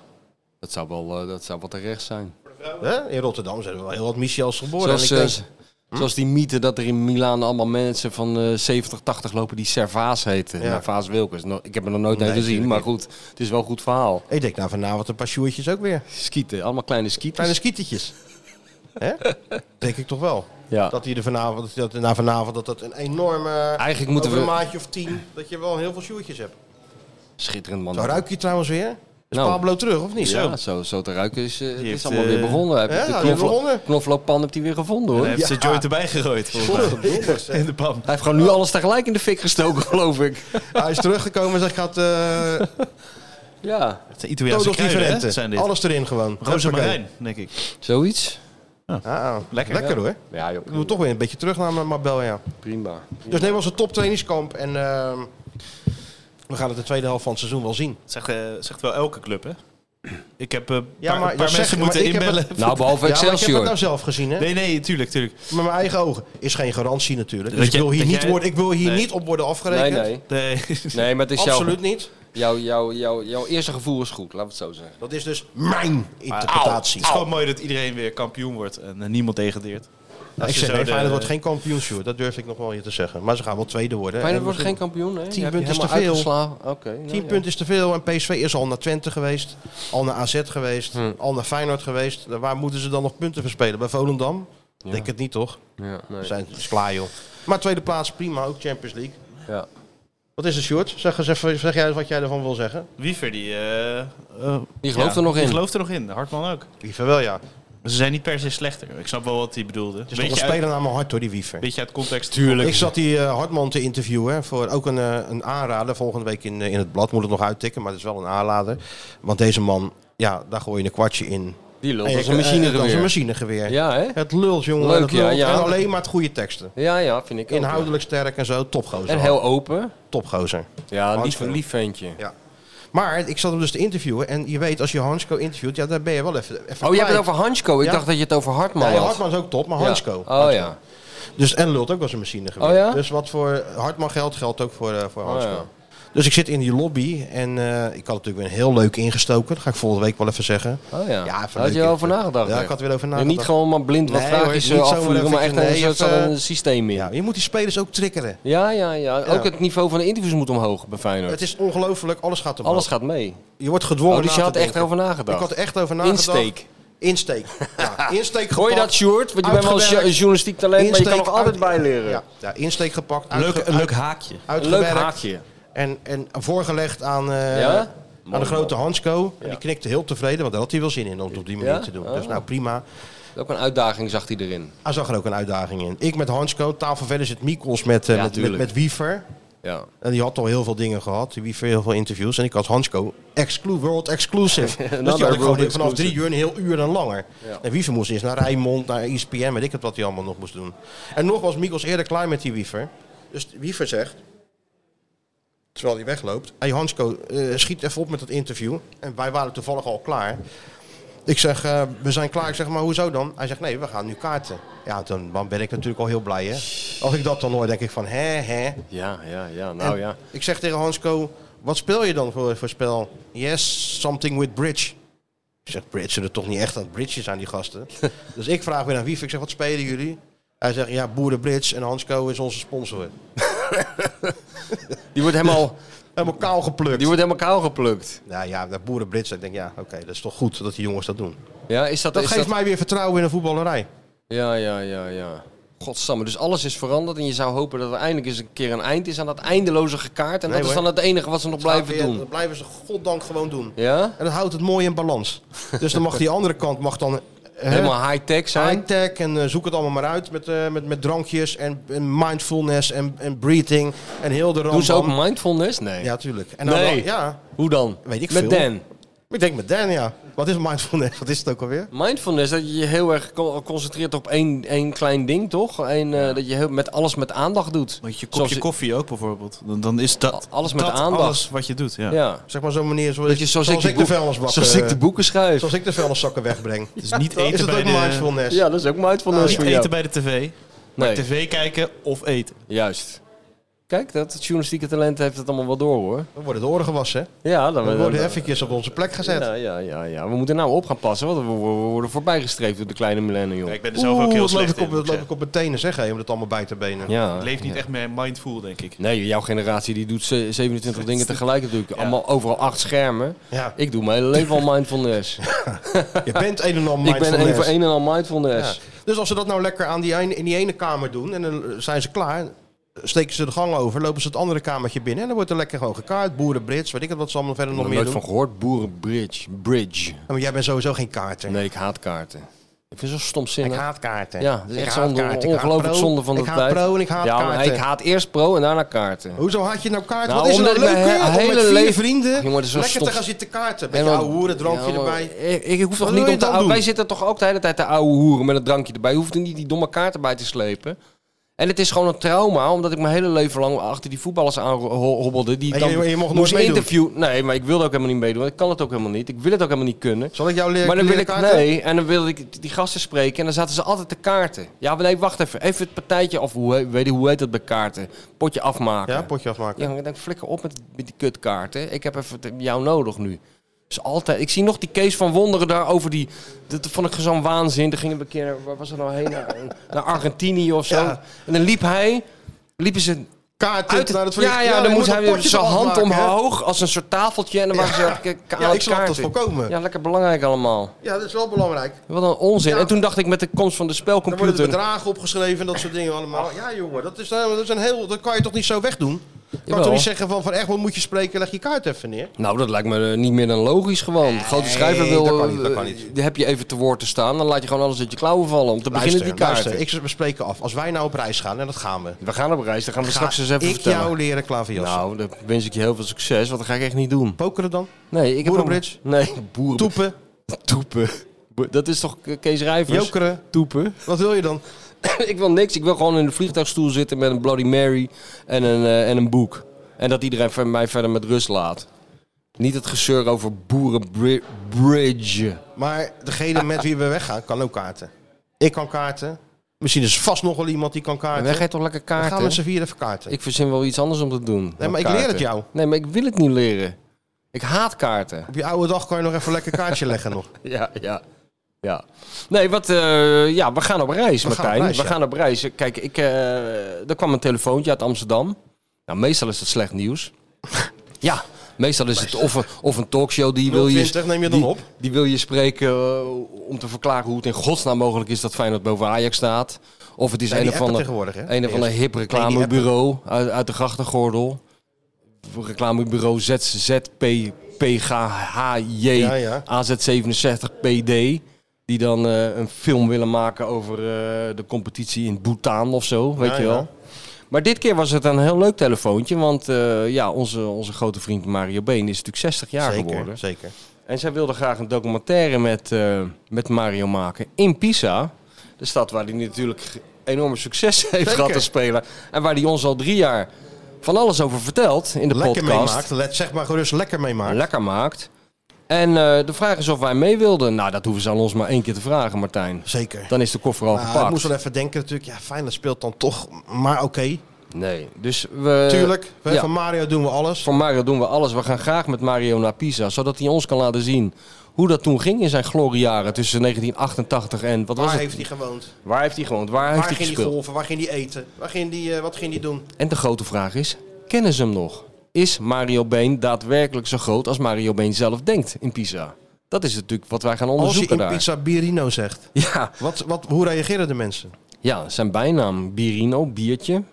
[SPEAKER 5] Dat zou wel, eh, dat zou wel terecht zijn.
[SPEAKER 4] Hè? In Rotterdam zijn er wel heel wat Michels geboren.
[SPEAKER 5] Zoals,
[SPEAKER 4] en ik denk,
[SPEAKER 5] eh, zoals die mythe dat er in Milaan allemaal mensen van eh, 70, 80 lopen die Servaas heten.
[SPEAKER 4] Ja.
[SPEAKER 5] Ja. Vaas Wilkens. Nou, ik heb er nog nooit
[SPEAKER 4] Nee,
[SPEAKER 5] een gezien, maar
[SPEAKER 4] natuurlijk
[SPEAKER 5] goed. Het is wel een goed verhaal.
[SPEAKER 4] ik denk nou vanavond een paar sjoertjes ook weer.
[SPEAKER 5] Skieten, allemaal kleine skieten.
[SPEAKER 4] Kleine skietetjes. Hè? Denk ik toch wel.
[SPEAKER 5] Ja.
[SPEAKER 4] Dat hij er vanavond, dat er na vanavond, dat dat een enorme...
[SPEAKER 5] Eigenlijk moeten
[SPEAKER 4] over
[SPEAKER 5] we-
[SPEAKER 4] een maatje of tien, dat je wel heel veel sjoertjes hebt.
[SPEAKER 5] Schitterend man.
[SPEAKER 4] Zo ruik je trouwens weer. Is
[SPEAKER 5] Nou.
[SPEAKER 4] Pablo terug, of niet?
[SPEAKER 5] Ja, zo, zo te ruiken is, eh, het is
[SPEAKER 6] heeft,
[SPEAKER 5] allemaal
[SPEAKER 6] eh,
[SPEAKER 5] weer begonnen. Hij heeft
[SPEAKER 4] ja,
[SPEAKER 5] de
[SPEAKER 4] hij is
[SPEAKER 5] knoflo-
[SPEAKER 4] begonnen.
[SPEAKER 5] knoflookpan heeft hij weer gevonden hoor.
[SPEAKER 6] Daar heeft ze joint erbij gegooid. volgens mij. In de pan.
[SPEAKER 5] Hij heeft gewoon nu alles tegelijk in de fik gestoken, geloof ik.
[SPEAKER 4] Hij is teruggekomen en zegt, gaat eh
[SPEAKER 5] Ja,
[SPEAKER 6] Het zijn Italiaanse
[SPEAKER 4] Todos
[SPEAKER 6] kruiden, hè,
[SPEAKER 4] Diferente.
[SPEAKER 6] zijn dit.
[SPEAKER 4] Alles erin gewoon.
[SPEAKER 6] Rozemarijn, denk ik.
[SPEAKER 5] zoiets.
[SPEAKER 4] Hoppakee. Ah, ah.
[SPEAKER 6] Lekker.
[SPEAKER 4] Lekker, hoor.
[SPEAKER 5] Ja joh,
[SPEAKER 4] We moeten toch weer een beetje terug naar Marbella. Ja.
[SPEAKER 5] prima.
[SPEAKER 4] Dus nee, was een toptrainingskamp en ehm, we gaan het de tweede helft van het seizoen wel zien.
[SPEAKER 6] Dat Zegt, eh, zegt wel elke club, hè? Ik heb eh, een
[SPEAKER 4] Ja,
[SPEAKER 6] paar,
[SPEAKER 4] maar
[SPEAKER 6] een
[SPEAKER 4] dat
[SPEAKER 6] paar
[SPEAKER 4] zeg
[SPEAKER 6] mensen
[SPEAKER 4] je, maar
[SPEAKER 6] moeten
[SPEAKER 4] ik heb
[SPEAKER 6] inbellen.
[SPEAKER 4] het-
[SPEAKER 5] Nou, behalve
[SPEAKER 4] ja, maar ik heb
[SPEAKER 5] Excelsior.
[SPEAKER 4] het nou zelf gezien, hè?
[SPEAKER 6] Nee, nee, tuurlijk, tuurlijk.
[SPEAKER 4] Met mijn eigen ogen. Is geen garantie natuurlijk. Dus
[SPEAKER 6] Dat
[SPEAKER 4] ik
[SPEAKER 6] je-
[SPEAKER 4] wil hier,
[SPEAKER 6] dat
[SPEAKER 4] niet,
[SPEAKER 6] jij-
[SPEAKER 4] worden, ik wil hier
[SPEAKER 6] Nee.
[SPEAKER 4] niet op worden
[SPEAKER 5] nee,
[SPEAKER 4] afgerekend.
[SPEAKER 5] nee.
[SPEAKER 6] Nee.
[SPEAKER 5] Nee, maar het is jouw,
[SPEAKER 4] Absoluut niet.
[SPEAKER 5] jouw, jouw, jouw, jouw eerste gevoel is goed, laten we het zo zeggen.
[SPEAKER 4] Dat is dus mijn interpretatie.
[SPEAKER 6] Het is gewoon mooi dat iedereen weer kampioen wordt en eh, niemand degradeert.
[SPEAKER 4] Nou,
[SPEAKER 6] Als je
[SPEAKER 4] ik
[SPEAKER 6] zo
[SPEAKER 4] zeg, nee,
[SPEAKER 6] de-
[SPEAKER 4] Feyenoord wordt geen kampioen, Sjoerd. Dat durf ik nog wel hier te zeggen. Maar ze gaan wel tweede worden.
[SPEAKER 5] Feyenoord
[SPEAKER 4] En
[SPEAKER 5] wordt geen
[SPEAKER 4] misschien-
[SPEAKER 5] kampioen, hè?
[SPEAKER 4] Tien
[SPEAKER 5] Je hebt je
[SPEAKER 4] punten is te
[SPEAKER 5] helemaal
[SPEAKER 4] veel.
[SPEAKER 5] uitgeslagen. Oké. nou
[SPEAKER 4] 10
[SPEAKER 5] ja.
[SPEAKER 4] punten is te veel en PSV is al naar Twente geweest, al naar AZ geweest,
[SPEAKER 5] Hmm.
[SPEAKER 4] al naar Feyenoord geweest. Nou, Waar moeten ze dan nog punten verspelen? Bij Volendam? Denk het niet toch?
[SPEAKER 5] Ja, nee.
[SPEAKER 4] Ze Zijn het is klaar joh. Maar tweede plaats prima, ook Champions League.
[SPEAKER 5] Ja.
[SPEAKER 4] Wat is het Sjoerd? Zeg eens even zeg jij eens wat jij ervan wil zeggen.
[SPEAKER 6] Wiever, die... eh, eh,
[SPEAKER 5] Die gelooft er nog in.
[SPEAKER 6] Die gelooft er nog in. Hartman ook.
[SPEAKER 4] Liever wel ja.
[SPEAKER 6] Ze zijn niet per se slechter. Ik snap wel wat hij bedoelde.
[SPEAKER 4] Het
[SPEAKER 6] Weet
[SPEAKER 4] is toch
[SPEAKER 6] je
[SPEAKER 4] Dus een
[SPEAKER 6] uit-
[SPEAKER 4] speler naar mijn hart hoor, die wiever.
[SPEAKER 6] Beetje uit context.
[SPEAKER 4] Ik zat die eh, Hartman te interviewen hè, voor ook een, eh, een aanrader. Volgende week in, eh, in het blad moet het nog uittikken, maar het is wel een aanrader. Want deze man, ja, daar gooi je een kwartje in.
[SPEAKER 5] Die lult
[SPEAKER 4] En
[SPEAKER 5] als
[SPEAKER 4] je-
[SPEAKER 5] een machine
[SPEAKER 4] eh, Als een
[SPEAKER 5] geweer.
[SPEAKER 4] machinegeweer.
[SPEAKER 5] Ja, hè?
[SPEAKER 4] Het lult, jongen.
[SPEAKER 5] Leuk,
[SPEAKER 4] het
[SPEAKER 5] ja,
[SPEAKER 4] lult.
[SPEAKER 5] ja.
[SPEAKER 4] En alleen maar het goede teksten.
[SPEAKER 5] Ja, ja, vind ik ook.
[SPEAKER 4] Inhoudelijk sterk en zo, topgozer.
[SPEAKER 5] En heel open.
[SPEAKER 4] Topgozer.
[SPEAKER 5] Ja, lief,
[SPEAKER 4] Hartstikke.
[SPEAKER 5] lief ventje.
[SPEAKER 4] Maar ik zat hem dus te interviewen en je weet, als je Hansko interviewt, ja, daar ben je wel even, even
[SPEAKER 5] Oh, jij hebt
[SPEAKER 4] kwijt.
[SPEAKER 5] het over Hansko. Ik
[SPEAKER 4] Ja.
[SPEAKER 5] dacht dat je het over Hartman
[SPEAKER 4] Ja,
[SPEAKER 5] had.
[SPEAKER 4] Hartman is ook top, maar
[SPEAKER 5] Ja.
[SPEAKER 4] Hansko.
[SPEAKER 5] Oh ja.
[SPEAKER 4] Dus en lult ook was een machine geweest.
[SPEAKER 5] Oh ja? Oh,
[SPEAKER 4] Dus wat voor Hartman geldt, geldt ook voor, eh, voor Hansko.
[SPEAKER 5] ja.
[SPEAKER 4] Dus ik zit in die lobby en eh, ik had natuurlijk weer heel leuk ingestoken. Dat ga ik volgende week wel even zeggen.
[SPEAKER 5] Oh ja.
[SPEAKER 4] Ja, even
[SPEAKER 5] Daar had
[SPEAKER 4] leuk
[SPEAKER 5] je wel
[SPEAKER 4] in-
[SPEAKER 5] over nagedacht.
[SPEAKER 4] ja,
[SPEAKER 5] hè?
[SPEAKER 4] ik had er weer over
[SPEAKER 5] En
[SPEAKER 4] nagedacht.
[SPEAKER 5] niet gewoon maar blind wat
[SPEAKER 4] Nee,
[SPEAKER 5] vraagjes
[SPEAKER 4] hoor,
[SPEAKER 5] eh,
[SPEAKER 4] niet zomaar
[SPEAKER 5] afvuren, maar echt
[SPEAKER 4] eventjes,
[SPEAKER 5] een,
[SPEAKER 4] nee,
[SPEAKER 5] soort van
[SPEAKER 4] even-
[SPEAKER 5] een systeem in.
[SPEAKER 4] Ja,
[SPEAKER 5] Ja.
[SPEAKER 4] je moet die spelers ook triggeren.
[SPEAKER 5] Ja, ja, Ook
[SPEAKER 4] Ja.
[SPEAKER 5] het niveau van de interviews moet omhoog bij Feyenoord.
[SPEAKER 4] Het is ongelooflijk, alles gaat omhoog.
[SPEAKER 5] Alles gaat mee.
[SPEAKER 4] Je wordt gedwongen
[SPEAKER 5] Oh, dus je
[SPEAKER 4] na
[SPEAKER 5] had
[SPEAKER 4] te
[SPEAKER 5] echt
[SPEAKER 4] denken.
[SPEAKER 5] over nagedacht.
[SPEAKER 4] Ik had er echt over nagedacht.
[SPEAKER 5] Insteek.
[SPEAKER 4] Insteek. Ja, insteek
[SPEAKER 5] Hoor je dat,
[SPEAKER 4] gepakt,
[SPEAKER 5] Sjoerd? Want je bent wel een
[SPEAKER 4] uitgewerkt.
[SPEAKER 5] jo- journalistiek talent, maar je kan nog
[SPEAKER 4] uit-
[SPEAKER 5] altijd bijleren.
[SPEAKER 4] Ja, ja, insteek gepakt.
[SPEAKER 2] Leuk,
[SPEAKER 4] uitge-
[SPEAKER 2] een leuk haakje.
[SPEAKER 5] Een leuk
[SPEAKER 4] uitgewerkt
[SPEAKER 5] haakje.
[SPEAKER 4] En, en voorgelegd aan, eh,
[SPEAKER 5] Ja?
[SPEAKER 4] aan
[SPEAKER 5] Mooi,
[SPEAKER 4] de grote
[SPEAKER 5] man.
[SPEAKER 4] Hansco.
[SPEAKER 5] Ja.
[SPEAKER 4] En die knikte heel tevreden, want daar had hij wel zin in om het op die manier
[SPEAKER 5] Ja?
[SPEAKER 4] te doen.
[SPEAKER 5] Oh.
[SPEAKER 4] Dus nou prima.
[SPEAKER 5] Ook een uitdaging zag hij erin.
[SPEAKER 4] Hij zag er ook een uitdaging in. Ik met Hansco, tafel verder zit Mikos met, eh,
[SPEAKER 5] Ja,
[SPEAKER 4] met, met,
[SPEAKER 5] tuurlijk.
[SPEAKER 4] met Wiever.
[SPEAKER 5] Ja.
[SPEAKER 4] En die had al heel veel dingen gehad. Die Wiever heel veel interviews. En ik had Hansco, exclu world exclusive. dus die had
[SPEAKER 5] world
[SPEAKER 4] ik gewoon vanaf
[SPEAKER 5] exclusive.
[SPEAKER 4] drie uur een heel uur en langer.
[SPEAKER 5] Ja.
[SPEAKER 4] En Wiever moest eerst naar Rijnmond, naar E ESPN, weet ik het wat hij allemaal nog moest doen. En nog was Mikos eerder klaar met die Wiever. Dus Wiever zegt, terwijl hij wegloopt... Hey Hansco, eh, schiet even op met dat interview. En wij waren toevallig al klaar. Ik zeg, eh, we zijn klaar. Ik zeg, maar hoezo dan? Hij zegt, nee, we gaan nu kaarten. Ja, dan, dan ben ik natuurlijk al heel blij, hè. Als ik dat dan hoor, denk ik van, hè, hè.
[SPEAKER 5] Ja, ja, ja. Nou
[SPEAKER 4] En
[SPEAKER 5] ja.
[SPEAKER 4] Ik zeg tegen Hansco, wat speel je dan voor, voor spel? Yes, something with bridge. Ik zeg, bridge zullen toch niet echt aan het bridgen zijn, die gasten. dus ik vraag weer aan Wief, ik zeg, wat spelen jullie? Hij zegt, ja, Boeren Bridge en Hansco is onze sponsor.
[SPEAKER 5] Die wordt helemaal,
[SPEAKER 4] Helemaal kaal geplukt.
[SPEAKER 5] die wordt helemaal kaal geplukt.
[SPEAKER 4] Nou ja, dat Boeren Bridge, ik denk, ja, oké, dat is toch goed dat die jongens dat doen.
[SPEAKER 5] Ja, is dat...
[SPEAKER 4] Dat
[SPEAKER 5] is
[SPEAKER 4] geeft mij weer vertrouwen in de voetballerij.
[SPEAKER 5] Ja, ja, ja, ja. Godsamme, dus alles is veranderd en je zou hopen dat er eindelijk eens een keer een eind is aan dat eindeloze gekaart. En
[SPEAKER 4] Nee,
[SPEAKER 5] dat is
[SPEAKER 4] hoor.
[SPEAKER 5] dan het enige wat ze nog blijven
[SPEAKER 4] Weer-
[SPEAKER 5] doen.
[SPEAKER 4] Dat blijven ze goddank gewoon doen.
[SPEAKER 5] Ja?
[SPEAKER 4] En dat houdt het mooi in balans. dus dan mag die andere kant mag dan... hè,
[SPEAKER 5] Helemaal high-tech zijn.
[SPEAKER 4] High-tech en eh, zoek het allemaal maar uit met, eh, met, met drankjes en, en mindfulness en, en breathing en heel de rand.
[SPEAKER 5] Doen ze ook mindfulness? Nee.
[SPEAKER 4] Ja, tuurlijk. En
[SPEAKER 5] Nee.
[SPEAKER 4] ja,
[SPEAKER 5] Hoe dan?
[SPEAKER 4] Weet ik
[SPEAKER 5] Met
[SPEAKER 4] veel.
[SPEAKER 5] Dan.
[SPEAKER 4] ik denk met Dan, ja. Wat is mindfulness? Wat is het ook alweer?
[SPEAKER 5] Mindfulness, dat je je heel erg co- concentreert op één, één klein ding, toch? Eén, eh, dat je heel, met alles met aandacht doet.
[SPEAKER 6] Want je kopje
[SPEAKER 5] Zoals-
[SPEAKER 6] koffie ook bijvoorbeeld. Dan, dan is dat,
[SPEAKER 5] A- alles met
[SPEAKER 6] dat
[SPEAKER 5] aandacht.
[SPEAKER 6] alles wat je doet. Ja.
[SPEAKER 5] Ja.
[SPEAKER 4] Zeg maar zo'n manier zoals,
[SPEAKER 5] Dat je zoals, ik,
[SPEAKER 4] de
[SPEAKER 5] de boek,
[SPEAKER 4] vuilnisbakken...
[SPEAKER 5] zoals ik de boeken schrijf.
[SPEAKER 4] zoals ik de vuilniszakken wegbreng.
[SPEAKER 6] Het is niet
[SPEAKER 4] is
[SPEAKER 6] eten,
[SPEAKER 4] het
[SPEAKER 6] bij
[SPEAKER 4] ook
[SPEAKER 6] de,
[SPEAKER 4] mindfulness?
[SPEAKER 5] Ja, dat is ook mindfulness
[SPEAKER 6] niet
[SPEAKER 5] voor
[SPEAKER 6] eten
[SPEAKER 5] jou.
[SPEAKER 6] bij de tv.
[SPEAKER 5] Nee,
[SPEAKER 6] TV kijken of eten.
[SPEAKER 5] juist. Kijk, dat journalistieke talent heeft het allemaal wel door, hoor.
[SPEAKER 4] We worden de oren gewassen.
[SPEAKER 5] Ja, dan
[SPEAKER 4] We worden eventjes op onze plek gezet.
[SPEAKER 5] Ja, ja, ja, ja. We moeten nou op gaan passen, want we, we- we worden voorbijgestreefd door de kleine millennium.
[SPEAKER 6] Ja, ik ben er zelf ook heel
[SPEAKER 4] dat loop
[SPEAKER 6] slecht
[SPEAKER 4] ik op,
[SPEAKER 6] in. moet
[SPEAKER 4] dat
[SPEAKER 6] ik
[SPEAKER 4] loop
[SPEAKER 6] zeggen.
[SPEAKER 4] ik op mijn tenen, zeg hé, om dat allemaal bij te benen.
[SPEAKER 5] Ja.
[SPEAKER 6] Ik leef niet echt meer mindful, denk ik.
[SPEAKER 5] Nee, jouw generatie die doet ze- 27 dingen tegelijk natuurlijk. Allemaal overal acht schermen.
[SPEAKER 4] Ja.
[SPEAKER 5] Ik doe mijn hele leven al mindfulness.
[SPEAKER 4] Je bent een en al
[SPEAKER 5] Ik ben een
[SPEAKER 4] mindfulness.
[SPEAKER 5] voor een en al
[SPEAKER 4] Ja.
[SPEAKER 5] mindfulness.
[SPEAKER 4] Dus als ze dat nou lekker aan die ene, in die ene kamer doen en dan eh, zijn ze klaar, steken ze de gang over, lopen ze het andere kamertje binnen en dan wordt er lekker gewoon gekaart. Boeren, Brits, weet ik het wat ze allemaal verder
[SPEAKER 5] Ik
[SPEAKER 4] nog
[SPEAKER 5] heb er
[SPEAKER 4] meer
[SPEAKER 5] nooit
[SPEAKER 4] doen.
[SPEAKER 5] van gehoord. Boerenbridge. Bridge.
[SPEAKER 4] Ja, maar jij bent sowieso geen kaarter.
[SPEAKER 5] Nee, ik haat kaarten. Ik vind het zo
[SPEAKER 4] Ik
[SPEAKER 5] stomzinnig.
[SPEAKER 4] haat kaarten.
[SPEAKER 5] Ja, dat is
[SPEAKER 4] Ik
[SPEAKER 5] echt
[SPEAKER 4] haat
[SPEAKER 5] zonde,
[SPEAKER 4] kaarten. Ik haat
[SPEAKER 5] ongelooflijk
[SPEAKER 4] pro.
[SPEAKER 5] zonde van de
[SPEAKER 4] Ik
[SPEAKER 5] tijd.
[SPEAKER 4] haat pro en ik haat
[SPEAKER 5] ja, maar
[SPEAKER 4] kaarten.
[SPEAKER 5] ik haat eerst pro en daarna kaarten.
[SPEAKER 4] Hoezo haat je nou kaarten?
[SPEAKER 5] Nou,
[SPEAKER 4] wat is er nou
[SPEAKER 5] omdat ik
[SPEAKER 4] leuk
[SPEAKER 5] mijn
[SPEAKER 4] hè, om
[SPEAKER 5] hele
[SPEAKER 4] met vier
[SPEAKER 5] leven-
[SPEAKER 4] vrienden
[SPEAKER 5] Jongen, dat is wel
[SPEAKER 4] lekker te
[SPEAKER 5] stom.
[SPEAKER 4] gaan zitten kaarten. Met
[SPEAKER 5] En
[SPEAKER 4] je
[SPEAKER 5] dan-
[SPEAKER 4] oude hoeren, drankje
[SPEAKER 5] Ja, maar
[SPEAKER 4] erbij.
[SPEAKER 5] Ik, ik hoef toch
[SPEAKER 4] wil
[SPEAKER 5] niet
[SPEAKER 4] je
[SPEAKER 5] om te
[SPEAKER 4] dan
[SPEAKER 5] ouwe-
[SPEAKER 4] doen?
[SPEAKER 5] Wij zitten toch ook de hele tijd te ouwe hoeren met een drankje erbij. Je hoeft er niet die domme kaart erbij te slepen. En het is gewoon een trauma, omdat ik mijn hele leven lang achter die voetballers aan ho- hobbelde. Die
[SPEAKER 4] En
[SPEAKER 5] dan
[SPEAKER 4] je- je mocht nooit
[SPEAKER 5] moest
[SPEAKER 4] meedoen?
[SPEAKER 5] interviewen. Nee, maar ik wilde ook helemaal niet meedoen. want Ik kan het ook helemaal niet. Ik wil het ook helemaal niet kunnen.
[SPEAKER 4] Zal ik jou leren
[SPEAKER 5] Maar dan wil
[SPEAKER 4] leren
[SPEAKER 5] ik,
[SPEAKER 4] Oh, kaarten?
[SPEAKER 5] nee, en dan wilde ik die gasten spreken en dan zaten ze altijd te kaarten. Ja, maar nee, wacht even. Even het partijtje, of hoe, he- weet je, hoe heet dat bij kaarten? Potje afmaken.
[SPEAKER 4] Ja, potje afmaken.
[SPEAKER 5] Ja, maar ik denk, flikker op met, met die kutkaarten. Ik heb even te- jou nodig nu. Dus altijd, ik zie nog die Kees van Wonderen daar over die... Dat vond ik zo'n waanzin. Daar gingen we een keer, naar- waar was het nou heen? Naar, naar Argentinië of zo.
[SPEAKER 4] Ja.
[SPEAKER 5] En dan liep hij, liepen ze
[SPEAKER 4] Kaarten.
[SPEAKER 5] uit het...
[SPEAKER 4] nou, dat vond ik-
[SPEAKER 5] ja, ja,
[SPEAKER 4] je
[SPEAKER 5] dan moest
[SPEAKER 4] een
[SPEAKER 5] hij
[SPEAKER 4] potje
[SPEAKER 5] weer zijn hand
[SPEAKER 4] afmaken, hè.
[SPEAKER 5] omhoog als een soort tafeltje. En dan waren ze aan het k- aan
[SPEAKER 4] Ja,
[SPEAKER 5] het
[SPEAKER 4] ik snap dat
[SPEAKER 5] kaarten.
[SPEAKER 4] volkomen.
[SPEAKER 5] Ja, lekker belangrijk allemaal.
[SPEAKER 4] Ja, dat is wel belangrijk.
[SPEAKER 5] Wat een onzin.
[SPEAKER 4] Ja.
[SPEAKER 5] En toen dacht ik met de komst van de
[SPEAKER 4] Dan worden de
[SPEAKER 5] spelcomputer... Oh.
[SPEAKER 4] bedragen opgeschreven en dat soort dingen allemaal. Ja, jongen, dat is, eh, dat is een heel. Dat kan je toch niet zo wegdoen? Ik kan toch niet zeggen van Van Egmond moet je spreken, leg je kaart even neer.
[SPEAKER 5] Nou, dat lijkt me eh, niet meer dan logisch gewoon. De grote schrijver wil...
[SPEAKER 4] dat kan niet, dat
[SPEAKER 5] eh,
[SPEAKER 4] kan niet.
[SPEAKER 5] die heb je even te woord te staan. Dan laat je gewoon alles uit je klauwen vallen. Om te beginnen die kaart.
[SPEAKER 4] luister, ik, we spreken af. Als wij nou op reis gaan, en dat gaan we.
[SPEAKER 5] We gaan op reis. Dan gaan we
[SPEAKER 4] ga
[SPEAKER 5] straks eens even
[SPEAKER 4] ik
[SPEAKER 5] vertellen.
[SPEAKER 4] jou leren klaverjassen.
[SPEAKER 5] Nou, dan wens ik je heel veel succes. Want dat ga ik echt niet doen.
[SPEAKER 4] Pokeren dan?
[SPEAKER 5] Nee, ik heb...
[SPEAKER 4] Boerenbridge?
[SPEAKER 5] al- Nee, boeren...
[SPEAKER 4] Toepen?
[SPEAKER 5] Toepen. Bo- Dat is toch Kees Rijvers?
[SPEAKER 4] Jokeren?
[SPEAKER 5] Toepen.
[SPEAKER 4] Wat wil je dan?
[SPEAKER 5] ik wil niks. Ik wil gewoon in de vliegtuigstoel zitten met een Bloody Mary en een, eh, en een boek. En dat iedereen van mij verder met rust laat. Niet het gezeur over boerenbridge.
[SPEAKER 4] Maar degene met wie we weggaan, kan ook kaarten. Ik kan kaarten. Misschien is er vast nog wel iemand die kan
[SPEAKER 5] En
[SPEAKER 4] kaarten.
[SPEAKER 5] wij gaan toch lekker
[SPEAKER 4] Dan
[SPEAKER 5] kaarten?
[SPEAKER 4] gaan we met z'n vier even kaarten.
[SPEAKER 5] Ik verzin wel iets anders om te doen.
[SPEAKER 4] nee,
[SPEAKER 5] dan
[SPEAKER 4] maar ik leer
[SPEAKER 5] kaarten.
[SPEAKER 4] het jou.
[SPEAKER 5] Nee, maar ik wil het niet leren. Ik haat kaarten.
[SPEAKER 4] Op je oude dag kan je nog even een lekker kaartje leggen nog.
[SPEAKER 5] Ja, ja. Ja. Nee, wat, eh, ja, we gaan op reis,
[SPEAKER 4] gaan op
[SPEAKER 5] Martijn.
[SPEAKER 4] reis,
[SPEAKER 5] we
[SPEAKER 4] ja.
[SPEAKER 5] gaan op reis. Kijk, ik, eh, er kwam een telefoontje uit Amsterdam. Nou, meestal is dat slecht nieuws. ja, meestal is het of een, of een talkshow die wil je...
[SPEAKER 4] 020 neem je dan
[SPEAKER 5] die,
[SPEAKER 4] op?
[SPEAKER 5] Die wil je spreken eh, om te verklaren hoe het in godsnaam mogelijk is dat Feyenoord boven Ajax staat. Of het is
[SPEAKER 4] Zijn
[SPEAKER 5] een
[SPEAKER 4] die
[SPEAKER 5] of
[SPEAKER 4] appen
[SPEAKER 5] ander...
[SPEAKER 4] tegenwoordig, hè?
[SPEAKER 5] Een van een hip reclamebureau uit, uit de grachtengordel. Reclamebureau ZZPPGHJ
[SPEAKER 4] Ja, ja.
[SPEAKER 5] AZ67PD. Die dan eh, een film willen maken over eh, de competitie in Bhutan of zo, weet
[SPEAKER 4] Ja,
[SPEAKER 5] je wel.
[SPEAKER 4] ja.
[SPEAKER 5] Maar dit keer was het een heel leuk telefoontje. Want eh, ja, onze, onze grote vriend Mario Been is natuurlijk 60 jaar geworden.
[SPEAKER 4] Zeker, zeker.
[SPEAKER 5] En zij wilde graag een documentaire met, eh, met Mario maken in Pisa. De stad waar hij natuurlijk g- enorme succes heeft gehad te spelen. En waar hij ons al drie jaar van alles over vertelt in de
[SPEAKER 4] Lekker
[SPEAKER 5] podcast.
[SPEAKER 4] meemaakt. Let- Zeg maar gerust lekker meemaakt.
[SPEAKER 5] Lekker maakt. En eh, de vraag is of wij mee wilden. Nou, dat hoeven ze aan ons maar één keer te vragen, Martijn.
[SPEAKER 4] Zeker.
[SPEAKER 5] Dan is de koffer al
[SPEAKER 4] Nou, ik
[SPEAKER 5] gepakt.
[SPEAKER 4] moest wel even denken natuurlijk. Ja, Feyenoord speelt dan toch. Maar oké,
[SPEAKER 5] Nee, dus we...
[SPEAKER 4] tuurlijk. We-
[SPEAKER 5] Eh, ja.
[SPEAKER 4] Van Mario doen we alles.
[SPEAKER 5] Voor Mario doen we alles. We gaan graag met Mario naar Pisa. Zodat hij ons kan laten zien hoe dat toen ging in zijn gloriejaren. Tussen 1988 en... Wat was
[SPEAKER 4] Waar
[SPEAKER 5] het?
[SPEAKER 4] heeft hij gewoond?
[SPEAKER 5] Waar heeft hij gewoond? Waar,
[SPEAKER 4] Waar
[SPEAKER 5] heeft hij
[SPEAKER 4] ging hij
[SPEAKER 5] gespeeld?
[SPEAKER 4] golven? Waar ging hij eten? Waar ging die, eh, wat ging hij doen?
[SPEAKER 5] en de grote vraag is, kennen ze hem nog? Is Mario Been daadwerkelijk zo groot als Mario Been zelf denkt in Pisa? Dat is natuurlijk wat wij gaan
[SPEAKER 4] Als je
[SPEAKER 5] onderzoeken
[SPEAKER 4] in
[SPEAKER 5] daar.
[SPEAKER 4] Pizza Birino zegt.
[SPEAKER 5] Ja,
[SPEAKER 4] Wat, wat, hoe reageren de mensen?
[SPEAKER 5] ja, zijn bijnaam Birino, biertje.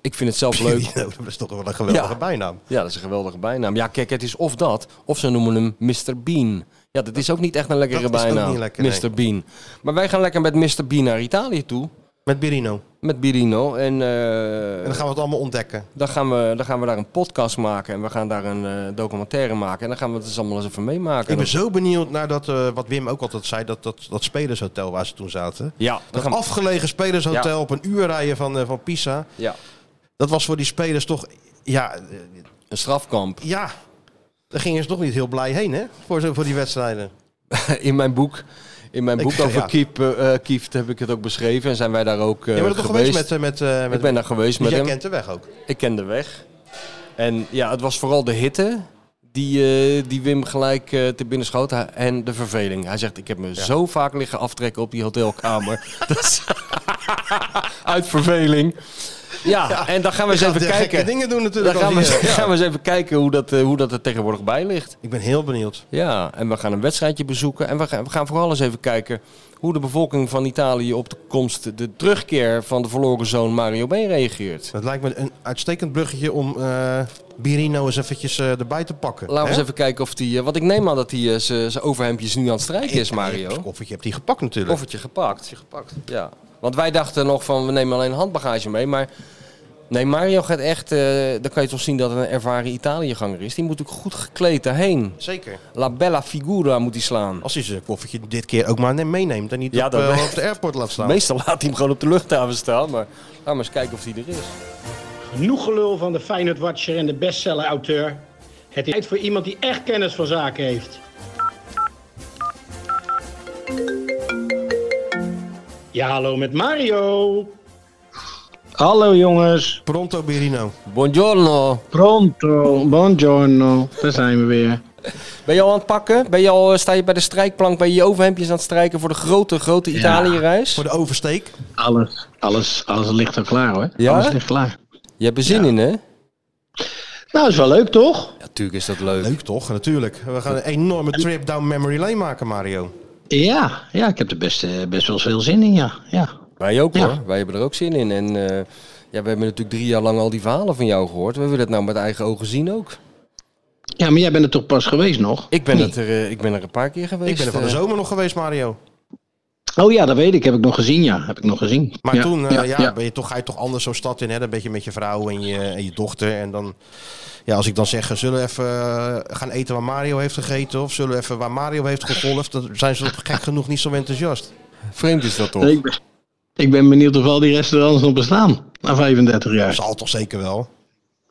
[SPEAKER 5] Ik vind het zelf leuk.
[SPEAKER 4] Birino, dat is toch wel een geweldige
[SPEAKER 5] Ja.
[SPEAKER 4] bijnaam.
[SPEAKER 5] Ja, dat is een geweldige bijnaam. Ja, kijk, het is of dat, of ze noemen hem Mr. Bean. Ja, dat is ook niet echt een lekkere
[SPEAKER 4] dat is ook
[SPEAKER 5] bijnaam,
[SPEAKER 4] niet lekker, nee.
[SPEAKER 5] Mr. Bean. Maar wij gaan lekker met Mr. Bean naar Italië toe,
[SPEAKER 4] Met Birino.
[SPEAKER 5] met Birino. En,
[SPEAKER 4] En
[SPEAKER 5] eh
[SPEAKER 4] dan gaan we het allemaal ontdekken.
[SPEAKER 5] Dan gaan, we, dan gaan we daar een podcast maken en we gaan daar een eh, documentaire maken. En dan gaan we het dus allemaal eens even meemaken.
[SPEAKER 4] Ik ben zo benieuwd naar dat, eh, wat Wim ook altijd zei, dat, dat, dat spelershotel waar ze toen zaten.
[SPEAKER 5] Ja, dan
[SPEAKER 4] Dat
[SPEAKER 5] gaan we,
[SPEAKER 4] afgelegen spelershotel op een uur rijden van, eh, van Pisa.
[SPEAKER 5] ja,
[SPEAKER 4] Dat was voor die spelers toch... Ja, eh,
[SPEAKER 5] een strafkamp.
[SPEAKER 4] ja, daar gingen ze toch niet heel blij heen, hè? Voor, zo- voor die wedstrijden.
[SPEAKER 5] In mijn boek, in mijn
[SPEAKER 4] Ik-
[SPEAKER 5] boek over
[SPEAKER 4] ja.
[SPEAKER 5] Kiep, eh, eh, Kieft heb ik het ook beschreven. En zijn wij daar ook eh,
[SPEAKER 4] je bent er toch
[SPEAKER 5] geweest.
[SPEAKER 4] geweest met... eh, met, eh, met
[SPEAKER 5] ik ben daar geweest
[SPEAKER 4] dus
[SPEAKER 5] met
[SPEAKER 4] jij
[SPEAKER 5] hem.
[SPEAKER 4] kent de weg ook.
[SPEAKER 5] Ik ken de weg. En ja, het was vooral de hitte die, eh, die Wim gelijk eh, te binnen schoot. Hij- En de verveling. Hij zegt, ik heb me zo vaak liggen aftrekken op die hotelkamer. Dat is- Uit verveling. Ja, en dan gaan we eens even
[SPEAKER 4] De gekke
[SPEAKER 5] kijken.
[SPEAKER 4] dingen doen
[SPEAKER 5] Dan
[SPEAKER 4] natuurlijk.
[SPEAKER 5] gaan we,
[SPEAKER 4] als die,
[SPEAKER 5] eens-
[SPEAKER 4] eh,
[SPEAKER 5] gaan
[SPEAKER 4] ja.
[SPEAKER 5] we eens even kijken hoe dat, eh, hoe dat er tegenwoordig bij ligt.
[SPEAKER 4] Ik ben heel benieuwd.
[SPEAKER 5] Ja, en we gaan een wedstrijdje bezoeken. En we gaan, we gaan vooral eens even kijken hoe de bevolking van Italië op de komst, de terugkeer van de verloren zoon Mario B. reageert.
[SPEAKER 4] Dat lijkt me een uitstekend bruggetje om eh, Birino eens eventjes eh, erbij te pakken.
[SPEAKER 5] Laten we eens
[SPEAKER 4] hè?
[SPEAKER 5] even kijken of die. eh, Want ik neem aan dat hij zijn overhemdjes nu aan het strijken is,
[SPEAKER 4] Het
[SPEAKER 5] Mario.
[SPEAKER 4] koffertje hebt hij gepakt natuurlijk.
[SPEAKER 5] Koffertje gepakt. gepakt. Ja. Want wij dachten nog van we nemen alleen handbagage mee. Maar nee, Mario gaat echt. eh, dan kan je toch zien dat het een ervaren Italiëganger is. Die moet ook goed gekleed daarheen.
[SPEAKER 4] Zeker.
[SPEAKER 5] La bella figura moet hij slaan.
[SPEAKER 4] Als hij zijn koffertje dit keer ook maar meeneemt en niet
[SPEAKER 5] Ja,
[SPEAKER 4] op,
[SPEAKER 5] dat
[SPEAKER 4] eh,
[SPEAKER 5] wel.
[SPEAKER 4] op de airport laat staan.
[SPEAKER 5] Meestal laat hij hem gewoon op de luchthaven staan. Maar laten we eens kijken of hij er is.
[SPEAKER 7] Genoeg gelul van de Feyenoord Watcher en de bestseller-auteur. Het is tijd voor iemand die echt kennis van zaken heeft. Ja, hallo met Mario. Hallo jongens.
[SPEAKER 4] Pronto Birino.
[SPEAKER 5] Buongiorno.
[SPEAKER 7] Pronto, buongiorno. Daar zijn we weer.
[SPEAKER 5] Ben je al aan het pakken? Ben je al, eh, sta je bij de strijkplank bij je overhemdjes aan het strijken voor de grote, grote Italië-reis?
[SPEAKER 4] Voor de oversteek.
[SPEAKER 7] Alles, alles, alles ligt er klaar hoor.
[SPEAKER 5] Ja?
[SPEAKER 7] Alles ligt klaar.
[SPEAKER 5] Je hebt er zin in, hè?
[SPEAKER 7] Nou, is wel leuk toch?
[SPEAKER 5] Natuurlijk is dat leuk.
[SPEAKER 4] Leuk toch, natuurlijk. We gaan een enorme trip down memory lane maken, Mario.
[SPEAKER 7] Ja, ja ik heb er best, eh, best wel veel zin in ja. ja.
[SPEAKER 5] Wij ook
[SPEAKER 7] Ja.
[SPEAKER 5] hoor. Wij hebben er ook zin in. En eh, Ja, we hebben natuurlijk drie jaar lang al die verhalen van jou gehoord. We willen het nou met eigen ogen zien ook.
[SPEAKER 7] Ja, maar jij bent er toch pas geweest nog?
[SPEAKER 5] Ik ben,
[SPEAKER 7] Nee.
[SPEAKER 5] het er, eh, ik ben er een paar keer geweest.
[SPEAKER 4] Ik ben er van de
[SPEAKER 5] eh.
[SPEAKER 4] zomer nog geweest, Mario.
[SPEAKER 7] Oh ja, dat weet ik. Heb ik nog gezien, ja. Heb ik nog gezien.
[SPEAKER 4] Maar
[SPEAKER 7] Ja,
[SPEAKER 4] toen eh, ja,
[SPEAKER 7] ja.
[SPEAKER 4] Ben je toch, ga je toch anders zo'n stad in. Hè? Dan ben je met je vrouw en je, en je dochter. En dan, ja, als ik dan zeg, zullen we even eh, gaan eten waar Mario heeft gegeten? Of zullen we even waar Mario heeft gegolfd? Dan zijn ze gek genoeg niet zo enthousiast.
[SPEAKER 5] Vreemd is dat toch?
[SPEAKER 7] Ik ben, ik ben benieuwd of al die restaurants nog bestaan na 35
[SPEAKER 4] Dat
[SPEAKER 7] jaar.
[SPEAKER 4] zal toch zeker wel.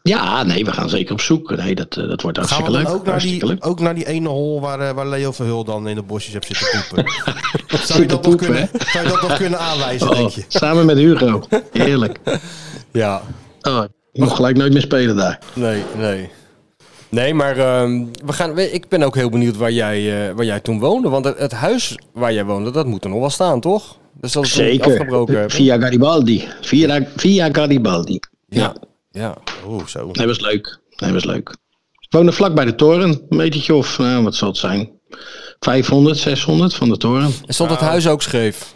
[SPEAKER 7] Ja, nee, we gaan zeker op zoek. Nee, dat, eh, dat wordt
[SPEAKER 4] Gaan we
[SPEAKER 7] hartstikke
[SPEAKER 4] dan
[SPEAKER 7] leuk.
[SPEAKER 4] ook naar,
[SPEAKER 7] hartstikke
[SPEAKER 4] die,
[SPEAKER 7] leuk.
[SPEAKER 4] ook naar die ene hol waar, eh, waar Leo Verhul dan in de bosjes heeft zitten poepen? zou, je
[SPEAKER 7] Zitten
[SPEAKER 4] dat nog
[SPEAKER 7] poepen,
[SPEAKER 4] kunnen, zou je dat nog kunnen aanwijzen,
[SPEAKER 7] Oh,
[SPEAKER 4] denk je?
[SPEAKER 7] samen met Hugo. Heerlijk.
[SPEAKER 5] Ja,
[SPEAKER 7] Oh, ik mag gelijk nooit meer spelen daar.
[SPEAKER 5] nee, nee. Nee, maar ehm, we gaan, we- ik ben ook heel benieuwd waar jij, eh, waar jij toen woonde. Want het, het huis waar jij woonde, dat moet er nog wel staan, toch? Dus dat is nog niet afgebroken.
[SPEAKER 7] Zeker.
[SPEAKER 5] hebben.
[SPEAKER 7] Via Garibaldi. Via, via Garibaldi.
[SPEAKER 5] Ja. ja.
[SPEAKER 4] Oeh, zo.
[SPEAKER 7] Nee, was leuk. Nee, was leuk. Ik woonde vlak bij de toren. Een metertje of, nou, wat zal het zijn? 500, 600 van de toren.
[SPEAKER 5] En stond het huis ook scheef?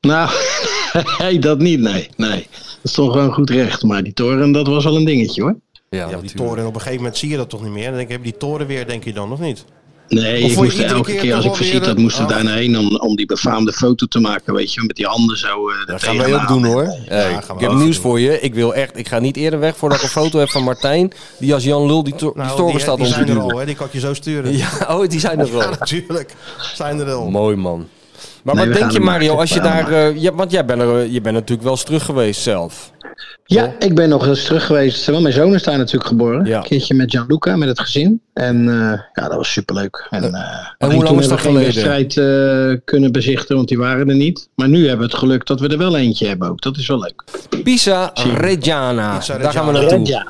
[SPEAKER 7] Nou, nee, dat niet, nee. nee. Dat stond gewoon goed recht. Maar die toren, dat was wel een dingetje hoor.
[SPEAKER 5] Ja,
[SPEAKER 4] Ja, die
[SPEAKER 5] natuurlijk.
[SPEAKER 4] toren. Op een gegeven moment zie je dat toch niet meer? Dan denk ik, heb je die toren weer, denk je dan, of niet?
[SPEAKER 7] Nee,
[SPEAKER 4] Of
[SPEAKER 7] ik
[SPEAKER 4] voor
[SPEAKER 7] moest er
[SPEAKER 4] iedere
[SPEAKER 7] elke
[SPEAKER 4] keer
[SPEAKER 7] keer als ik
[SPEAKER 4] toch wel
[SPEAKER 7] verziet
[SPEAKER 4] weer
[SPEAKER 7] dat
[SPEAKER 4] een-
[SPEAKER 7] moest ik
[SPEAKER 4] Oh.
[SPEAKER 7] daar naar heen om, om die befaamde foto te maken, weet je. Met die handen zo. eh er
[SPEAKER 5] Dat gaan wij
[SPEAKER 7] tegenaan.
[SPEAKER 5] ook doen hoor. Hey,
[SPEAKER 4] gaan we
[SPEAKER 5] ik heb
[SPEAKER 4] ook
[SPEAKER 5] nieuws
[SPEAKER 4] doen.
[SPEAKER 5] voor je. Ik wil echt, ik ga niet eerder weg voordat ik een foto heb van Martijn. Die als Jan Lul die, to die
[SPEAKER 4] Nou,
[SPEAKER 5] toren
[SPEAKER 4] die,
[SPEAKER 5] staat
[SPEAKER 4] die
[SPEAKER 5] om te
[SPEAKER 4] zijn er
[SPEAKER 5] duwen.
[SPEAKER 4] al, hè? Die kan ik je zo sturen.
[SPEAKER 5] Ja, oh, die zijn er wel.
[SPEAKER 4] Ja, natuurlijk. Zijn er al.
[SPEAKER 5] Mooi man. Maar
[SPEAKER 7] Nee, we
[SPEAKER 5] wat denk
[SPEAKER 7] gaan
[SPEAKER 5] je
[SPEAKER 7] er maar.
[SPEAKER 5] Mario, als je
[SPEAKER 7] We gaan
[SPEAKER 5] daar, eh, ja, want jij bent, er, eh, je bent natuurlijk wel eens terug geweest zelf.
[SPEAKER 7] Ja, ik ben nog eens terug geweest. Want mijn zoon is daar natuurlijk geboren.
[SPEAKER 5] Ja.
[SPEAKER 7] Een keertje met Gianluca, met het gezin. En eh, ja, dat was superleuk. En, eh, alleen
[SPEAKER 5] lang
[SPEAKER 7] toen
[SPEAKER 5] is
[SPEAKER 7] hebben we
[SPEAKER 5] dat
[SPEAKER 7] geen
[SPEAKER 5] geleden?
[SPEAKER 7] wedstrijd eh, kunnen bezichten, want die waren er niet. Maar nu hebben we het geluk dat we er wel eentje hebben ook. Dat is wel leuk.
[SPEAKER 5] Pisa Reggiana,
[SPEAKER 4] Pisa
[SPEAKER 5] daar gaan we
[SPEAKER 4] Reggiana.
[SPEAKER 5] naartoe.
[SPEAKER 7] Ja.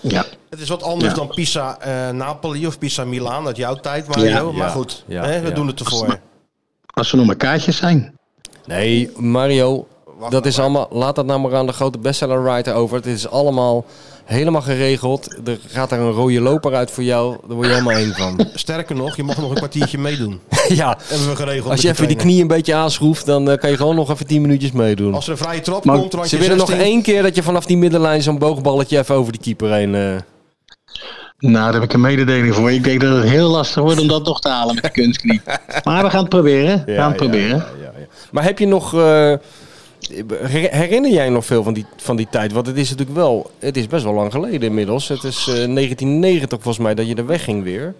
[SPEAKER 7] Ja.
[SPEAKER 4] Het is wat anders
[SPEAKER 7] Ja.
[SPEAKER 4] dan Pisa eh, Napoli of Pisa Milaan uit jouw tijd, Mario.
[SPEAKER 7] Ja, ja,
[SPEAKER 4] maar goed,
[SPEAKER 5] ja,
[SPEAKER 4] hè, we
[SPEAKER 5] ja.
[SPEAKER 4] doen het ervoor.
[SPEAKER 7] Als er nog maar kaartjes zijn.
[SPEAKER 5] Nee, Mario, dat is allemaal, laat dat nou maar aan de grote bestseller writer over. Het is allemaal helemaal geregeld. Er gaat daar een rode loper uit voor jou, daar word je helemaal één van.
[SPEAKER 4] Sterker nog, je mag nog een kwartiertje meedoen.
[SPEAKER 5] ja,
[SPEAKER 4] Hebben we geregeld.
[SPEAKER 5] als je
[SPEAKER 4] met
[SPEAKER 5] even
[SPEAKER 4] trainer.
[SPEAKER 5] die knie een beetje aanschroeft, dan eh, kan je gewoon nog even 10 minuutjes meedoen.
[SPEAKER 4] Als er een vrije trap
[SPEAKER 7] Maar
[SPEAKER 4] komt, randje
[SPEAKER 5] Ze willen nog
[SPEAKER 4] 16.
[SPEAKER 5] één keer dat je vanaf die middenlijn zo'n boogballetje even over die keeper heen... eh,
[SPEAKER 7] Nou, daar heb ik een mededeling voor. Ik denk dat het heel lastig wordt om dat nog te halen met de kunstknie. Maar we gaan het proberen. We
[SPEAKER 5] Ja,
[SPEAKER 7] gaan het
[SPEAKER 5] ja,
[SPEAKER 7] proberen.
[SPEAKER 5] ja, ja. Maar heb je nog. eh, her- herinner jij nog veel van die, van die tijd? Want het is natuurlijk wel. Het is best wel lang geleden inmiddels. Het is eh, 1990 volgens mij dat je er wegging weer.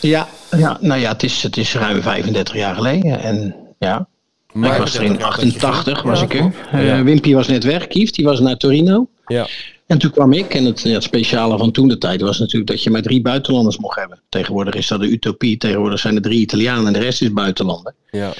[SPEAKER 7] Ja, ja nou ja, het is, het is ruim 35 jaar geleden. En ja, ik was er in 88, was ik er.
[SPEAKER 5] Ja.
[SPEAKER 7] Eh, Wimpy was net weg, Kieft, die was naar Torino.
[SPEAKER 5] Ja.
[SPEAKER 7] En toen kwam ik, en het, ja, het speciale van toen de tijd was natuurlijk dat je maar drie buitenlanders mocht hebben. Tegenwoordig is dat de utopie, tegenwoordig zijn er drie Italianen en de rest is buitenlander.
[SPEAKER 5] ja.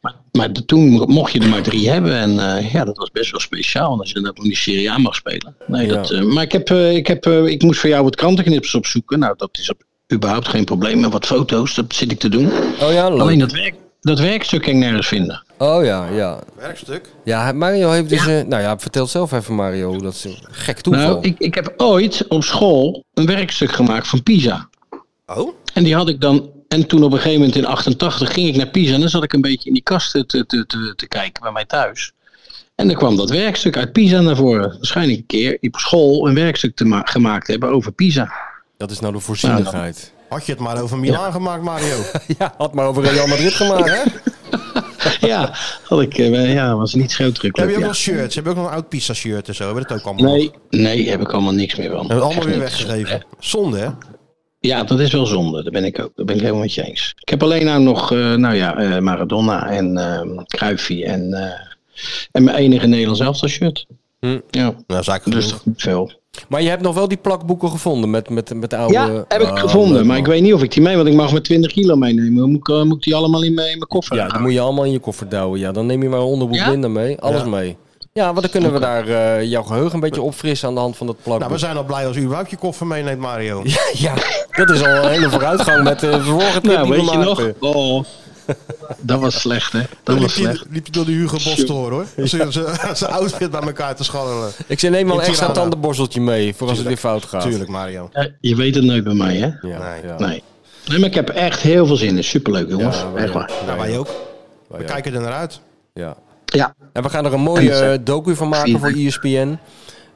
[SPEAKER 7] Maar, maar de- toen mo- mocht je er maar drie hebben en eh, ja, dat was best wel speciaal als je dat in die Serie A mag spelen. Nee,
[SPEAKER 5] Ja.
[SPEAKER 7] dat, eh, maar ik, heb, eh, ik, heb, eh, ik moest voor jou wat krantenknipsels opzoeken. Nou, dat is op- überhaupt geen probleem. En wat foto's, dat zit ik te doen.
[SPEAKER 5] Oh ja, leuk.
[SPEAKER 7] Alleen dat, werk, dat werkstuk kan ik nergens vinden.
[SPEAKER 5] Oh ja, ja.
[SPEAKER 4] Werkstuk.
[SPEAKER 5] Ja, Mario heeft dus. eh, nou ja, vertel zelf even, Mario. hoe Dat is een gek toeval.
[SPEAKER 7] Nou, ik, ik heb ooit op school een werkstuk gemaakt van Pisa.
[SPEAKER 4] Oh?
[SPEAKER 7] En die had ik dan. En toen op een gegeven moment in 88 ging ik naar Pisa. En dan zat ik een beetje in die kasten te, te, te, te kijken bij mij thuis. En dan kwam dat werkstuk uit Pisa naar voren. Waarschijnlijk een keer op school een werkstuk te ma- gemaakt hebben over Pisa.
[SPEAKER 5] dat is nou de voorzienigheid.
[SPEAKER 7] Nou.
[SPEAKER 4] Had je het maar over Milaan gemaakt, Mario.
[SPEAKER 5] ja, had maar over Real Madrid gemaakt, hè?
[SPEAKER 7] ja, had ik, eh, ja, was niet zo druk.
[SPEAKER 4] heb je ook
[SPEAKER 7] ja.
[SPEAKER 4] nog shirts? Heb je ook nog een oud Pisa shirt en zo? Hebben we dat ook allemaal? nog?
[SPEAKER 7] Nee, nee, heb ik allemaal niks meer van.
[SPEAKER 4] Hebben we het allemaal
[SPEAKER 7] Echt
[SPEAKER 4] weer
[SPEAKER 7] niks.
[SPEAKER 4] weggegeven. Zonde, hè?
[SPEAKER 7] Ja, dat is wel zonde. Daar ben ik ook. Daar ben ik helemaal met je eens. Ik heb alleen nou nog, eh, nou ja, eh, Maradona en eh Cruyffie en, eh, en mijn enige Nederlands elftal shirt.
[SPEAKER 5] Hm.
[SPEAKER 7] Ja,
[SPEAKER 4] Nou, zaak
[SPEAKER 7] dus toch niet veel.
[SPEAKER 5] Maar je hebt nog wel die plakboeken gevonden met, met, met de oude.
[SPEAKER 7] Ja, heb ik
[SPEAKER 4] Ah,
[SPEAKER 5] Oh,
[SPEAKER 7] gevonden.
[SPEAKER 5] leuk,
[SPEAKER 7] Maar
[SPEAKER 5] man.
[SPEAKER 7] ik weet niet of ik die mee, want ik mag maar 20 kilo meenemen. Moet ik, eh, moet ik die allemaal in mijn, in mijn koffer
[SPEAKER 5] Ja,
[SPEAKER 7] houden?
[SPEAKER 5] dan moet je allemaal in je koffer douwen. Ja, dan neem je maar een onderbroek
[SPEAKER 7] Ja?
[SPEAKER 5] minder mee. Alles
[SPEAKER 4] Ja.
[SPEAKER 5] mee. Ja, want dan kunnen we daar eh, jouw geheugen een beetje opfrissen aan de hand van dat plakboek.
[SPEAKER 4] Nou, we zijn al blij als u überhaupt je koffer meeneemt, Mario.
[SPEAKER 5] Ja, dat is al een hele vooruitgang met de vorige trip
[SPEAKER 7] Nou,
[SPEAKER 5] die we
[SPEAKER 7] weet je nog?
[SPEAKER 5] maakten.
[SPEAKER 7] Oh, dat was slecht, hè? Dat
[SPEAKER 4] Dan liep
[SPEAKER 7] was
[SPEAKER 4] je,
[SPEAKER 7] slecht.
[SPEAKER 4] liep je door de Hugo Boss te horen, hoor. Ze- ze- Zijn outfit bij elkaar te scharrelen.
[SPEAKER 5] Ik zei, neem wel
[SPEAKER 4] In
[SPEAKER 5] een extra
[SPEAKER 4] Tirana.
[SPEAKER 5] tandenborsteltje mee voor als het weer fout gaat.
[SPEAKER 4] Tuurlijk, Mario.
[SPEAKER 7] Eh, Je weet het nooit bij mij, hè?
[SPEAKER 5] Ja,
[SPEAKER 4] Nee.
[SPEAKER 5] ja.
[SPEAKER 7] Nee. Nee, maar ik heb echt heel veel zin in. Superleuk, jongens.
[SPEAKER 5] Ja, wij
[SPEAKER 7] echt
[SPEAKER 5] ook.
[SPEAKER 7] waar.
[SPEAKER 4] Nou, wij ook. We
[SPEAKER 5] Oh, ja.
[SPEAKER 4] kijken er naar uit.
[SPEAKER 5] Ja.
[SPEAKER 7] Ja.
[SPEAKER 5] En we gaan er een mooie
[SPEAKER 7] En, eh,
[SPEAKER 5] eh, docu van maken voor ESPN.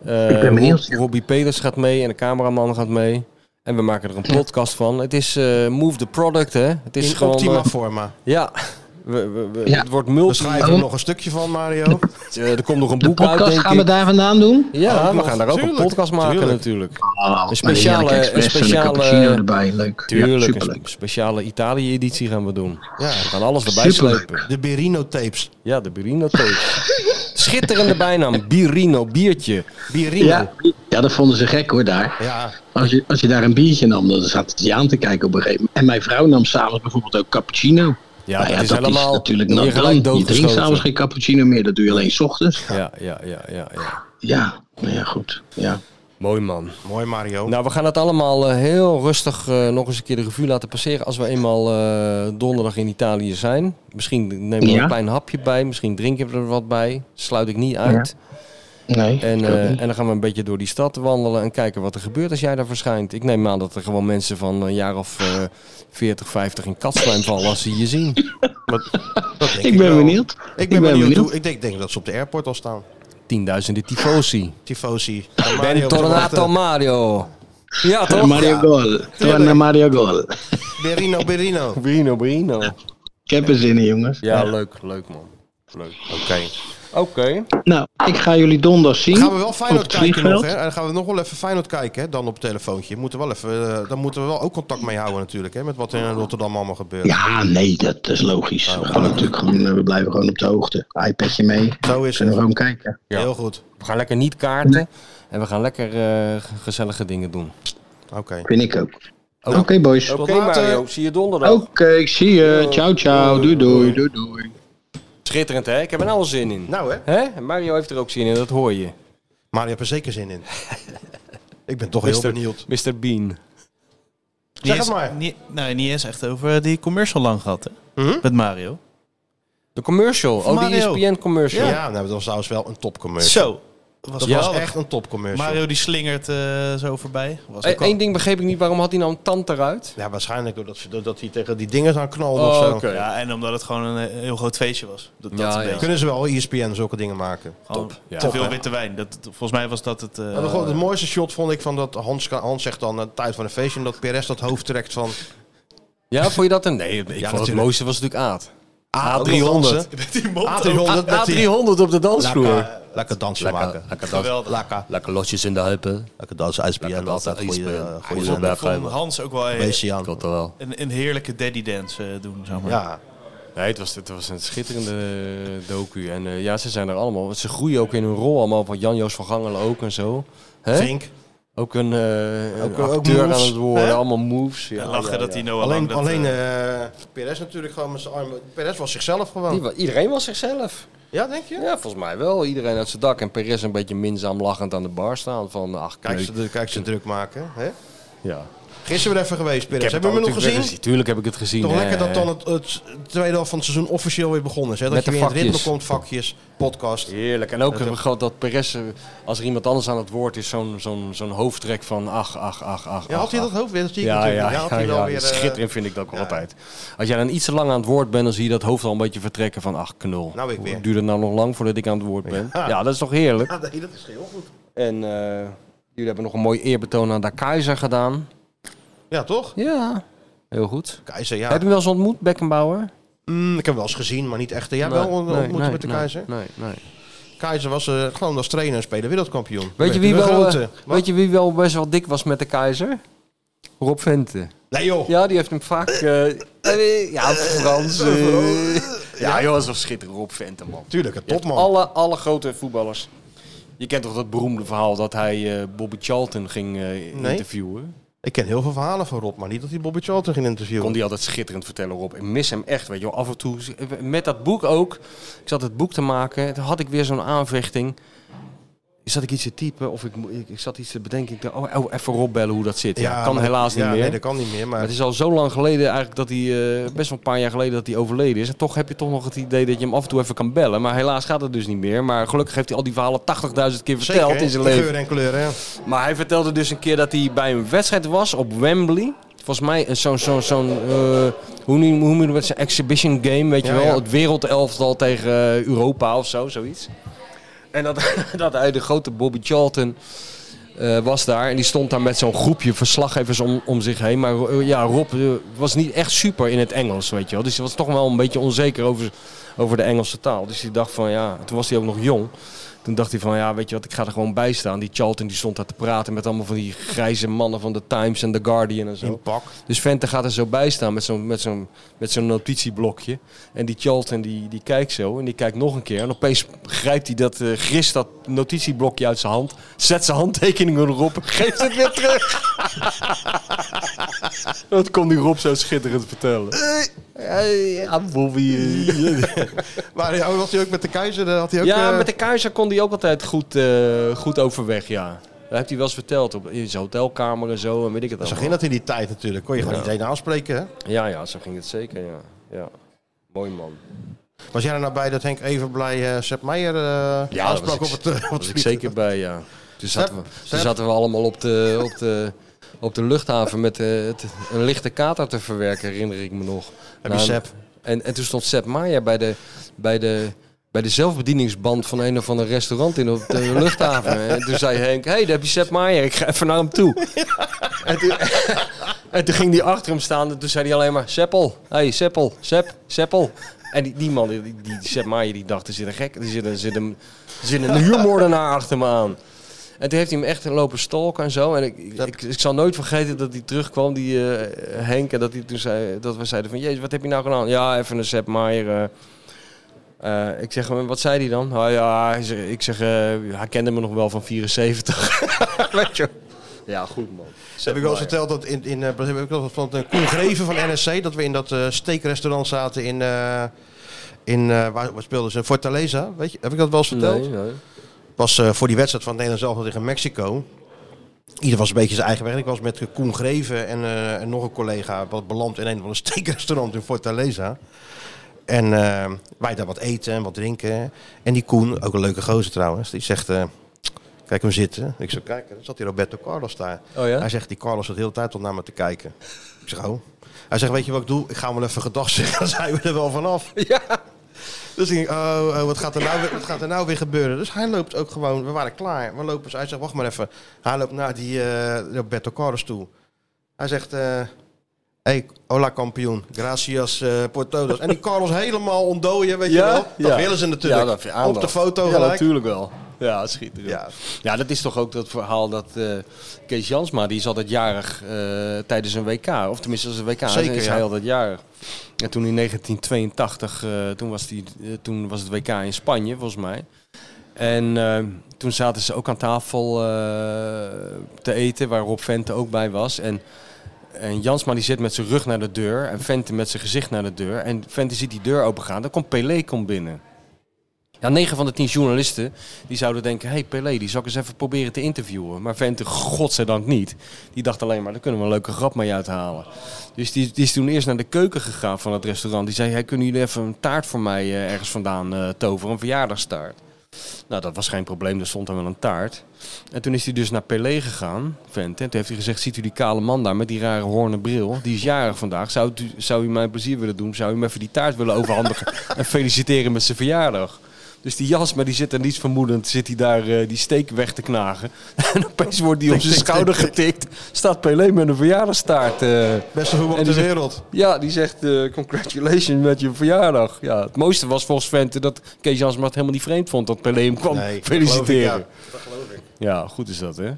[SPEAKER 5] Eh,
[SPEAKER 7] Ik ben benieuwd,
[SPEAKER 5] Rob- Robbie Peters gaat mee en de cameraman gaat mee. En we maken er een podcast van. Het is eh, Move the Product, hè? Het is
[SPEAKER 4] In
[SPEAKER 5] gewoon.
[SPEAKER 4] optima
[SPEAKER 5] eh,
[SPEAKER 4] forma.
[SPEAKER 5] ja. We, we, we-
[SPEAKER 7] Ja. Dus-
[SPEAKER 5] Het wordt multi.
[SPEAKER 4] We schrijven er
[SPEAKER 7] Oh.
[SPEAKER 4] nog een stukje van, Mario.
[SPEAKER 5] Eh, er komt nog een
[SPEAKER 7] De
[SPEAKER 5] boek uit,
[SPEAKER 7] podcast
[SPEAKER 5] denk
[SPEAKER 7] gaan we
[SPEAKER 5] ik.
[SPEAKER 7] daar vandaan doen.
[SPEAKER 5] Ja,
[SPEAKER 4] ook
[SPEAKER 5] we
[SPEAKER 4] nog.
[SPEAKER 5] gaan daar ook
[SPEAKER 4] Tuurlijk,
[SPEAKER 5] een podcast maken
[SPEAKER 4] tuurlijk.
[SPEAKER 5] natuurlijk.
[SPEAKER 7] Ah,
[SPEAKER 5] Een speciale-
[SPEAKER 7] heerlijk expres
[SPEAKER 5] een
[SPEAKER 7] en
[SPEAKER 5] speciale-
[SPEAKER 7] cappuccino erbij. Leuk. ja,
[SPEAKER 5] Tuurlijk, een
[SPEAKER 7] superleuk.
[SPEAKER 5] spe- speciale Italië-editie gaan we doen.
[SPEAKER 4] Ja.
[SPEAKER 5] We gaan alles erbij
[SPEAKER 7] Superleuk.
[SPEAKER 5] slepen.
[SPEAKER 4] De Berino tapes.
[SPEAKER 5] Ja, de Birino tape. Schitterende bijnaam, Birino, biertje.
[SPEAKER 4] Birino.
[SPEAKER 7] Ja.
[SPEAKER 4] Ja.
[SPEAKER 7] ja, dat vonden ze gek hoor daar. Als je, als je daar een biertje nam, dan zat het je aan te kijken op een gegeven moment. En mijn vrouw nam s'avonds bijvoorbeeld ook cappuccino.
[SPEAKER 5] Ja,
[SPEAKER 7] Nou
[SPEAKER 5] dat is helemaal
[SPEAKER 7] natuurlijk
[SPEAKER 5] hier
[SPEAKER 7] nat
[SPEAKER 5] gelijk
[SPEAKER 7] dan. Je drinkt
[SPEAKER 5] doodgeschoten.
[SPEAKER 7] s'avonds geen cappuccino meer, dat doe je alleen 's ochtends.
[SPEAKER 5] Ja, ja, ja, ja, ja.
[SPEAKER 7] Ja, nou ja, goed. Ja.
[SPEAKER 5] Mooi man.
[SPEAKER 4] Mooi, Mario.
[SPEAKER 5] Nou, we gaan het allemaal eh, heel rustig eh, nog eens een keer de revue laten passeren als we eenmaal eh, donderdag in Italië zijn. Misschien nemen we
[SPEAKER 7] Ja.
[SPEAKER 5] een klein hapje bij, misschien drinken we er wat bij. Sluit ik niet uit.
[SPEAKER 7] Nee.
[SPEAKER 5] En,
[SPEAKER 7] ik ook
[SPEAKER 5] eh,
[SPEAKER 7] niet.
[SPEAKER 5] en dan gaan we een beetje door die stad wandelen en kijken wat er gebeurt als jij daar verschijnt. Ik neem aan dat er gewoon mensen van een jaar of eh 40, 50 in katslijm vallen als ze je zien.
[SPEAKER 4] Dat denk
[SPEAKER 7] ik ben
[SPEAKER 4] wel.
[SPEAKER 7] benieuwd.
[SPEAKER 4] Ik ben benieuwd. Hoe, ik denk, denk dat ze op de airport al staan.
[SPEAKER 5] Tienduizenden tifosi.
[SPEAKER 4] Tifosi.
[SPEAKER 5] Ben
[SPEAKER 4] Mario
[SPEAKER 5] Tornato
[SPEAKER 4] verwachten.
[SPEAKER 5] Mario. Ja, toch?
[SPEAKER 7] Eh, Mario Goal. Toen naar Mario Goal.
[SPEAKER 4] Berino, Berino.
[SPEAKER 5] Brino, Brino.
[SPEAKER 7] Ik heb er zin in, jongens.
[SPEAKER 5] Ja, leuk, leuk man. Leuk. Oké. Oké.
[SPEAKER 7] Nou, ik ga jullie donderdag zien.
[SPEAKER 4] Gaan we wel
[SPEAKER 7] Op
[SPEAKER 4] Feyenoord
[SPEAKER 7] het
[SPEAKER 4] kijken nog,
[SPEAKER 7] vliegveld.
[SPEAKER 4] hè? Dan gaan we nog wel even Feyenoord kijken, hè? Dan op het telefoontje. Moeten we wel even, eh, daar moeten we wel ook contact mee houden natuurlijk, hè? Met wat er in Rotterdam allemaal gebeurt.
[SPEAKER 7] Ja, nee, dat is logisch.
[SPEAKER 4] Oh,
[SPEAKER 7] we, gaan natuurlijk gewoon, eh, we blijven gewoon op de hoogte. iPadje mee.
[SPEAKER 4] Zo is
[SPEAKER 7] Kunnen we
[SPEAKER 4] het.
[SPEAKER 7] gewoon kijken.
[SPEAKER 4] Heel goed.
[SPEAKER 5] We gaan lekker niet kaarten. En we gaan lekker eh, gezellige dingen doen.
[SPEAKER 4] Oké.
[SPEAKER 7] Vind ik ook.
[SPEAKER 4] Oh.
[SPEAKER 7] Oké, boys.
[SPEAKER 5] Oké
[SPEAKER 4] later. Oh.
[SPEAKER 5] Mario, zie je donderdag.
[SPEAKER 7] Oké, ik zie je. Ciao, ciao. Doei, doei, doei, doei.
[SPEAKER 5] Schitterend hè, ik heb er nou al zin in.
[SPEAKER 4] Nou, hè?
[SPEAKER 5] Hè? Mario heeft er ook zin in, dat hoor je.
[SPEAKER 4] Mario heeft er zeker zin in. ik ben toch heel
[SPEAKER 5] Mister-
[SPEAKER 4] benieuwd.
[SPEAKER 5] Mr. Bean.
[SPEAKER 4] Zeg
[SPEAKER 6] eens-
[SPEAKER 4] het maar.
[SPEAKER 6] Niet, nou, niet eens echt over die commercial lang gehad, hè?
[SPEAKER 4] Hm?
[SPEAKER 6] Met Mario.
[SPEAKER 5] De commercial,
[SPEAKER 6] Van
[SPEAKER 5] oh die
[SPEAKER 6] Mario.
[SPEAKER 5] ESPN commercial. Eh,
[SPEAKER 4] Ja, nou, dat was trouwens wel een topcommercial.
[SPEAKER 6] Zo. Was
[SPEAKER 4] Dat
[SPEAKER 6] wel
[SPEAKER 4] was
[SPEAKER 6] wat.
[SPEAKER 4] echt een topcommercial.
[SPEAKER 6] Mario die slingert eh, zo voorbij. Was ook
[SPEAKER 5] Eén
[SPEAKER 6] wel-
[SPEAKER 5] ding begreep ik niet, waarom had hij nou een tand eruit?
[SPEAKER 4] Ja, waarschijnlijk doordat ze- doordat hij tegen die dingen aan knallen
[SPEAKER 5] Oh,
[SPEAKER 4] of zo.
[SPEAKER 5] oké.
[SPEAKER 6] Ja, en omdat het gewoon een eh, heel groot feestje was. Dat, dat
[SPEAKER 5] Ja,
[SPEAKER 6] een
[SPEAKER 5] ja.
[SPEAKER 6] beetje.
[SPEAKER 4] Kunnen ze wel E ESPN zulke dingen maken?
[SPEAKER 6] Gewoon
[SPEAKER 5] Ja.
[SPEAKER 6] te
[SPEAKER 5] Top,
[SPEAKER 6] veel
[SPEAKER 5] hè?
[SPEAKER 6] witte wijn. Dat, volgens mij was dat het... eh,
[SPEAKER 4] Nou, gewoon het mooiste shot vond ik van dat Hans, Hans zegt dan aan de tijd van een feestje... en dat Perez dat hoofd trekt van...
[SPEAKER 5] Ja, vond je dat een... Nee, ik vond het
[SPEAKER 4] natuurlijk.
[SPEAKER 5] mooiste was natuurlijk Aad.
[SPEAKER 4] dansen.
[SPEAKER 5] A300.
[SPEAKER 6] met die mond ook.
[SPEAKER 4] A300 met die-
[SPEAKER 5] A300 op de dansvloer.
[SPEAKER 4] Lekker, lekker dansje maken.
[SPEAKER 5] lekker,
[SPEAKER 6] Geweldig.
[SPEAKER 4] Lekker,
[SPEAKER 5] lekker losjes in de heupen.
[SPEAKER 4] lekker dansen, ijsberen.
[SPEAKER 5] dansen,
[SPEAKER 4] Altijd goede,
[SPEAKER 5] ijsberen.
[SPEAKER 4] goede
[SPEAKER 5] Goeie
[SPEAKER 4] zender.
[SPEAKER 6] Ik vond Hans ook wel eh,
[SPEAKER 4] Beestje aan.
[SPEAKER 5] Klopt wel.
[SPEAKER 6] een, een heerlijke daddy dance eh, doen, zeg maar.
[SPEAKER 4] Ja,
[SPEAKER 5] Nee, het was, het was een schitterende eh, docu. En eh, ja, ze zijn er allemaal. Want Ze groeien ook in hun rol allemaal. Van Jan-Joos van Gangelen ook en zo. Hè?
[SPEAKER 4] Vink.
[SPEAKER 5] Ook een, eh, een
[SPEAKER 4] Ook- ook
[SPEAKER 5] acteur
[SPEAKER 4] moves,
[SPEAKER 5] aan het worden.
[SPEAKER 6] hè?
[SPEAKER 5] Allemaal moves. Ja,
[SPEAKER 6] En lachen
[SPEAKER 5] ja,
[SPEAKER 6] dat
[SPEAKER 5] ja.
[SPEAKER 6] hij Noah
[SPEAKER 4] Alleen,
[SPEAKER 6] Lang dat,
[SPEAKER 4] alleen
[SPEAKER 6] eh,
[SPEAKER 4] eh, Perez natuurlijk gewoon met zijn armen. Perez was zichzelf
[SPEAKER 5] Die
[SPEAKER 4] gewoon.
[SPEAKER 5] wa- Iedereen was zichzelf.
[SPEAKER 4] Ja, denk je?
[SPEAKER 5] Ja, volgens mij wel. Iedereen uit zijn dak. En Perez een beetje minzaam lachend aan de bar staan. Van, ach,
[SPEAKER 4] Kijk
[SPEAKER 5] kijk.
[SPEAKER 4] ze, kijk ze druk maken. Hè?
[SPEAKER 5] Ja.
[SPEAKER 4] Gisteren weer even geweest, Perez. Hebben we hem
[SPEAKER 5] het
[SPEAKER 4] nog
[SPEAKER 5] natuurlijk
[SPEAKER 4] gezien?
[SPEAKER 5] weer Tuurlijk heb ik het gezien.
[SPEAKER 4] Toch
[SPEAKER 5] hè.
[SPEAKER 4] lekker dat dan het, het tweede helft van het seizoen officieel weer begonnen is. Hè? Dat
[SPEAKER 5] Met
[SPEAKER 4] je
[SPEAKER 5] de
[SPEAKER 4] weer in het ritme
[SPEAKER 5] vakjes.
[SPEAKER 4] komt, vakjes, podcast.
[SPEAKER 5] Heerlijk. En ook dat, groot dat Perez, eh, als er iemand anders aan het woord is, zo'n zo'n zo'n hoofdtrek van ach, ach, ach, ach.
[SPEAKER 4] Ja, had hij
[SPEAKER 5] ach,
[SPEAKER 4] dat hoofd weer? Dat zie ik
[SPEAKER 5] Ja,
[SPEAKER 4] natuurlijk.
[SPEAKER 5] ja,
[SPEAKER 4] niet.
[SPEAKER 5] ja,
[SPEAKER 4] had hij wel
[SPEAKER 5] ja.
[SPEAKER 4] weer... eh,
[SPEAKER 5] schitterend vind ik dat ook altijd. Als jij dan iets te lang aan het woord bent, dan zie je dat hoofd al een beetje vertrekken van, ach knul.
[SPEAKER 4] Nou, ik
[SPEAKER 5] Hoe
[SPEAKER 4] weer.
[SPEAKER 5] Duurt het nou nog lang voordat ik aan het woord ben? Ja, dat is toch heerlijk.
[SPEAKER 4] Ja, Ah, nee, dat is heel goed.
[SPEAKER 5] En eh, jullie hebben nog een mooi eerbetoon aan de keizer gedaan.
[SPEAKER 4] Ja, toch?
[SPEAKER 5] Ja, heel goed.
[SPEAKER 4] Keizer, ja.
[SPEAKER 5] Heb je hem wel eens ontmoet, Beckenbauer?
[SPEAKER 4] Mm, ik heb hem wel eens gezien, maar niet echt. Jij wel
[SPEAKER 5] Nee,
[SPEAKER 4] ontmoet
[SPEAKER 5] nee,
[SPEAKER 4] ontmoeten
[SPEAKER 5] nee,
[SPEAKER 4] met de
[SPEAKER 5] nee,
[SPEAKER 4] keizer?
[SPEAKER 5] Nee, nee.
[SPEAKER 4] Keizer was eh, gewoon als trainer en speler wereldkampioen.
[SPEAKER 5] Weet, je
[SPEAKER 4] De
[SPEAKER 5] wie wel, eh,
[SPEAKER 4] grote.
[SPEAKER 5] weet je wie wel best wel dik was met de keizer? Rob Vente.
[SPEAKER 4] Nee joh.
[SPEAKER 5] Ja, die heeft hem vaak. eh, eh, ja, Frans. eh. ja, joh, dat is wel schitterend Rob Vente, man.
[SPEAKER 4] Tuurlijk, een
[SPEAKER 5] Je hebt
[SPEAKER 4] topman.
[SPEAKER 5] Alle, alle grote voetballers. Je kent toch dat beroemde verhaal dat hij eh Bobby Charlton ging eh, interviewen?
[SPEAKER 4] Ik ken heel veel verhalen van Rob, maar niet dat hij Bobby Charlton ging interviewen.
[SPEAKER 5] Kon die altijd schitterend vertellen, Rob. Ik mis hem echt, weet je wel. Af en toe, met dat boek ook. Ik zat het boek te maken, en toen had ik weer zo'n aanvechting. Zat ik iets te typen of ik, mo- ik, ik zat iets te bedenken. Ik dacht, oh, oh, even Rob bellen hoe dat zit. Ja, kan
[SPEAKER 4] maar-
[SPEAKER 5] helaas niet
[SPEAKER 4] ja,
[SPEAKER 5] meer.
[SPEAKER 4] Nee, dat kan niet meer. Maar
[SPEAKER 5] Maar het is al zo lang geleden eigenlijk dat hij, eh, best wel een paar jaar geleden dat hij overleden is. En toch heb je toch nog het idee dat je hem af en toe even kan bellen. Maar helaas gaat het dus niet meer. Maar gelukkig heeft hij al die verhalen 80.000 keer verteld in zijn
[SPEAKER 4] de
[SPEAKER 5] leven.
[SPEAKER 4] geur en kleur, hè?
[SPEAKER 5] Maar hij vertelde dus een keer dat hij bij een wedstrijd was op Wembley. Volgens volgens mij eh, zo'n, zo'n, zo'n eh, hoe noem hoe noem je dat, zo'n exhibition game, weet je
[SPEAKER 4] Ja,
[SPEAKER 5] wel.
[SPEAKER 4] ja.
[SPEAKER 5] Het wereldelftal tegen eh, Europa of zo, zoiets. En dat, dat uit de grote Bobby Charlton eh, was daar. En die stond daar met zo'n groepje verslaggevers om, om zich heen. Maar eh, ja, Rob eh, was niet echt super in het Engels, weet je wel. Dus hij was toch wel een beetje onzeker over, over de Engelse taal. Dus die dacht van, ja, toen was hij ook nog jong. Toen dacht hij van, ja, weet je wat, ik ga er gewoon bij staan. Die Charlton die stond daar te praten met allemaal van die grijze mannen van de Times en The Guardian en zo.
[SPEAKER 4] In pak.
[SPEAKER 5] Dus Vente gaat er zo bij staan met zo'n met zo'n met zo'n notitieblokje. En die Charlton die, die kijkt zo en die kijkt nog een keer. En opeens grijpt hij dat, eh grist dat notitieblokje uit zijn hand. Zet zijn handtekening erop en geeft het weer terug. dat kon die Rob zo schitterend vertellen. Ja, Bobby. eh.
[SPEAKER 4] Maar ja, was hij ook met de keizer? eh, Had hij ook,
[SPEAKER 5] ja,
[SPEAKER 4] eh,
[SPEAKER 5] met de Keizer kon hij ook altijd goed, eh, goed overweg, ja. Dat heeft hij wel eens verteld. Op, in zijn hotelkamer en zo en weet ik het
[SPEAKER 4] Zo
[SPEAKER 5] allemaal.
[SPEAKER 4] ging dat in die tijd natuurlijk. Kon je gewoon iedereen aanspreken, hè?
[SPEAKER 5] Ja, ja, zo ging het zeker, ja. ja. Mooi man.
[SPEAKER 4] Was jij er nou bij dat Henk even blij eh Sepp Meijer eh
[SPEAKER 5] Ja, daar was
[SPEAKER 4] aansprak
[SPEAKER 5] ik,
[SPEAKER 4] op het... eh, op het
[SPEAKER 5] was ik
[SPEAKER 4] vliegtuig?
[SPEAKER 5] zeker bij, ja. Toen zaten we,
[SPEAKER 4] Seb-
[SPEAKER 5] toen zaten we allemaal op de, op de, op de luchthaven met eh, het, een lichte kater te verwerken, herinner ik me nog.
[SPEAKER 4] Heb
[SPEAKER 5] Na
[SPEAKER 4] je
[SPEAKER 5] een-
[SPEAKER 4] Sepp?
[SPEAKER 5] En, en toen stond Sepp Maier bij de, bij, de, bij de zelfbedieningsband van een of ander restaurant in op de luchthaven. En toen zei Henk, hé, hey, daar heb je Sepp Maier, ik ga even naar hem toe. En toen, en toen ging hij achter hem staan en toen zei hij alleen maar... Seppel, hé, hey, Seppel, Sepp, Seppel. En die, die man, die, die, die Sepp Maier, die dacht, er zit een gek, er zit een, zit een, er zit een huurmoordenaar achter me aan. En toen heeft hij hem echt lopen stalken en zo. En ik, ik, ik, ik zal nooit vergeten dat hij terugkwam, die eh, Henk. En dat, hij toen zei, dat we zeiden van, jezus, wat heb je nou gedaan? Ja, even een Sepp Maier... eh, eh, ik zeg, wat zei hij dan? Oh, ja, hij zegt- ik zeg, eh, hij kende me nog wel van 74. Weet je. Ja, goed man.
[SPEAKER 4] Heb ik wel eens verteld dat in, in eh, heb ik wel eens van eh, Koen Greven van NSC dat we in dat eh, steakrestaurant zaten in, eh, in eh, waar, waar speelden ze Fortaleza, weet je? Heb ik dat wel eens verteld?
[SPEAKER 5] Nee, nee.
[SPEAKER 4] was eh, voor die wedstrijd van Nederland zelf tegen Mexico. Ieder was een beetje zijn eigen weg. Ik was met eh, Koen Greven en, eh, en nog een collega wat beland in een van de steakrestaurant in Fortaleza. En eh, wij daar wat eten en wat drinken. En die Koen, ook een leuke gozer trouwens, die zegt... eh, Kijk hem zitten. Ik zou kijken. Dan zat die Roberto Carlos daar.
[SPEAKER 5] Oh ja?
[SPEAKER 4] Hij zegt, die Carlos zat de hele tijd om naar me te kijken. Ik zeg, oh. Hij zegt, weet je wat ik doe? Ik ga hem wel even gedag zeggen. Dan zijn we er wel vanaf.
[SPEAKER 5] Ja.
[SPEAKER 4] Dus ik denk, oh, oh, wat, gaat er nou, weer- wat gaat er nou weer gebeuren? Dus hij loopt ook gewoon, we waren klaar. We lopen, hij zegt, wacht maar even. Hij loopt naar die eh Roberto Carlos toe. Hij zegt, eh hey, hola kampioen, gracias eh Portodos. En die Carlos helemaal ontdooien, weet je wel. Dat willen ze natuurlijk.
[SPEAKER 5] Ja, dat vind ik
[SPEAKER 4] Op de
[SPEAKER 5] aandacht.
[SPEAKER 4] foto
[SPEAKER 5] Ja,
[SPEAKER 4] gelijk.
[SPEAKER 5] natuurlijk wel. Ja, schitterend.
[SPEAKER 4] Ja.
[SPEAKER 5] Ja. ja, dat is toch ook dat verhaal dat eh, Kees Jansma, die is altijd jarig eh, tijdens een WK. Of tenminste, als een WK
[SPEAKER 4] Zeker,
[SPEAKER 5] is
[SPEAKER 4] ja.
[SPEAKER 5] hij altijd jarig. En toen in 1982, eh, toen, was die, eh, toen was het WK in Spanje, volgens mij. En eh, toen zaten ze ook aan tafel eh, te eten, waar Rob Vente ook bij was. En, en Jansma die zit met zijn rug naar de deur en Vente met zijn gezicht naar de deur. En Vente ziet die deur opengaan, dan komt Pelé komt binnen. Ja, 9 van de 10 journalisten die zouden denken: hé hey Pelé, die zal ik eens even proberen te interviewen. Maar Vente, godzijdank niet. Die dacht alleen maar: daar kunnen we een leuke grap mee uithalen. Dus die, die is toen eerst naar de keuken gegaan van het restaurant. Die zei: hey, kunnen jullie even een taart voor mij eh, ergens vandaan eh, toveren? Een verjaardagstaart. Nou, dat was geen probleem, er stond dan wel een taart. En toen is hij dus naar Pelé gegaan, vent. En toen heeft hij gezegd, ziet u die kale man daar met die rare hoornen bril? Die is jarig vandaag. Zou, u- zou u mij een plezier willen doen? Zou u hem even die taart willen overhandigen? en feliciteren met zijn verjaardag? Dus die jas, maar die zit er niets vermoedend, zit hij daar eh, die steek weg te knagen. en opeens wordt die op zijn schouder getikt. Staat Pelé met een verjaardagstaart. eh.
[SPEAKER 4] Beste voetbal ter
[SPEAKER 5] En die zegt-
[SPEAKER 4] wereld.
[SPEAKER 5] Ja, die zegt eh, congratulations met je verjaardag. Ja, het mooiste was volgens Vente dat Kees Jansma het helemaal niet vreemd vond dat Pelé hem kwam
[SPEAKER 4] Nee, dat
[SPEAKER 5] feliciteren.
[SPEAKER 4] geloof ik,
[SPEAKER 5] ja. goed is dat, hè?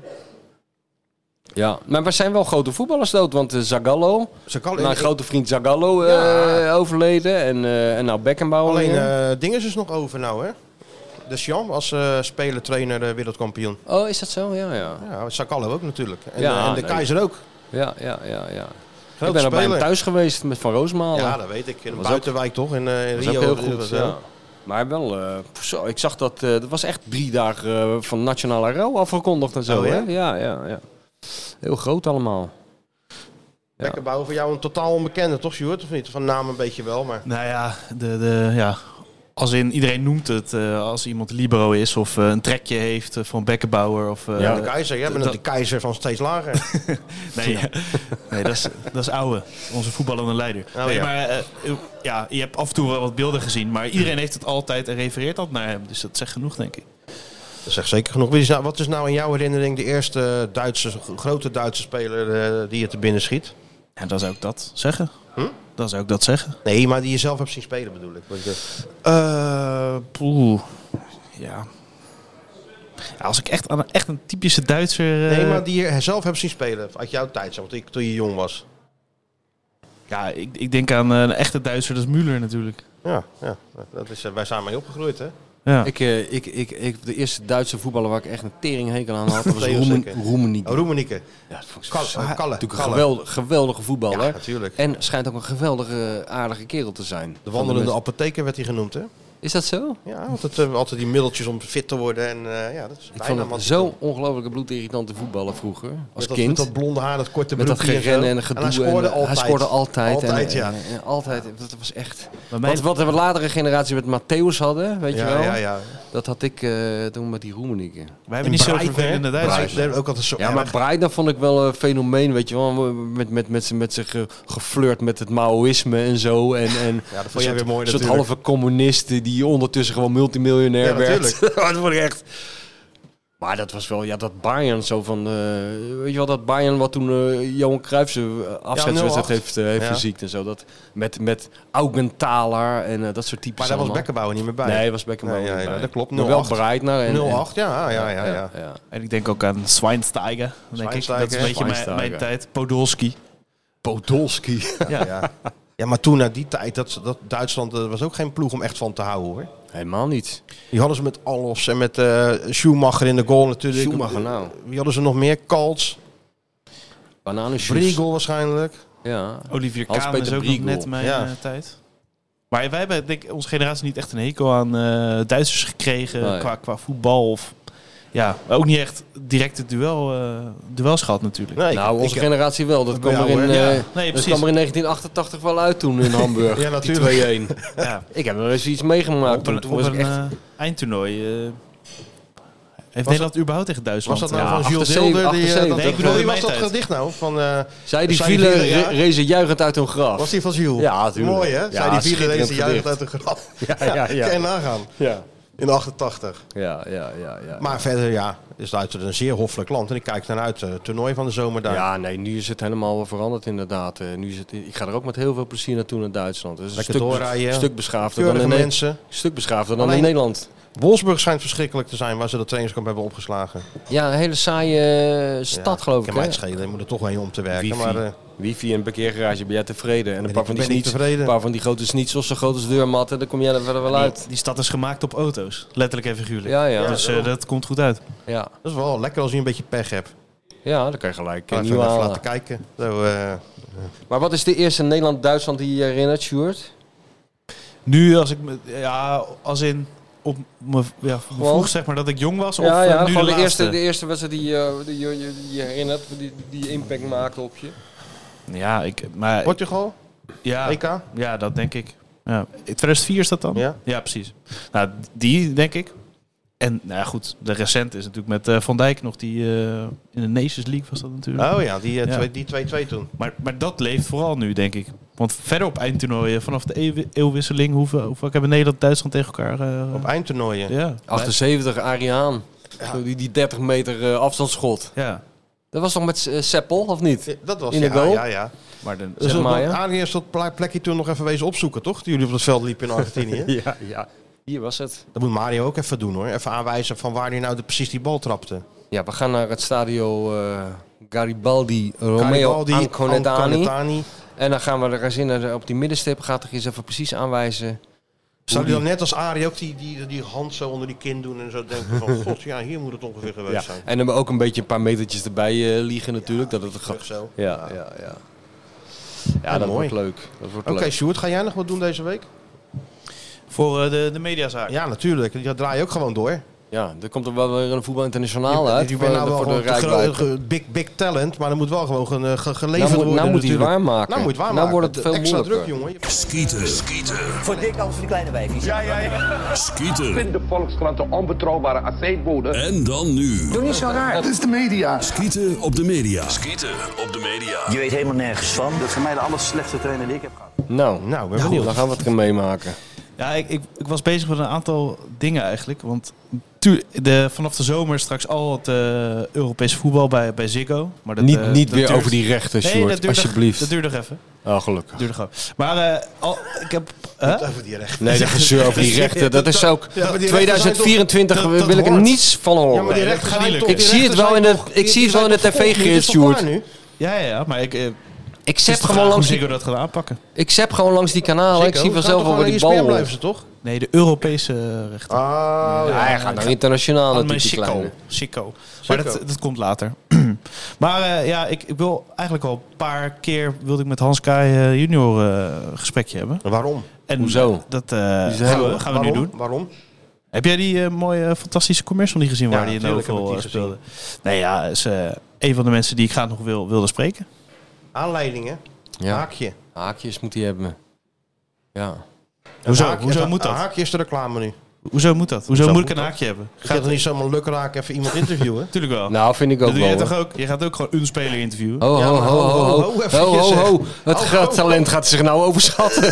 [SPEAKER 5] Ja, maar we zijn wel grote voetballers dood, want eh, Zagallo,
[SPEAKER 4] Zagallo-
[SPEAKER 5] mijn grote vriend Zagallo eh, overleden en, eh, en nou Beckenbauer.
[SPEAKER 4] Alleen
[SPEAKER 5] weer.
[SPEAKER 4] eh Dinges is nog over nou, hè? Deschamps als eh, speler, trainer, eh, wereldkampioen.
[SPEAKER 5] oh, is dat zo? Ja, ja.
[SPEAKER 4] Ja, Sakalo ook natuurlijk. En,
[SPEAKER 5] Ja,
[SPEAKER 4] eh, en de
[SPEAKER 5] nee.
[SPEAKER 4] keizer ook.
[SPEAKER 5] Ja, ja, ja, ja.
[SPEAKER 4] Grote
[SPEAKER 5] ik ben er bij hem
[SPEAKER 4] speler.
[SPEAKER 5] thuis geweest met Van Roosmalen.
[SPEAKER 4] Ja, dat weet ik. In de
[SPEAKER 5] Was ook-
[SPEAKER 4] buitenwijk toch? In, eh, in
[SPEAKER 5] Dat
[SPEAKER 4] Rio.
[SPEAKER 5] is ook
[SPEAKER 4] eh,
[SPEAKER 5] heel goed,
[SPEAKER 4] was, eh,
[SPEAKER 5] ja. Maar wel, eh, zo, ik zag dat, eh, dat was echt drie dagen eh, van nationale rouw afgekondigd en zo.
[SPEAKER 4] Oh,
[SPEAKER 5] ja?
[SPEAKER 4] ja?
[SPEAKER 5] Hè? Ja, ja, ja. Heel groot allemaal. Ja.
[SPEAKER 4] Beckenbauer voor jou een totaal onbekende, toch, Sjoerd? Of niet? Van naam een beetje wel, maar...
[SPEAKER 6] Nou ja, de, de, ja, Als in, iedereen noemt het eh, als iemand libero is of eh, een trekje heeft eh, van Beckenbauer. Of, eh,
[SPEAKER 4] de keizer. Jij bent
[SPEAKER 6] dat-
[SPEAKER 4] de keizer van steeds lager.
[SPEAKER 6] Nee, nee dat, is, dat is ouwe. Onze voetballende leider.
[SPEAKER 4] Oh,
[SPEAKER 6] nee,
[SPEAKER 4] ja.
[SPEAKER 6] maar eh, eh, ja, je hebt af en toe wel wat beelden gezien. Maar iedereen heeft het altijd en refereert dat naar hem. Dus dat zegt genoeg, denk ik.
[SPEAKER 4] Dat zegt zeker genoeg. Wie is nou- Wat is nou in jouw herinnering de eerste Duitse, grote Duitse speler eh, die je te binnen schiet?
[SPEAKER 6] En dan zou ik dat zeggen. Dan zou ik dat zeggen.
[SPEAKER 4] Nee, maar die je zelf hebt zien spelen bedoel ik. Want je-
[SPEAKER 5] Eh.
[SPEAKER 6] Eh, poeh. Ja. Ja, Als ik echt aan echt een typische Duitser. eh,
[SPEAKER 4] Nee, maar die je zelf hebt zien spelen uit jouw tijd, want ik, toen je jong was.
[SPEAKER 6] Ja, ik, ik denk aan eh, een echte Duitser, dat is Müller natuurlijk.
[SPEAKER 4] Ja, ja. Dat is, eh, wij zijn mee opgegroeid, hè?
[SPEAKER 6] Ja.
[SPEAKER 5] Ik, eh, ik, ik, ik, de eerste Duitse voetballer waar ik echt een teringhekel aan had, was
[SPEAKER 4] Theo
[SPEAKER 5] Roemen,
[SPEAKER 4] zeker.
[SPEAKER 5] Roemeniek.
[SPEAKER 4] Oh, Roemenieke.
[SPEAKER 5] Ja, dat vond ik
[SPEAKER 4] Kalle.
[SPEAKER 5] verschrikkelijk.
[SPEAKER 4] Kalle.
[SPEAKER 5] Natuurlijk een
[SPEAKER 4] Kalle.
[SPEAKER 5] geweldige, geweldige
[SPEAKER 4] Ja,
[SPEAKER 5] voetballer.
[SPEAKER 4] natuurlijk.
[SPEAKER 5] en schijnt ook een geweldige, aardige kerel te zijn.
[SPEAKER 4] De wandelende apotheker werd hij genoemd, hè?
[SPEAKER 5] Is dat zo?
[SPEAKER 4] Ja, altijd, eh, altijd die middeltjes om fit te worden. En, eh, ja, dat is
[SPEAKER 5] Ik vond
[SPEAKER 4] bijna
[SPEAKER 5] hem
[SPEAKER 4] wat-
[SPEAKER 5] zo ongelooflijke bloedirritante voetballer vroeger. Als
[SPEAKER 4] met dat,
[SPEAKER 5] kind.
[SPEAKER 4] Met dat blonde haar, dat korte
[SPEAKER 5] Met dat
[SPEAKER 4] broekje en zo.
[SPEAKER 5] gerennen en gedoe.
[SPEAKER 4] En hij scoorde
[SPEAKER 5] en, eh,
[SPEAKER 4] altijd.
[SPEAKER 5] Hij scoorde altijd.
[SPEAKER 4] Altijd,
[SPEAKER 5] en, eh,
[SPEAKER 4] ja.
[SPEAKER 5] en- en altijd. Dat was echt...
[SPEAKER 6] Bij mij-
[SPEAKER 5] Wat, wat de latere generatie met Matthäus hadden, weet
[SPEAKER 4] Ja,
[SPEAKER 5] je wel.
[SPEAKER 4] ja, ja.
[SPEAKER 5] Dat had ik eh, toen met die Roemenieken.
[SPEAKER 6] Wij hebben niet zo
[SPEAKER 4] Breitner,
[SPEAKER 6] vervelende Duitsers.
[SPEAKER 4] Breitner, ook altijd zo
[SPEAKER 5] Ja, maar Breitner vond ik wel een fenomeen, weet je wel. Met, met, met, z'n- met zich ge, geflirt met het Maoïsme en zo. En, en
[SPEAKER 4] dat vond jij weer mooi
[SPEAKER 5] Een soort
[SPEAKER 4] natuurlijk.
[SPEAKER 5] halve communisten die ondertussen gewoon multimiljonair
[SPEAKER 4] Ja,
[SPEAKER 5] werd. dat vond ik echt... Maar dat was wel, ja, dat Bayern zo van... eh, weet je wel, dat Bayern wat toen eh, Johan Cruijff zijn afzetwedstrijd
[SPEAKER 4] 08.
[SPEAKER 5] heeft, eh, heeft
[SPEAKER 4] Ja.
[SPEAKER 5] verziekt en zo. Dat, met, met Augenthaler en eh, dat soort types
[SPEAKER 4] Maar daar was
[SPEAKER 5] allemaal.
[SPEAKER 4] Beckenbauer niet meer bij.
[SPEAKER 5] Nee, was Beckenbauer
[SPEAKER 4] Nee,
[SPEAKER 5] niet
[SPEAKER 4] ja, ja,
[SPEAKER 5] bij.
[SPEAKER 4] dat klopt.
[SPEAKER 5] Maar wel
[SPEAKER 4] 08.
[SPEAKER 5] Breitner. En,
[SPEAKER 4] 08, ja, ja, ja.
[SPEAKER 5] en-
[SPEAKER 4] ja, ja.
[SPEAKER 5] ja.
[SPEAKER 6] En ik denk ook aan Schweinsteiger. dan Denk ik. Dat is een
[SPEAKER 4] Schweinsteiger.
[SPEAKER 6] beetje mijn,
[SPEAKER 5] Schweinsteiger.
[SPEAKER 6] mijn tijd. Podolski.
[SPEAKER 5] Podolski.
[SPEAKER 4] Ja. ja, maar toen naar die tijd, dat, dat Duitsland eh, was ook geen ploeg om echt van te houden hoor.
[SPEAKER 5] Helemaal niet.
[SPEAKER 4] Die hadden ze met Alofs en met eh, Schumacher in de goal natuurlijk.
[SPEAKER 5] Schumacher, nou.
[SPEAKER 4] Wie hadden ze nog meer? Kaltz,
[SPEAKER 5] Bananenshoes.
[SPEAKER 4] Briegel waarschijnlijk.
[SPEAKER 5] Ja.
[SPEAKER 6] Olivier Kahn
[SPEAKER 5] Hans-Peter
[SPEAKER 6] is ook nog
[SPEAKER 5] Briegel.
[SPEAKER 6] net mijn
[SPEAKER 4] Ja.
[SPEAKER 6] eh, tijd. Maar wij hebben, denk ik, onze generatie niet echt een hekel aan eh, Duitsers gekregen.
[SPEAKER 5] Nee.
[SPEAKER 6] Qua, qua voetbal. Of, ja, maar ook niet echt direct het duel, eh duels gehad natuurlijk.
[SPEAKER 4] Nee, ik-
[SPEAKER 5] Nou, onze
[SPEAKER 4] ik-
[SPEAKER 5] generatie wel. Dat kwam,
[SPEAKER 4] jou,
[SPEAKER 5] er in,
[SPEAKER 4] hè?
[SPEAKER 5] eh,
[SPEAKER 6] Ja, nee,
[SPEAKER 5] dat
[SPEAKER 6] precies.
[SPEAKER 5] kwam er in 1988 wel uit toen in Hamburg.
[SPEAKER 4] Ja,
[SPEAKER 5] die
[SPEAKER 4] natuurlijk.
[SPEAKER 5] 2-1.
[SPEAKER 6] Ja.
[SPEAKER 5] Ik heb er eens iets meegemaakt.
[SPEAKER 6] op
[SPEAKER 5] toen,
[SPEAKER 6] een,
[SPEAKER 5] toen
[SPEAKER 6] op
[SPEAKER 5] was
[SPEAKER 6] een
[SPEAKER 5] ik echt...
[SPEAKER 6] eh, eindtoernooi. eh, heeft Nederland überhaupt tegen Duitsland?
[SPEAKER 4] was dat nou
[SPEAKER 5] Ja,
[SPEAKER 4] van Jules
[SPEAKER 5] 78,
[SPEAKER 4] Zilder? Die, eh, dat-
[SPEAKER 5] 78.
[SPEAKER 6] Nee, ik bedoel
[SPEAKER 4] dat- wie
[SPEAKER 6] in
[SPEAKER 4] was
[SPEAKER 6] mijn
[SPEAKER 4] dat
[SPEAKER 6] tijd.
[SPEAKER 4] gedicht nou? Van, eh,
[SPEAKER 5] Zij die
[SPEAKER 4] Zij
[SPEAKER 5] vielen
[SPEAKER 4] die vielen,
[SPEAKER 5] re-
[SPEAKER 4] ja.
[SPEAKER 5] rezen juichend uit hun graf.
[SPEAKER 4] was die van Jules?
[SPEAKER 5] Ja, tuurlijk.
[SPEAKER 4] Mooi hè?
[SPEAKER 5] Ja,
[SPEAKER 4] Zij die vierde
[SPEAKER 5] schitterend
[SPEAKER 4] deze juichend uit
[SPEAKER 5] gedicht.
[SPEAKER 4] de graf.
[SPEAKER 5] Ja, ja, ja.
[SPEAKER 4] Kan je nagaan.
[SPEAKER 5] Ja.
[SPEAKER 4] In 88.
[SPEAKER 5] Ja, ja, ja, ja.
[SPEAKER 4] Maar verder ja, is Duitsland een zeer hoffelijk land. En ik kijk naar uit, eh, het toernooi van de zomer daar.
[SPEAKER 5] Ja, nee, nu is het helemaal veranderd inderdaad. Eh, Nu is het, ik ga er ook met heel veel plezier naartoe naar Duitsland. Het is een
[SPEAKER 4] Lekker
[SPEAKER 5] stuk,
[SPEAKER 4] doorrijden, hè?
[SPEAKER 5] stuk beschaafder dan
[SPEAKER 4] Keurige
[SPEAKER 5] in, Ne-
[SPEAKER 4] mensen.
[SPEAKER 5] stuk beschaafder dan in
[SPEAKER 4] Alleen-
[SPEAKER 5] Nederland.
[SPEAKER 4] Wolfsburg schijnt verschrikkelijk te zijn waar ze dat trainingskamp hebben opgeslagen.
[SPEAKER 5] Ja, een hele saaie eh, stad
[SPEAKER 4] Ja,
[SPEAKER 5] geloof ik.
[SPEAKER 4] Kan mij
[SPEAKER 5] hè?
[SPEAKER 4] het schelen, je moet er toch heen om te werken.
[SPEAKER 5] Wifi.
[SPEAKER 4] Maar, eh,
[SPEAKER 5] Wifi en parkeergarage, ben jij tevreden? En een
[SPEAKER 4] ik
[SPEAKER 5] paar van die
[SPEAKER 4] ben niet
[SPEAKER 5] sneets-
[SPEAKER 4] tevreden.
[SPEAKER 5] een paar van die grote sneetsels, zo grote als deurmatten, dan kom jij er verder wel uit.
[SPEAKER 6] Die, die stad is gemaakt op auto's. Letterlijk en figuurlijk.
[SPEAKER 5] Ja, ja.
[SPEAKER 6] dus eh, dat komt goed uit.
[SPEAKER 5] Ja,
[SPEAKER 4] dat is wel lekker als je een beetje pech hebt.
[SPEAKER 5] ja dan kan je gelijk eh,
[SPEAKER 4] Kan even
[SPEAKER 5] nieuw
[SPEAKER 4] even
[SPEAKER 5] halen.
[SPEAKER 4] laten kijken. Zo, eh,
[SPEAKER 5] Maar wat is de eerste Nederland-Duitsland die je herinnert, Sjoerd?
[SPEAKER 6] Nu, als ik me, ja, als in op me, ja, me
[SPEAKER 5] Gewoon?
[SPEAKER 6] vroeg zeg maar dat ik jong was, of
[SPEAKER 5] Ja,
[SPEAKER 6] eh,
[SPEAKER 5] ja,
[SPEAKER 6] nu
[SPEAKER 5] gewoon de,
[SPEAKER 6] laatste?
[SPEAKER 5] eerste, de eerste wedstrijd die, je- die, je- die, je herinnert, die, die impact maakte op je.
[SPEAKER 6] Ja, ik, maar
[SPEAKER 4] Portugal,
[SPEAKER 6] ja,
[SPEAKER 4] EK.
[SPEAKER 6] ja, dat denk ik. Ja. In 2004 is dat dan?
[SPEAKER 4] Ja.
[SPEAKER 6] precies. Nou, die denk ik. En nou ja, goed, de recent is natuurlijk met eh, Van Dijk nog die eh, in de Nations League was dat natuurlijk.
[SPEAKER 4] Oh ja, die 2-2
[SPEAKER 6] Ja.
[SPEAKER 4] die 2-2 toen.
[SPEAKER 6] Maar, maar dat leeft vooral nu, denk ik. Want verder op eindtoernooien, vanaf de eeuw- eeuwwisseling, hoeveel, hoeveel hebben Nederland en Duitsland tegen elkaar? eh,
[SPEAKER 4] Op eindtoernooien.
[SPEAKER 6] ja,
[SPEAKER 5] 78, Ariaan. Zo Die, die 30 meter eh, afstandsschot.
[SPEAKER 6] ja,
[SPEAKER 5] Dat was toch met eh, Seppel, of niet?
[SPEAKER 4] Dat was
[SPEAKER 5] In de
[SPEAKER 4] ja,
[SPEAKER 5] goal?
[SPEAKER 4] ja, ja.
[SPEAKER 6] maar de,
[SPEAKER 4] Dus
[SPEAKER 5] maar,
[SPEAKER 4] dat
[SPEAKER 5] ja.
[SPEAKER 4] Ariërs dat pla- plekje toen nog even wezen opzoeken, toch? Die jullie op het veld liepen in Argentinië.
[SPEAKER 5] Ja, ja. Hier was het.
[SPEAKER 4] Dat moet Mario ook even doen hoor. Even aanwijzen van waar hij nou de, precies die bal trapte.
[SPEAKER 5] Ja, we gaan naar het stadio eh, Garibaldi Romeo
[SPEAKER 4] Garibaldi,
[SPEAKER 5] Anconetani.
[SPEAKER 4] Anconetani.
[SPEAKER 5] En dan gaan we er eens in eh, op die middenstip. Gaat er eens even precies aanwijzen.
[SPEAKER 4] Zou hij dan net als Arie ook die, die, die hand zo onder die kin doen en zo denken van... God, ja, hier moet het ongeveer geweest zijn.
[SPEAKER 5] En dan ook een beetje een paar metertjes erbij eh, liegen natuurlijk. dat het een grap
[SPEAKER 4] Terug zo.
[SPEAKER 5] Ja, ja, ja. Ja,
[SPEAKER 4] Ja,
[SPEAKER 5] dat
[SPEAKER 4] mooi.
[SPEAKER 5] wordt leuk. Dat wordt
[SPEAKER 4] Oké,
[SPEAKER 5] leuk.
[SPEAKER 4] Sjoerd, ga jij nog wat doen deze week?
[SPEAKER 6] voor eh, de, de mediazaak.
[SPEAKER 4] Ja, natuurlijk. Dat draai je ook gewoon door.
[SPEAKER 5] Ja, er komt er wel weer een voetbal internationaal uit.
[SPEAKER 4] die
[SPEAKER 5] voor,
[SPEAKER 4] ben nou wel
[SPEAKER 5] voor de
[SPEAKER 4] gewoon te
[SPEAKER 5] rijkwijde.
[SPEAKER 4] gro- ge- big, big talent, maar er moet wel gewoon ge- ge- geleverd
[SPEAKER 5] Nou moet-
[SPEAKER 4] worden
[SPEAKER 5] nou moet hij het
[SPEAKER 4] natuurlijk.
[SPEAKER 5] waarmaken.
[SPEAKER 4] Nou moet het waarmaken.
[SPEAKER 5] Nou wordt het veel
[SPEAKER 4] Extra druk,
[SPEAKER 5] moeilijker.
[SPEAKER 4] jongen.
[SPEAKER 8] Skieten.
[SPEAKER 9] Voor dik als voor die kleine wijfjes. Ja, ja, ja.
[SPEAKER 8] Skieten.
[SPEAKER 9] vind de Volkskrant een onbetrouwbare aceetbode.
[SPEAKER 8] En dan nu.
[SPEAKER 9] Doe niet zo raar.
[SPEAKER 8] Dat is de media. Skieten op de media.
[SPEAKER 9] Skieten op de media.
[SPEAKER 8] Je weet helemaal nergens van. Dat is voor mij de aller slechtste trainer die ik heb gehad.
[SPEAKER 5] Nou,
[SPEAKER 4] nou,
[SPEAKER 5] ben benieuwd. Dan gaan we het gaan meemaken.
[SPEAKER 6] Ja, ik, ik, ik was bezig met een aantal dingen eigenlijk. Want tu- de, vanaf de zomer straks al het eh, Europese voetbal bij, bij Ziggo. Maar dat,
[SPEAKER 5] Niet-
[SPEAKER 6] eh,
[SPEAKER 5] niet
[SPEAKER 6] dat
[SPEAKER 5] weer over die rechten,
[SPEAKER 6] Nee,
[SPEAKER 5] Sjoerd,
[SPEAKER 6] dat duurt nog-
[SPEAKER 5] alsjeblieft.
[SPEAKER 6] Dat duurt nog even.
[SPEAKER 5] Oh, gelukkig.
[SPEAKER 6] Duurt nog even. Maar eh, al, ik heb...
[SPEAKER 4] Niet over die rechten.
[SPEAKER 5] Nee, dat gezeur over die rechten, dat is ook...
[SPEAKER 6] Ja, maar die rechten
[SPEAKER 5] 2024
[SPEAKER 6] zijn toch- dat-
[SPEAKER 5] wil ik
[SPEAKER 6] dat
[SPEAKER 5] er
[SPEAKER 6] hoort.
[SPEAKER 5] niets van horen.
[SPEAKER 6] Ja, maar die rechten zijn toch-
[SPEAKER 5] ik
[SPEAKER 6] die
[SPEAKER 5] zie het
[SPEAKER 6] rechten
[SPEAKER 5] wel in
[SPEAKER 6] zijn
[SPEAKER 5] de,
[SPEAKER 6] toch-
[SPEAKER 5] ik zie het wel in de tv, Geert Sjoerd.
[SPEAKER 6] Ja, ja, ja, maar ik... eh,
[SPEAKER 5] Ik
[SPEAKER 6] het is
[SPEAKER 5] zap
[SPEAKER 6] de
[SPEAKER 5] gewoon
[SPEAKER 6] vraag
[SPEAKER 5] langs
[SPEAKER 6] hoe
[SPEAKER 5] die-
[SPEAKER 6] Ziggo dat gaat aanpakken.
[SPEAKER 5] Ik zap gewoon langs die kanalen, ik zie vanzelf wel waar die bal
[SPEAKER 4] blijven ze
[SPEAKER 5] rolt.
[SPEAKER 4] toch?
[SPEAKER 6] Nee, de Europese rechten.
[SPEAKER 4] Oh,
[SPEAKER 5] Ja, hij gaat naar internationale
[SPEAKER 6] Allemaal
[SPEAKER 5] type
[SPEAKER 6] Sikko.
[SPEAKER 5] kleine.
[SPEAKER 6] Sikko. Maar dat, dat komt later. maar eh, ja, ik, ik wil eigenlijk al een paar keer wilde ik met Hans Kaai eh, junior eh, een gesprekje hebben.
[SPEAKER 4] Waarom?
[SPEAKER 6] En
[SPEAKER 5] Hoezo?
[SPEAKER 6] Dat eh,
[SPEAKER 5] Die zijn
[SPEAKER 6] gaan we,
[SPEAKER 5] we-
[SPEAKER 6] gaan we nu
[SPEAKER 4] Waarom?
[SPEAKER 6] doen.
[SPEAKER 4] Waarom?
[SPEAKER 6] Heb jij die eh, mooie, fantastische commercial niet gezien
[SPEAKER 4] Ja,
[SPEAKER 6] waar die in
[SPEAKER 4] natuurlijk heb ik
[SPEAKER 6] Oval
[SPEAKER 4] die
[SPEAKER 6] eh, speelde? Nee, ja, is eh, een van de mensen die ik graag nog wil, wilde spreken.
[SPEAKER 4] Aanleidingen.
[SPEAKER 5] Ja.
[SPEAKER 4] Haakje.
[SPEAKER 5] Haakjes moet hij hebben. Ja.
[SPEAKER 6] Hoezo?
[SPEAKER 4] Een haakje-
[SPEAKER 6] Hoezo
[SPEAKER 4] een-
[SPEAKER 6] moet dat?
[SPEAKER 4] Een haakje is de reclame nu.
[SPEAKER 6] Hoezo moet dat? Hoezo,
[SPEAKER 4] Hoezo
[SPEAKER 6] moet ik
[SPEAKER 4] moet
[SPEAKER 6] een
[SPEAKER 4] dat?
[SPEAKER 6] haakje hebben?
[SPEAKER 4] Ik ga toch niet zomaar luk raak even iemand interviewen?
[SPEAKER 6] Tuurlijk wel.
[SPEAKER 5] Nou, vind ik
[SPEAKER 6] dat
[SPEAKER 5] ook
[SPEAKER 6] doe jij
[SPEAKER 5] wel.
[SPEAKER 6] toch
[SPEAKER 5] hoor.
[SPEAKER 6] ook? Je gaat ook gewoon een speler interviewen.
[SPEAKER 5] Ho,
[SPEAKER 4] Ja,
[SPEAKER 5] ho,
[SPEAKER 4] maar
[SPEAKER 5] ho,
[SPEAKER 4] ho,
[SPEAKER 5] ho,
[SPEAKER 4] ho,
[SPEAKER 5] ho,
[SPEAKER 4] ho,
[SPEAKER 5] ho,
[SPEAKER 4] eventjes,
[SPEAKER 5] ho,
[SPEAKER 4] zeg.
[SPEAKER 5] ho. Het
[SPEAKER 4] Ho,
[SPEAKER 5] groot
[SPEAKER 4] ho,
[SPEAKER 5] talent gaat zich nou overschatten.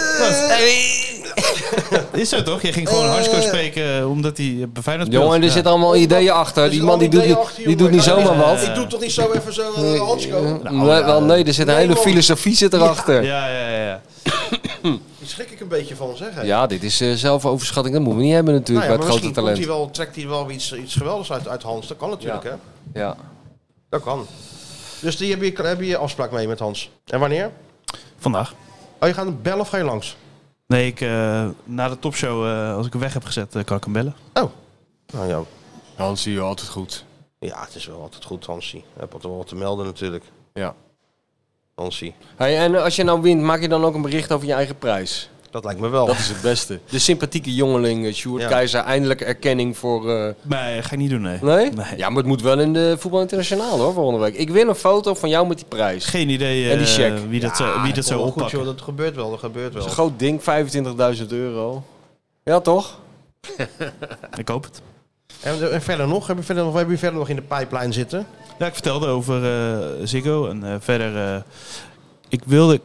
[SPEAKER 5] Oh.
[SPEAKER 6] Is zo toch? Je ging gewoon Harsco spreken eh, omdat hij bij Feyenoord speelt.
[SPEAKER 5] Jongen, er
[SPEAKER 6] Ja.
[SPEAKER 5] zitten allemaal ideeën achter. Die man die doet, niet- die doet niet zomaar wat.
[SPEAKER 4] Ik doe toch niet zo even zo eh, Hansko?
[SPEAKER 5] Nee, wel, Nou, nee, er zit een
[SPEAKER 4] Nee,
[SPEAKER 5] hele
[SPEAKER 4] man.
[SPEAKER 5] filosofie zit erachter.
[SPEAKER 6] Ja, ja, ja. ja.
[SPEAKER 4] Daar schrik ik een beetje van, zeg. hè.
[SPEAKER 5] Ja, dit is eh, zelfoverschatting. Dat moeten we niet hebben
[SPEAKER 4] Nou
[SPEAKER 5] natuurlijk
[SPEAKER 4] ja, maar
[SPEAKER 5] bij het grote
[SPEAKER 4] misschien komt
[SPEAKER 5] talent.
[SPEAKER 4] hij wel, trekt hij wel iets, iets geweldigs uit, uit Hans. Dat kan natuurlijk,
[SPEAKER 5] Ja.
[SPEAKER 4] hè?
[SPEAKER 5] Ja.
[SPEAKER 4] Dat kan. Dus die heb je, heb je afspraak mee met Hans. En wanneer?
[SPEAKER 6] Vandaag.
[SPEAKER 4] Oh, je gaat hem bellen of ga je langs?
[SPEAKER 6] Nee, ik, eh, na de topshow, eh, als ik hem weg heb gezet, eh, kan ik hem bellen.
[SPEAKER 4] Nou ja.
[SPEAKER 5] Hans zie je altijd goed.
[SPEAKER 4] Ja, het is wel altijd goed, Hansie. Je hebt altijd wel wat te melden natuurlijk.
[SPEAKER 5] Ja.
[SPEAKER 4] Hansie.
[SPEAKER 5] Hey, en als je nou wint, maak je dan ook een bericht over je eigen prijs?
[SPEAKER 4] Dat lijkt me wel.
[SPEAKER 5] Dat is het beste. De sympathieke jongeling, eh, Sjoerd
[SPEAKER 4] Ja.
[SPEAKER 5] Keizer, eindelijk erkenning voor... eh,
[SPEAKER 6] Nee, ga ik niet doen, nee.
[SPEAKER 5] Nee?
[SPEAKER 6] Nee.
[SPEAKER 5] Ja, maar het moet wel in de voetbal internationaal hoor, volgende week. Ik wil een foto van jou met die prijs.
[SPEAKER 6] Geen idee eh,
[SPEAKER 5] En die check.
[SPEAKER 6] wie dat, zou- wie dat zou
[SPEAKER 4] Wel
[SPEAKER 6] oppakken.
[SPEAKER 4] Goed, joh, dat gebeurt wel, dat gebeurt wel.
[SPEAKER 5] Dat is een groot ding, 25.000 euro. Ja, toch?
[SPEAKER 6] ik hoop het.
[SPEAKER 4] En, en verder nog? Heb je verder nog? Wat heb je verder nog in de pipeline zitten?
[SPEAKER 6] Ja, ik vertelde over eh, Ziggo en eh, verder... eh, ik wilde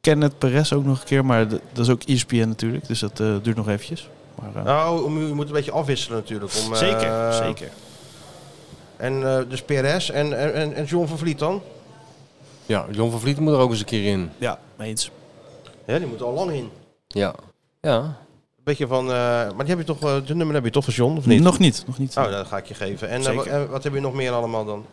[SPEAKER 6] Kenneth Perez ook nog een keer, maar d- dat is ook ESPN natuurlijk. Dus dat eh, duurt nog eventjes. Maar, eh,
[SPEAKER 4] Nou, om- je moet een beetje afwisselen natuurlijk. Om, eh,
[SPEAKER 6] zeker, zeker.
[SPEAKER 4] En eh, dus PRS en, en, en- en John van Vliet dan?
[SPEAKER 5] Ja, John van Vliet moet er ook eens een keer in.
[SPEAKER 6] Ja, mee eens.
[SPEAKER 4] Ja, die moet al lang in.
[SPEAKER 5] Ja. Ja.
[SPEAKER 4] Een beetje van, eh, maar die heb je toch, eh, de nummer heb je toch van John, of niet?
[SPEAKER 6] Nog niet, nog niet.
[SPEAKER 4] Oh, dat ga ik je geven. En eh,
[SPEAKER 6] Zeker.
[SPEAKER 4] wat, en wat heb je nog meer allemaal dan?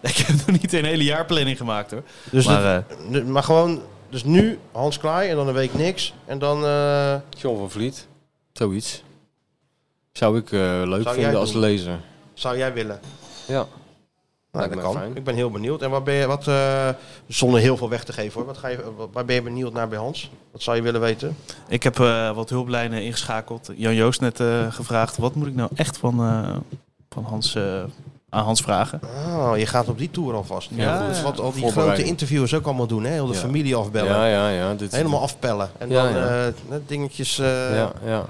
[SPEAKER 6] Ik heb nog niet een hele jaarplanning gemaakt hoor.
[SPEAKER 4] Dus
[SPEAKER 6] maar,
[SPEAKER 4] dat-
[SPEAKER 6] eh,
[SPEAKER 4] Nu- maar gewoon, dus nu Hans Klaai en dan een week niks. En dan, eh,
[SPEAKER 5] John van Vliet. Zoiets. Zou ik eh, leuk
[SPEAKER 4] jij
[SPEAKER 5] vinden als
[SPEAKER 4] doen?
[SPEAKER 5] lezer.
[SPEAKER 4] zou jij willen?
[SPEAKER 5] Ja.
[SPEAKER 4] Nou,
[SPEAKER 5] Lijkt
[SPEAKER 4] dat
[SPEAKER 5] me
[SPEAKER 4] kan.
[SPEAKER 5] fijn.
[SPEAKER 4] Ik ben heel benieuwd. En wat ben je, wat, eh, zonder heel veel weg te geven hoor, wat ga je, wat- waar ben je benieuwd naar bij Hans? Wat zou je willen weten?
[SPEAKER 6] Ik heb eh, wat hulplijnen ingeschakeld. Jan Joost net eh, gevraagd, wat moet ik nou echt van, eh, van Hans, eh, aan Hans vragen?
[SPEAKER 4] Ah, je gaat op die tour alvast.
[SPEAKER 6] Ja,
[SPEAKER 4] Ja, dat is wat al die
[SPEAKER 5] Voorbereiding.
[SPEAKER 4] grote interviewers ook allemaal doen, hè? Heel de
[SPEAKER 5] Ja.
[SPEAKER 4] familie afbellen.
[SPEAKER 5] Ja, ja, ja. Dit,
[SPEAKER 4] Helemaal afpellen. En
[SPEAKER 5] Ja,
[SPEAKER 4] dan
[SPEAKER 5] ja.
[SPEAKER 4] eh, net dingetjes. eh,
[SPEAKER 5] ja, ja.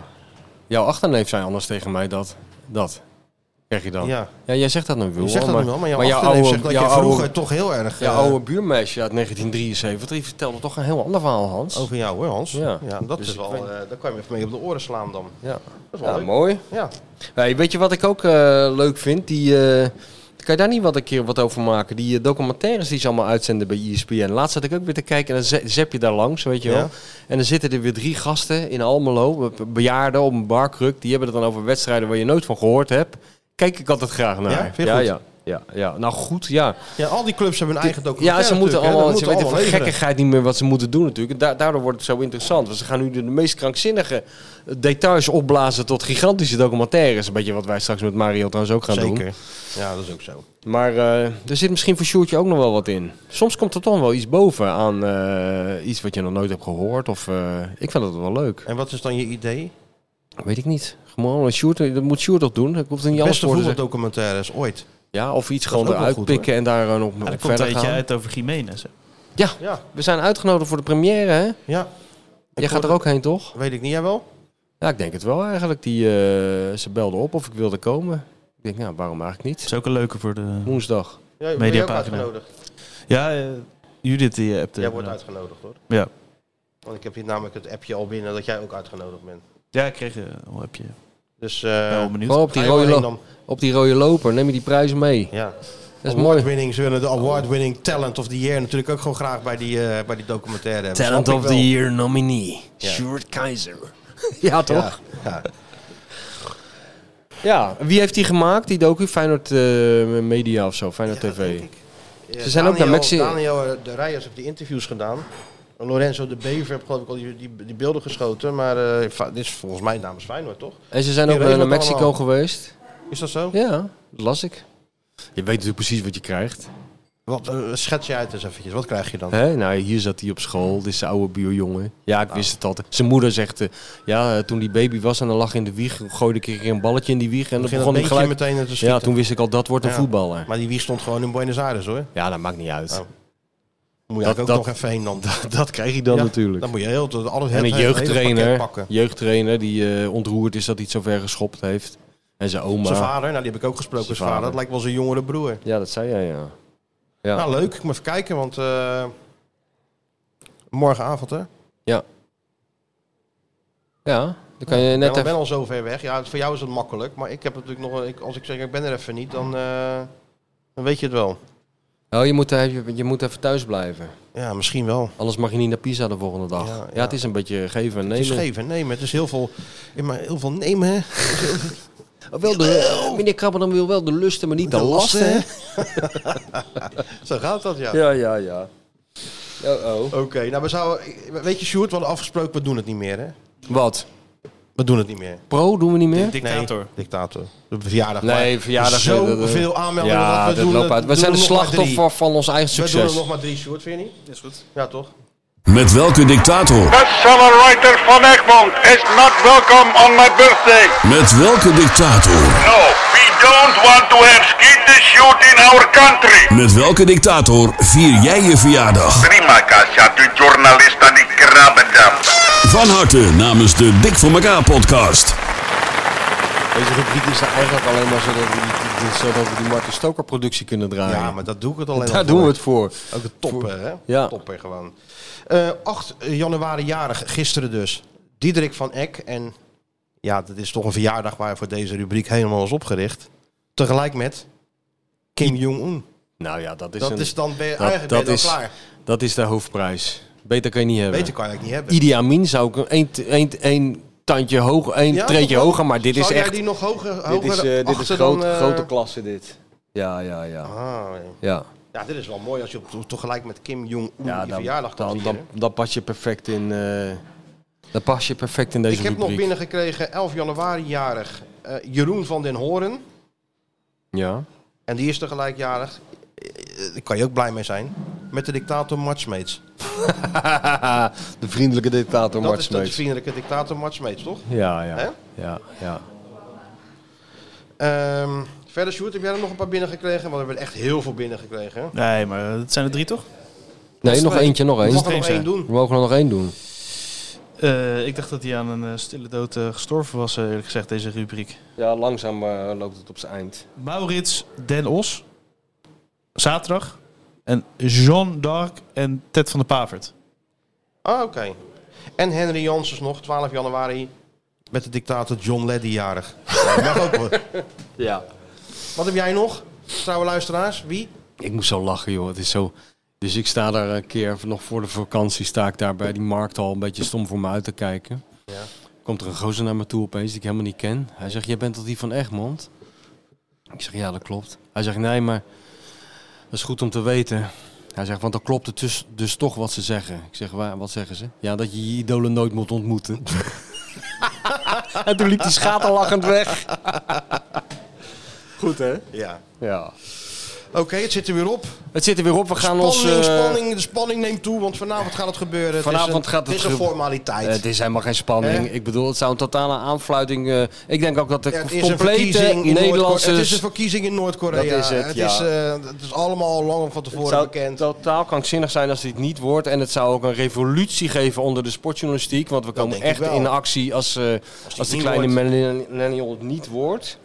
[SPEAKER 5] Jouw achterneef zei anders tegen mij dat. Dat. Krijg je dan. Ja,
[SPEAKER 4] ja.
[SPEAKER 5] jij zegt dat nu wel.
[SPEAKER 4] Je zegt dat
[SPEAKER 5] maar,
[SPEAKER 4] nu wel, maar jouw
[SPEAKER 5] maar jouw
[SPEAKER 4] achterneef
[SPEAKER 5] oude-
[SPEAKER 4] zegt dat
[SPEAKER 5] jouw
[SPEAKER 4] je
[SPEAKER 5] oude-
[SPEAKER 4] vroeger toch heel erg...
[SPEAKER 5] jouw
[SPEAKER 4] eh,
[SPEAKER 5] oude buurmeisje uit 1973 die vertelde toch een heel ander verhaal, Hans.
[SPEAKER 4] Over jou hoor, Hans.
[SPEAKER 5] Ja.
[SPEAKER 4] Ja, dat
[SPEAKER 5] Dus
[SPEAKER 4] is
[SPEAKER 5] ik
[SPEAKER 4] wel...
[SPEAKER 5] weet-
[SPEAKER 4] eh, daar kan je me even mee op de oren slaan dan.
[SPEAKER 5] Ja.
[SPEAKER 4] Dat is wel
[SPEAKER 5] Ja,
[SPEAKER 4] leuk.
[SPEAKER 5] mooi.
[SPEAKER 4] Ja.
[SPEAKER 5] Hey, weet je wat ik ook eh, leuk vind? Die, eh, kan je daar niet wat een keer wat over maken? Die eh, documentaires die ze allemaal uitzenden bij E ESPN. Laatst zat ik ook weer te kijken en dan ze- zap je daar langs, weet je wel.
[SPEAKER 4] Ja.
[SPEAKER 5] En dan zitten er weer drie gasten in Almelo, be- bejaarden op een barkruk. Die hebben het dan over wedstrijden waar je nooit van gehoord hebt. Kijk ik altijd graag naar.
[SPEAKER 4] Ja? Vind je
[SPEAKER 5] ja,
[SPEAKER 4] goed?
[SPEAKER 5] ja, ja, ja. Nou goed, ja.
[SPEAKER 4] ja, al die clubs hebben hun eigen
[SPEAKER 5] Ja,
[SPEAKER 4] documentaire
[SPEAKER 5] ze moeten
[SPEAKER 4] natuurlijk, hè.
[SPEAKER 5] allemaal,
[SPEAKER 4] Dat
[SPEAKER 5] ze
[SPEAKER 4] moeten
[SPEAKER 5] weten
[SPEAKER 4] allemaal
[SPEAKER 5] van
[SPEAKER 4] leveren.
[SPEAKER 5] gekkigheid niet meer wat ze moeten doen natuurlijk. En da- daardoor wordt het zo interessant. Want ze gaan nu de, de meest krankzinnige eh, details opblazen tot gigantische documentaires. Een beetje wat wij straks met Mario trouwens ook gaan doen.
[SPEAKER 4] Zeker. Ja, dat is ook zo.
[SPEAKER 5] Maar eh, er zit misschien voor Sjoertje ook nog wel wat in. Soms komt er toch wel iets boven aan eh, iets wat je nog nooit hebt gehoord. Of, eh, ik vind dat wel leuk.
[SPEAKER 4] En wat is dan je idee?
[SPEAKER 5] Weet ik niet. Come on, Sjoerd, eh, dat moet Sjoerd toch doen? Ik hoef het niet alles
[SPEAKER 4] Beste
[SPEAKER 5] voor te zeggen.
[SPEAKER 4] voetbaldocumentaires ooit.
[SPEAKER 5] Ja, of iets
[SPEAKER 4] Dat
[SPEAKER 5] gewoon
[SPEAKER 4] is ook wel
[SPEAKER 5] eruit
[SPEAKER 4] goed,
[SPEAKER 5] pikken
[SPEAKER 4] hoor.
[SPEAKER 5] en daar eh, nog
[SPEAKER 4] Ja,
[SPEAKER 5] op
[SPEAKER 6] Er
[SPEAKER 4] dat
[SPEAKER 6] komt
[SPEAKER 5] verder
[SPEAKER 6] een eentje
[SPEAKER 5] gaan.
[SPEAKER 6] uit over Jiménez. hè.
[SPEAKER 5] Ja, we zijn uitgenodigd voor de première, hè?
[SPEAKER 4] Ja.
[SPEAKER 5] Jij gaat er ook heen, toch?
[SPEAKER 4] Weet ik niet, jij wel?
[SPEAKER 5] Ja, ik denk het wel eigenlijk. Die, eh, ze belden op of ik wilde komen. Ik denk, nou, waarom eigenlijk niet?
[SPEAKER 6] is ook een leuke voor de
[SPEAKER 4] Ja,
[SPEAKER 5] Woensdag.
[SPEAKER 4] ben jij ook
[SPEAKER 6] mediapagina.
[SPEAKER 4] uitgenodigd?
[SPEAKER 6] Ja, eh, Judith die hebt. eh, nou.
[SPEAKER 4] Jij wordt uitgenodigd hoor.
[SPEAKER 6] Ja.
[SPEAKER 4] Want ik heb hier namelijk het appje al binnen dat jij ook uitgenodigd bent.
[SPEAKER 6] ja, ik kreeg eh, al heb je.
[SPEAKER 4] Dus eh
[SPEAKER 6] Wel benieuwd.
[SPEAKER 5] Gewoon op die,
[SPEAKER 4] Ga je wel
[SPEAKER 5] rode
[SPEAKER 4] heen
[SPEAKER 5] lo-
[SPEAKER 4] dan?
[SPEAKER 5] op die rode loper, neem je die prijzen mee.
[SPEAKER 4] Ja.
[SPEAKER 5] Dat is mooi.
[SPEAKER 4] award-winning, ze willen de award-winning talent of the year natuurlijk ook gewoon graag bij die, eh, bij die documentaire hebben.
[SPEAKER 5] Talent
[SPEAKER 4] Snap ik
[SPEAKER 5] of the
[SPEAKER 4] wel.
[SPEAKER 5] Year nominee.
[SPEAKER 4] Ja.
[SPEAKER 5] Sjoerd Keizer. ja, toch?
[SPEAKER 4] Ja.
[SPEAKER 5] Ja. Wie heeft die gemaakt, die docu? Feyenoord eh, Media of zo, Feyenoord TV.
[SPEAKER 4] Ja,
[SPEAKER 5] Ze zijn ook naar
[SPEAKER 4] Daniel-
[SPEAKER 5] Mexico.
[SPEAKER 4] Daniel eh, de Rijers heeft die interviews gedaan. En Lorenzo de Bever heeft geloof ik al die, die, die beelden geschoten. Maar eh, fa- dit is volgens mij namens Feyenoord, toch?
[SPEAKER 5] En ze zijn
[SPEAKER 4] Die
[SPEAKER 5] ook eh,
[SPEAKER 4] regelt
[SPEAKER 5] naar Mexico
[SPEAKER 4] allemaal.
[SPEAKER 5] geweest.
[SPEAKER 4] Is dat zo?
[SPEAKER 5] Ja, dat las ik. Je weet natuurlijk precies wat je krijgt.
[SPEAKER 4] Wat, eh, schets je uit eens eventjes. Wat krijg je dan?
[SPEAKER 5] Hè? Nou, hier zat hij op school. Dit is de oude buurjongen. Ja, ik wist het altijd. Zijn moeder zegt, eh, ja, eh, toen die baby was en dan lag in de wieg, gooide ik een keer een balletje in die wieg. En dan
[SPEAKER 4] Begin dat
[SPEAKER 5] begon hij
[SPEAKER 4] beentje
[SPEAKER 5] gelijk...
[SPEAKER 4] meteen te schieten.
[SPEAKER 5] ja, toen wist ik al, dat wordt een
[SPEAKER 4] Ja.
[SPEAKER 5] voetballer.
[SPEAKER 4] Maar die wie stond gewoon in Buenos Aires hoor.
[SPEAKER 5] Ja, dat maakt niet uit.
[SPEAKER 4] Oh. Moet je
[SPEAKER 5] Dat-
[SPEAKER 4] eigenlijk ook
[SPEAKER 5] dat-
[SPEAKER 4] nog even heen dan.
[SPEAKER 5] Dat, dat krijg je dan
[SPEAKER 4] Ja,
[SPEAKER 5] natuurlijk.
[SPEAKER 4] Dan moet je heel, alles het-
[SPEAKER 5] en een
[SPEAKER 4] het hele pakket
[SPEAKER 5] jeugdtrainer,
[SPEAKER 4] pakken.
[SPEAKER 5] jeugdtrainer die eh, ontroerd is dat hij het zo ver geschopt heeft. En zijn oma.
[SPEAKER 4] Zijn vader, nou die heb ik ook gesproken. Zijn
[SPEAKER 5] Zijn
[SPEAKER 4] vader.
[SPEAKER 5] vader.
[SPEAKER 4] dat lijkt wel zijn jongere broer.
[SPEAKER 5] Ja, dat zei jij, ja. Ja,
[SPEAKER 4] Nou leuk, ik moet even kijken, want eh, morgenavond hè?
[SPEAKER 5] ja. ja dan kan je
[SPEAKER 4] ik ben,
[SPEAKER 5] net
[SPEAKER 4] al-
[SPEAKER 5] even...
[SPEAKER 4] ben al zo ver weg. Ja, voor jou is het makkelijk, maar ik heb natuurlijk nog, een- ik, als ik zeg ik ben er even niet, dan, eh, dan weet je het wel.
[SPEAKER 5] Oh, je moet, eh, je, je moet even thuis blijven.
[SPEAKER 4] Ja, misschien wel.
[SPEAKER 5] Anders mag je niet naar Pisa de volgende dag. Ja, het is een beetje geven en
[SPEAKER 4] Het is
[SPEAKER 5] nemen.
[SPEAKER 4] geven, nemen. Het is heel veel, ja, maar heel veel nemen hè.
[SPEAKER 5] Wel de, meneer Krabben dan wil wel de lusten, maar niet de,
[SPEAKER 4] De
[SPEAKER 5] lasten.
[SPEAKER 4] lasten,
[SPEAKER 5] hè?
[SPEAKER 4] zo gaat dat ja.
[SPEAKER 5] Ja, ja, ja. Oh, oh.
[SPEAKER 4] Oké, nou we zouden, weet je Sjoerd, we hadden afgesproken, we doen het niet meer hè.
[SPEAKER 5] Wat?
[SPEAKER 4] We doen het niet meer.
[SPEAKER 5] Pro doen we niet meer?
[SPEAKER 4] Dictator. dictator. De verjaardag.
[SPEAKER 5] Nee,
[SPEAKER 4] maar
[SPEAKER 5] verjaardag. dat- dat-
[SPEAKER 4] Zoveel aanmeldingen.
[SPEAKER 5] Ja,
[SPEAKER 4] dat we doen
[SPEAKER 5] loopt
[SPEAKER 4] het-
[SPEAKER 5] uit. We
[SPEAKER 4] doen
[SPEAKER 5] zijn de
[SPEAKER 4] er nog maar drie.
[SPEAKER 5] slachtoffer van ons eigen
[SPEAKER 4] We doen er
[SPEAKER 5] succes.
[SPEAKER 4] nog maar drie, Sjoerd, vind je niet? Is goed. Ja, toch?
[SPEAKER 9] Met welke dictator?
[SPEAKER 10] Accelerator van Egmond is not welcome on my birthday.
[SPEAKER 9] Met welke dictator?
[SPEAKER 10] No, we don't want to have skeet shoot in our country.
[SPEAKER 9] Met welke dictator vier jij je verjaardag?
[SPEAKER 10] Prima casa, tu giornalista di Krabbendam.
[SPEAKER 9] Van harte namens de Dik voor elkaar podcast.
[SPEAKER 5] Deze rubriek is er eigenlijk alleen maar zodat we die, die- zodat we die Martin Stoker productie kunnen draaien.
[SPEAKER 4] Ja, maar dat doe ik het alleen al
[SPEAKER 5] Daar
[SPEAKER 4] voor.
[SPEAKER 5] doen we het voor.
[SPEAKER 4] Ook een topper, hè?
[SPEAKER 5] Ja.
[SPEAKER 4] Topper gewoon. Eh 8 januari jarig, gisteren dus. Diederik van Eck. En ja, dat is toch een verjaardag waar voor deze rubriek helemaal is opgericht. Tegelijk met Kim Jong-un.
[SPEAKER 5] Nou ja, dat is
[SPEAKER 4] Dat
[SPEAKER 5] een-
[SPEAKER 4] is dan ben je- eigenlijk ben je dan
[SPEAKER 5] is,
[SPEAKER 4] klaar.
[SPEAKER 5] Dat is de hoofdprijs. Beter kan je niet hebben.
[SPEAKER 4] Beter kan je eigenlijk niet hebben.
[SPEAKER 5] Idi Amin zou ik een, een, een tandje hoger, een
[SPEAKER 4] Ja,
[SPEAKER 5] treedje
[SPEAKER 4] toch wel?
[SPEAKER 5] hoger, maar dit
[SPEAKER 4] Zou
[SPEAKER 5] is
[SPEAKER 4] jij
[SPEAKER 5] echt...
[SPEAKER 4] die nog hoger,
[SPEAKER 5] dit
[SPEAKER 4] hoger
[SPEAKER 5] is, eh, dit is
[SPEAKER 4] achter
[SPEAKER 5] groot,
[SPEAKER 4] dan, eh,
[SPEAKER 5] grote klasse dit. Ja, ja, ja.
[SPEAKER 4] Ah,
[SPEAKER 5] Ja,
[SPEAKER 4] ja, dit is wel mooi als je op, tegelijk met Kim Jong-un
[SPEAKER 5] ja
[SPEAKER 4] die
[SPEAKER 5] dan,
[SPEAKER 4] verjaardag kan
[SPEAKER 5] dan,
[SPEAKER 4] vieren.
[SPEAKER 5] dan, dan pas je perfect in... eh dan pas je perfect in deze
[SPEAKER 4] Ik heb nog
[SPEAKER 5] rubriek.
[SPEAKER 4] binnengekregen, 11 januari jarig, eh, Jeroen van den Horen.
[SPEAKER 5] Ja.
[SPEAKER 4] En die is tegelijk jarig. Eh, Daar kan je ook blij mee zijn. Met de dictator Matchmates.
[SPEAKER 5] de vriendelijke dictator
[SPEAKER 4] Dat is
[SPEAKER 5] Mart
[SPEAKER 4] dat is
[SPEAKER 5] Smeets.
[SPEAKER 4] vriendelijke dictator Matchmates, toch?
[SPEAKER 5] Ja,
[SPEAKER 4] Hè?
[SPEAKER 5] ja. Ja, ja.
[SPEAKER 4] Ehm, verder, Sjoerd, heb jij er nog een paar binnengekregen? Want we hebben er echt heel veel binnengekregen. hè?
[SPEAKER 6] Nee, maar dat zijn er drie toch?
[SPEAKER 5] Nee,
[SPEAKER 4] is
[SPEAKER 5] nog
[SPEAKER 4] twee.
[SPEAKER 5] eentje, nog
[SPEAKER 4] We
[SPEAKER 5] één.
[SPEAKER 4] mogen er nog één doen.
[SPEAKER 5] We mogen er nog één doen.
[SPEAKER 6] Eh, ik dacht dat hij aan een eh, stille dood eh, gestorven was, eh, eerlijk gezegd, deze rubriek.
[SPEAKER 5] Ja, langzaam eh, loopt het op zijn eind.
[SPEAKER 6] Maurits Den Os, zaterdag. En Jean d'Arc en Ted van de Pavert.
[SPEAKER 4] Ah, oké. En Henry Janssens nog, 12 januari. Met de dictator John Leddy jarig. Ja, mag ook hoor.
[SPEAKER 5] Ja.
[SPEAKER 4] Wat heb jij nog? Trouwe luisteraars, wie?
[SPEAKER 5] Ik moest zo lachen, joh. Het is zo... Dus ik sta daar een keer, nog voor de vakantie, sta ik daar bij die markt al een beetje stom voor me uit te kijken.
[SPEAKER 4] Ja.
[SPEAKER 5] Komt er een gozer naar me toe opeens, die ik helemaal niet ken. Hij zegt, jij bent toch die van Egmond? Ik zeg, ja, dat klopt. Hij zegt, nee, maar dat is goed om te weten. Hij zegt, want dan klopt het dus, dus toch wat ze zeggen. Ik zeg, "Waar- wat zeggen ze? Ja, dat je je idolen nooit moet ontmoeten. en toen liep die schaterlachend weg. Goed, hè?
[SPEAKER 4] Ja.
[SPEAKER 5] Ja.
[SPEAKER 4] Oké, Oké, het zit er weer op.
[SPEAKER 5] Het zit er weer op. We gaan
[SPEAKER 4] Spanning,
[SPEAKER 5] ons... eh,
[SPEAKER 4] spanning, de spanning neemt toe, want vanavond gaat het gebeuren. Het is
[SPEAKER 5] Vanavond
[SPEAKER 4] een-
[SPEAKER 5] gaat het
[SPEAKER 4] Het is een
[SPEAKER 5] gebe-
[SPEAKER 4] formaliteit.
[SPEAKER 5] eh, Het is helemaal geen spanning.
[SPEAKER 4] Hè?
[SPEAKER 5] Ik bedoel, het zou een totale aanfluiting... eh, ik denk ook dat de
[SPEAKER 4] Ja, het is een
[SPEAKER 5] complete
[SPEAKER 4] verkiezing in
[SPEAKER 5] eh, Nederlandse...
[SPEAKER 4] Noord-Korea. Het is een verkiezing in Noord-Korea.
[SPEAKER 5] Dat is het, ja.
[SPEAKER 4] is, eh, het is allemaal lang van tevoren
[SPEAKER 5] Het zou
[SPEAKER 4] bekend.
[SPEAKER 5] totaal krankzinnig zijn als dit niet wordt. En het zou ook een revolutie geven onder de sportjournalistiek. Want we komen
[SPEAKER 4] denk ik
[SPEAKER 5] echt
[SPEAKER 4] wel.
[SPEAKER 5] in actie als, eh, als, de
[SPEAKER 4] niet
[SPEAKER 5] kleine
[SPEAKER 4] wordt.
[SPEAKER 5] millenni- millennial het niet wordt.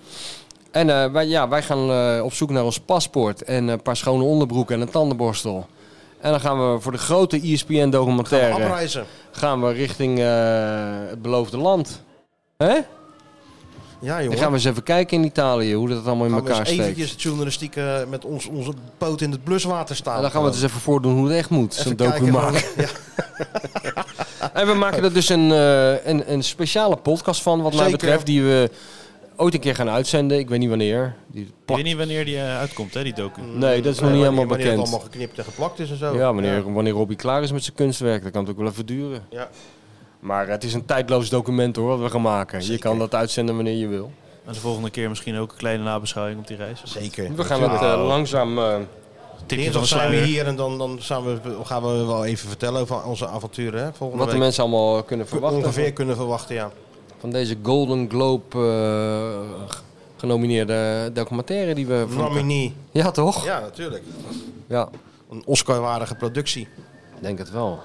[SPEAKER 5] En eh, wij, ja, wij gaan eh, op zoek naar ons paspoort en een paar schone onderbroeken en een tandenborstel. En dan gaan we voor de grote E ESPN-documentaire...
[SPEAKER 4] Gaan we afreizen.
[SPEAKER 5] gaan we richting eh, het beloofde land. Hè?
[SPEAKER 4] Ja,
[SPEAKER 5] Dan
[SPEAKER 4] jongen.
[SPEAKER 5] gaan we eens even kijken in Italië hoe dat allemaal in
[SPEAKER 4] Gaan we
[SPEAKER 5] elkaar
[SPEAKER 4] eens
[SPEAKER 5] steekt.
[SPEAKER 4] eventjes het journalistiek eh, met ons, onze poot in het bluswater staan.
[SPEAKER 5] En dan gaan we het eens even voordoen hoe het echt moet. Zo'n
[SPEAKER 4] Even
[SPEAKER 5] docu
[SPEAKER 4] kijken
[SPEAKER 5] maken.
[SPEAKER 4] gewoon-
[SPEAKER 5] En we maken er dus een, eh, een, een speciale podcast van, wat mij
[SPEAKER 6] Zeker.
[SPEAKER 5] betreft, die we ooit een keer gaan uitzenden. Ik weet niet wanneer. Die
[SPEAKER 6] Ik
[SPEAKER 5] plak-
[SPEAKER 6] weet niet wanneer die eh, uitkomt, hè, die docu.
[SPEAKER 5] Nee, dat is nog niet helemaal
[SPEAKER 4] Eh, wanneer het
[SPEAKER 5] bekend.
[SPEAKER 4] allemaal geknipt en geplakt is en zo.
[SPEAKER 5] Ja, wanneer, wanneer Robbie klaar is met zijn kunstwerk, dat kan het ook wel even duren.
[SPEAKER 4] Ja.
[SPEAKER 5] Maar het is een tijdloos document hoor, wat we gaan maken. Je kan dat uitzenden wanneer je wil.
[SPEAKER 6] En de volgende keer misschien ook een kleine nabeschouwing op die reis.
[SPEAKER 4] Zeker.
[SPEAKER 5] We gaan het eh, langzaam... eh,
[SPEAKER 4] Dinsdag zijn we hier en dan, dan zijn we, gaan we wel even vertellen over onze avonturen. Hè, volgende
[SPEAKER 5] Wat de
[SPEAKER 4] week.
[SPEAKER 5] mensen allemaal kunnen verwachten.
[SPEAKER 4] Ongeveer kunnen verwachten, ja.
[SPEAKER 5] Van deze Golden Globe eh, g- genomineerde documentaire die we... vroegen.
[SPEAKER 4] Nominee.
[SPEAKER 5] Ja, toch?
[SPEAKER 4] Ja, natuurlijk.
[SPEAKER 5] Ja.
[SPEAKER 4] Een Oscar-waardige productie.
[SPEAKER 5] Ik denk het wel.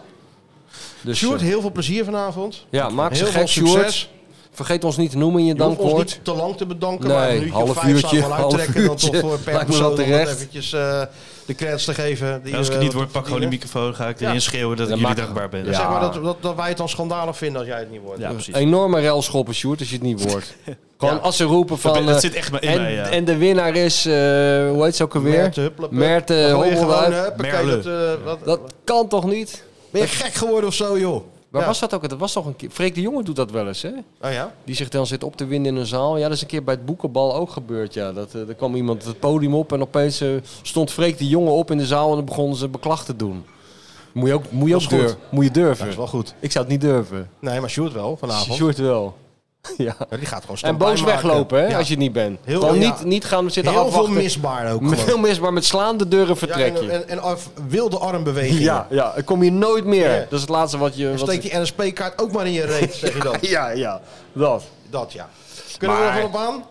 [SPEAKER 4] Dus,
[SPEAKER 5] Dus,
[SPEAKER 4] Sjoerd,
[SPEAKER 5] eh,
[SPEAKER 4] heel veel plezier vanavond.
[SPEAKER 5] Ja, maak ze
[SPEAKER 4] heel veel
[SPEAKER 5] gek, Sjoerd.
[SPEAKER 4] succes.
[SPEAKER 5] Vergeet ons niet te noemen in je
[SPEAKER 4] Je hoeft ons
[SPEAKER 5] dankwoord.
[SPEAKER 4] niet te lang te bedanken,
[SPEAKER 5] Nee,
[SPEAKER 4] maar een uurtje
[SPEAKER 5] half
[SPEAKER 4] of vijf
[SPEAKER 5] uurtje,
[SPEAKER 4] zou wel
[SPEAKER 5] half
[SPEAKER 4] uittrekken dan toch
[SPEAKER 5] uurtje.
[SPEAKER 4] voor per
[SPEAKER 5] Lijkt me wel
[SPEAKER 4] persoon om
[SPEAKER 5] terecht.
[SPEAKER 4] het eventjes eh, de credits te geven. Die,
[SPEAKER 6] En als ik
[SPEAKER 4] eh,
[SPEAKER 6] het niet
[SPEAKER 4] wat
[SPEAKER 6] word, pak gewoon de
[SPEAKER 4] verdienen.
[SPEAKER 6] microfoon. Ga ik
[SPEAKER 4] Ja.
[SPEAKER 6] erin schreeuwen dat
[SPEAKER 5] Dan
[SPEAKER 6] ik jullie
[SPEAKER 5] mag-
[SPEAKER 6] dankbaar ben. Dus
[SPEAKER 5] Ja.
[SPEAKER 4] Zeg maar dat, dat, dat wij het dan schandalig vinden als jij het niet wordt.
[SPEAKER 6] Ja, precies.
[SPEAKER 5] Enorme railschoppen, Sjoerd, als je het niet wordt. Gewoon
[SPEAKER 4] Ja.
[SPEAKER 5] als ze roepen van...
[SPEAKER 6] Dat ben- dat
[SPEAKER 5] eh,
[SPEAKER 6] zit echt bij- in
[SPEAKER 5] en,
[SPEAKER 6] mij, ja.
[SPEAKER 5] en de winnaar is, eh, hoe heet ze ook alweer?
[SPEAKER 4] Merthe, hupplepup.
[SPEAKER 5] Merthe
[SPEAKER 4] eh, Dan gooi je
[SPEAKER 5] Hobbelduif.
[SPEAKER 4] gewoon, huppakee,
[SPEAKER 5] Merle.
[SPEAKER 4] dat, eh, wat-
[SPEAKER 5] Dat kan toch niet?
[SPEAKER 4] Ben je gek geworden of zo, joh?
[SPEAKER 5] Waar
[SPEAKER 4] Ja.
[SPEAKER 5] was dat ook? Dat was toch een keer... Freek de Jonge doet dat wel eens, hè?
[SPEAKER 4] Oh ja?
[SPEAKER 5] Die zich dan zit op te winden in een zaal. Ja, dat is een keer bij het boekenbal ook gebeurd, ja. Dat, eh, er kwam iemand het podium op en opeens eh, stond Freek de Jonge op in de zaal... en dan begonnen ze beklag te doen. Moet je ook, moet je
[SPEAKER 4] Dat
[SPEAKER 5] ook
[SPEAKER 4] is goed.
[SPEAKER 5] durven. Moet je durven.
[SPEAKER 4] Dat is wel goed.
[SPEAKER 5] Ik zou het niet durven.
[SPEAKER 4] Nee, maar Sjoerd wel vanavond.
[SPEAKER 5] Sjoerd wel. ja.
[SPEAKER 4] Ja, die gaat gewoon
[SPEAKER 5] En
[SPEAKER 4] stand
[SPEAKER 5] boos
[SPEAKER 4] bijmaken.
[SPEAKER 5] weglopen, hè,
[SPEAKER 4] Ja.
[SPEAKER 5] als je het niet bent.
[SPEAKER 4] Heel-
[SPEAKER 5] Dan
[SPEAKER 4] ja.
[SPEAKER 5] niet, niet gaan zitten
[SPEAKER 4] Heel
[SPEAKER 5] afwachten.
[SPEAKER 4] veel misbaar ook
[SPEAKER 5] Met
[SPEAKER 4] gewoon.
[SPEAKER 5] Veel misbaar, met slaande deuren
[SPEAKER 4] Ja,
[SPEAKER 5] vertrek
[SPEAKER 4] en,
[SPEAKER 5] je.
[SPEAKER 4] en, en af- wilde armbewegingen.
[SPEAKER 5] Ja, ja, ik kom hier nooit meer.
[SPEAKER 4] Ja.
[SPEAKER 5] Dat is het laatste wat je...
[SPEAKER 4] Dan
[SPEAKER 5] Wat
[SPEAKER 4] steek die NSP-kaart ook maar in je reet, zeg je dan.
[SPEAKER 5] Ja, ja, dat.
[SPEAKER 4] Dat, ja. Kunnen we
[SPEAKER 5] Maar-
[SPEAKER 4] er nog op aan?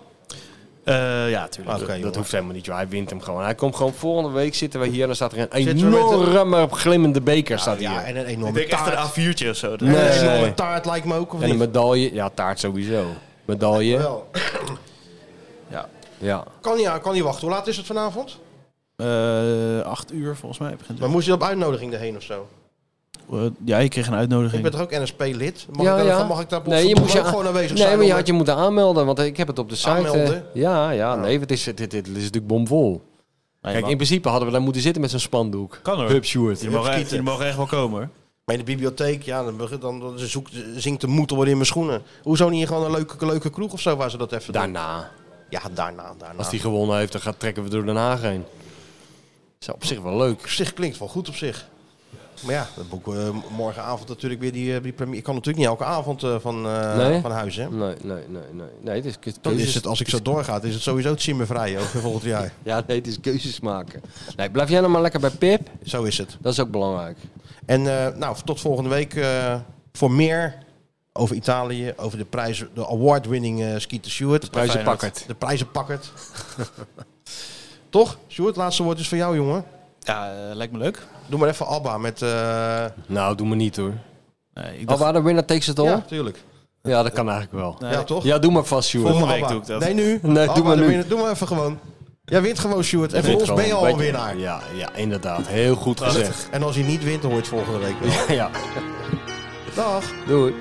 [SPEAKER 6] Eh, ja, tuurlijk.
[SPEAKER 5] dat hoeft helemaal niet. joh. Hij wint hem gewoon. Hij komt gewoon volgende week zitten we hier en dan staat er een
[SPEAKER 4] Zitten we met een-
[SPEAKER 5] enorme glimmende beker staat hier.
[SPEAKER 4] Ja, en een
[SPEAKER 6] Ik
[SPEAKER 4] enorme
[SPEAKER 6] denk echt
[SPEAKER 4] taart.
[SPEAKER 6] een A4'tje of zo.
[SPEAKER 4] En
[SPEAKER 5] Nee.
[SPEAKER 4] Een enorme taart lijkt me ook, of
[SPEAKER 5] En een
[SPEAKER 4] niet?
[SPEAKER 5] medaille. Ja, taart sowieso. Medaille.
[SPEAKER 4] Wel.
[SPEAKER 6] Ja.
[SPEAKER 5] Ja.
[SPEAKER 4] Kan niet, aan, kan niet wachten. Hoe laat is het vanavond?
[SPEAKER 6] Eh, acht uur volgens mij begint het.
[SPEAKER 4] Maar moest je op uitnodiging erheen of zo?
[SPEAKER 6] Eh, ja, ik kreeg een uitnodiging.
[SPEAKER 4] Ik ben toch ook NSP-lid? Mag,
[SPEAKER 5] ja,
[SPEAKER 4] ik
[SPEAKER 5] ja.
[SPEAKER 4] daar- mag ik daar op
[SPEAKER 5] nee, je
[SPEAKER 4] zondag
[SPEAKER 5] moest je
[SPEAKER 4] ook gewoon aanwezig
[SPEAKER 5] nee,
[SPEAKER 4] zijn?
[SPEAKER 5] maar je
[SPEAKER 4] om-
[SPEAKER 5] had je moeten aanmelden, want ik heb het op de site. eh,
[SPEAKER 4] Aanmelden? Oh.
[SPEAKER 5] ja, ja, nee, het is, dit, dit, dit is natuurlijk bomvol. Kijk,
[SPEAKER 6] maar-
[SPEAKER 5] in principe hadden we daar moeten zitten met zo'n spandoek.
[SPEAKER 6] Kan hoor.
[SPEAKER 5] Hup, Sjoerd.
[SPEAKER 6] Jullie mogen, echt- jullie mogen echt wel komen hoor.
[SPEAKER 4] Maar in de bibliotheek, ja, dan, begint- dan, dan zoekt, zinkt de moed alweer in mijn schoenen. Hoezo niet gewoon een leuke, leuke kroeg of zo waar ze dat even doen?
[SPEAKER 5] Daarna,
[SPEAKER 4] Ja, daarna, daarna.
[SPEAKER 5] als die gewonnen heeft, dan gaat, trekken we door Den Haag heen. Is op zich wel leuk.
[SPEAKER 4] Op zich klinkt wel goed op zich. Maar ja, dan boeken we morgenavond natuurlijk weer die, eh, die première. Ik kan natuurlijk niet elke avond eh, van, eh,
[SPEAKER 5] Nee?
[SPEAKER 4] van huis, hè.
[SPEAKER 5] Nee, nee, nee, nee. nee het is, het
[SPEAKER 4] Dan
[SPEAKER 5] keuzes-
[SPEAKER 4] is het, als ik zo doorga, is het sowieso het Zimmervrij ook voor volgend jaar.
[SPEAKER 5] Ja, nee, het is keuzes maken. Nee, blijf jij nou maar lekker bij Pip.
[SPEAKER 4] Zo is het.
[SPEAKER 5] Dat is ook belangrijk.
[SPEAKER 4] En eh, nou, tot volgende week eh, voor meer over Italië, over de prijs, de award-winning eh Skeeter Stewart. De
[SPEAKER 5] prijzenpakkerd.
[SPEAKER 4] De prijzenpakkerd. Toch? Stuart, laatste woord is van jou, jongen.
[SPEAKER 6] Ja, eh, lijkt me leuk.
[SPEAKER 4] Doe maar even Abba met... eh,
[SPEAKER 5] Nou, doe me niet hoor.
[SPEAKER 6] Nee, ik
[SPEAKER 5] Oh,
[SPEAKER 6] dacht,
[SPEAKER 5] waar de winnaar takes it all?
[SPEAKER 4] ja,
[SPEAKER 5] Ja.
[SPEAKER 4] tuurlijk.
[SPEAKER 5] dat kan eigenlijk wel.
[SPEAKER 4] Ja, toch?
[SPEAKER 5] Ja, doe maar vast, Sjoerd.
[SPEAKER 6] volgende week
[SPEAKER 4] Abba.
[SPEAKER 6] doe ik dat.
[SPEAKER 4] Nee, nu.
[SPEAKER 5] Nee, doe
[SPEAKER 4] Abba,
[SPEAKER 5] maar
[SPEAKER 4] dan
[SPEAKER 5] nu.
[SPEAKER 4] win je- Doe maar even gewoon. Jij wint gewoon, Stuart. En voor
[SPEAKER 5] Dit
[SPEAKER 4] ons ben je
[SPEAKER 5] gewoon
[SPEAKER 4] al een
[SPEAKER 5] beetje-
[SPEAKER 4] winnaar.
[SPEAKER 5] Ja, ja, inderdaad. Heel goed gezegd.
[SPEAKER 4] En als je niet wint, dan hoor je het volgende week wel.
[SPEAKER 5] ja,
[SPEAKER 4] Dag.
[SPEAKER 5] doei.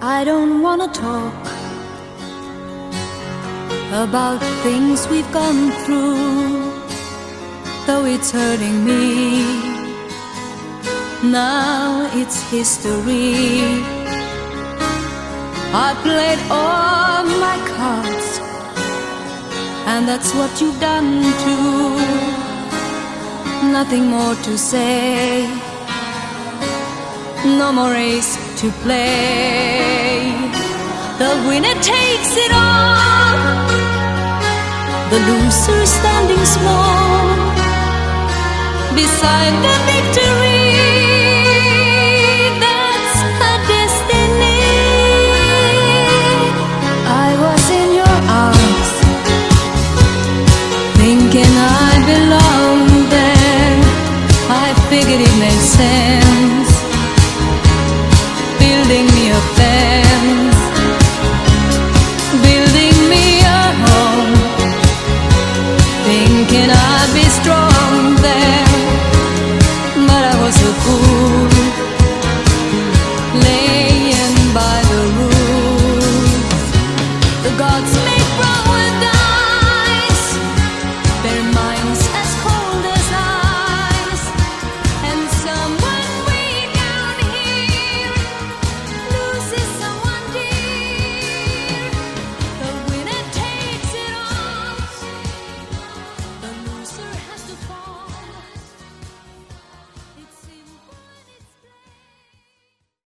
[SPEAKER 11] I don't want to talk about things we've gone through, though it's hurting me.
[SPEAKER 12] now it's history. I played all my cards, and that's what you've done too. Nothing more to say, no more ace to play. The winner takes it all, the loser standing small beside the victory.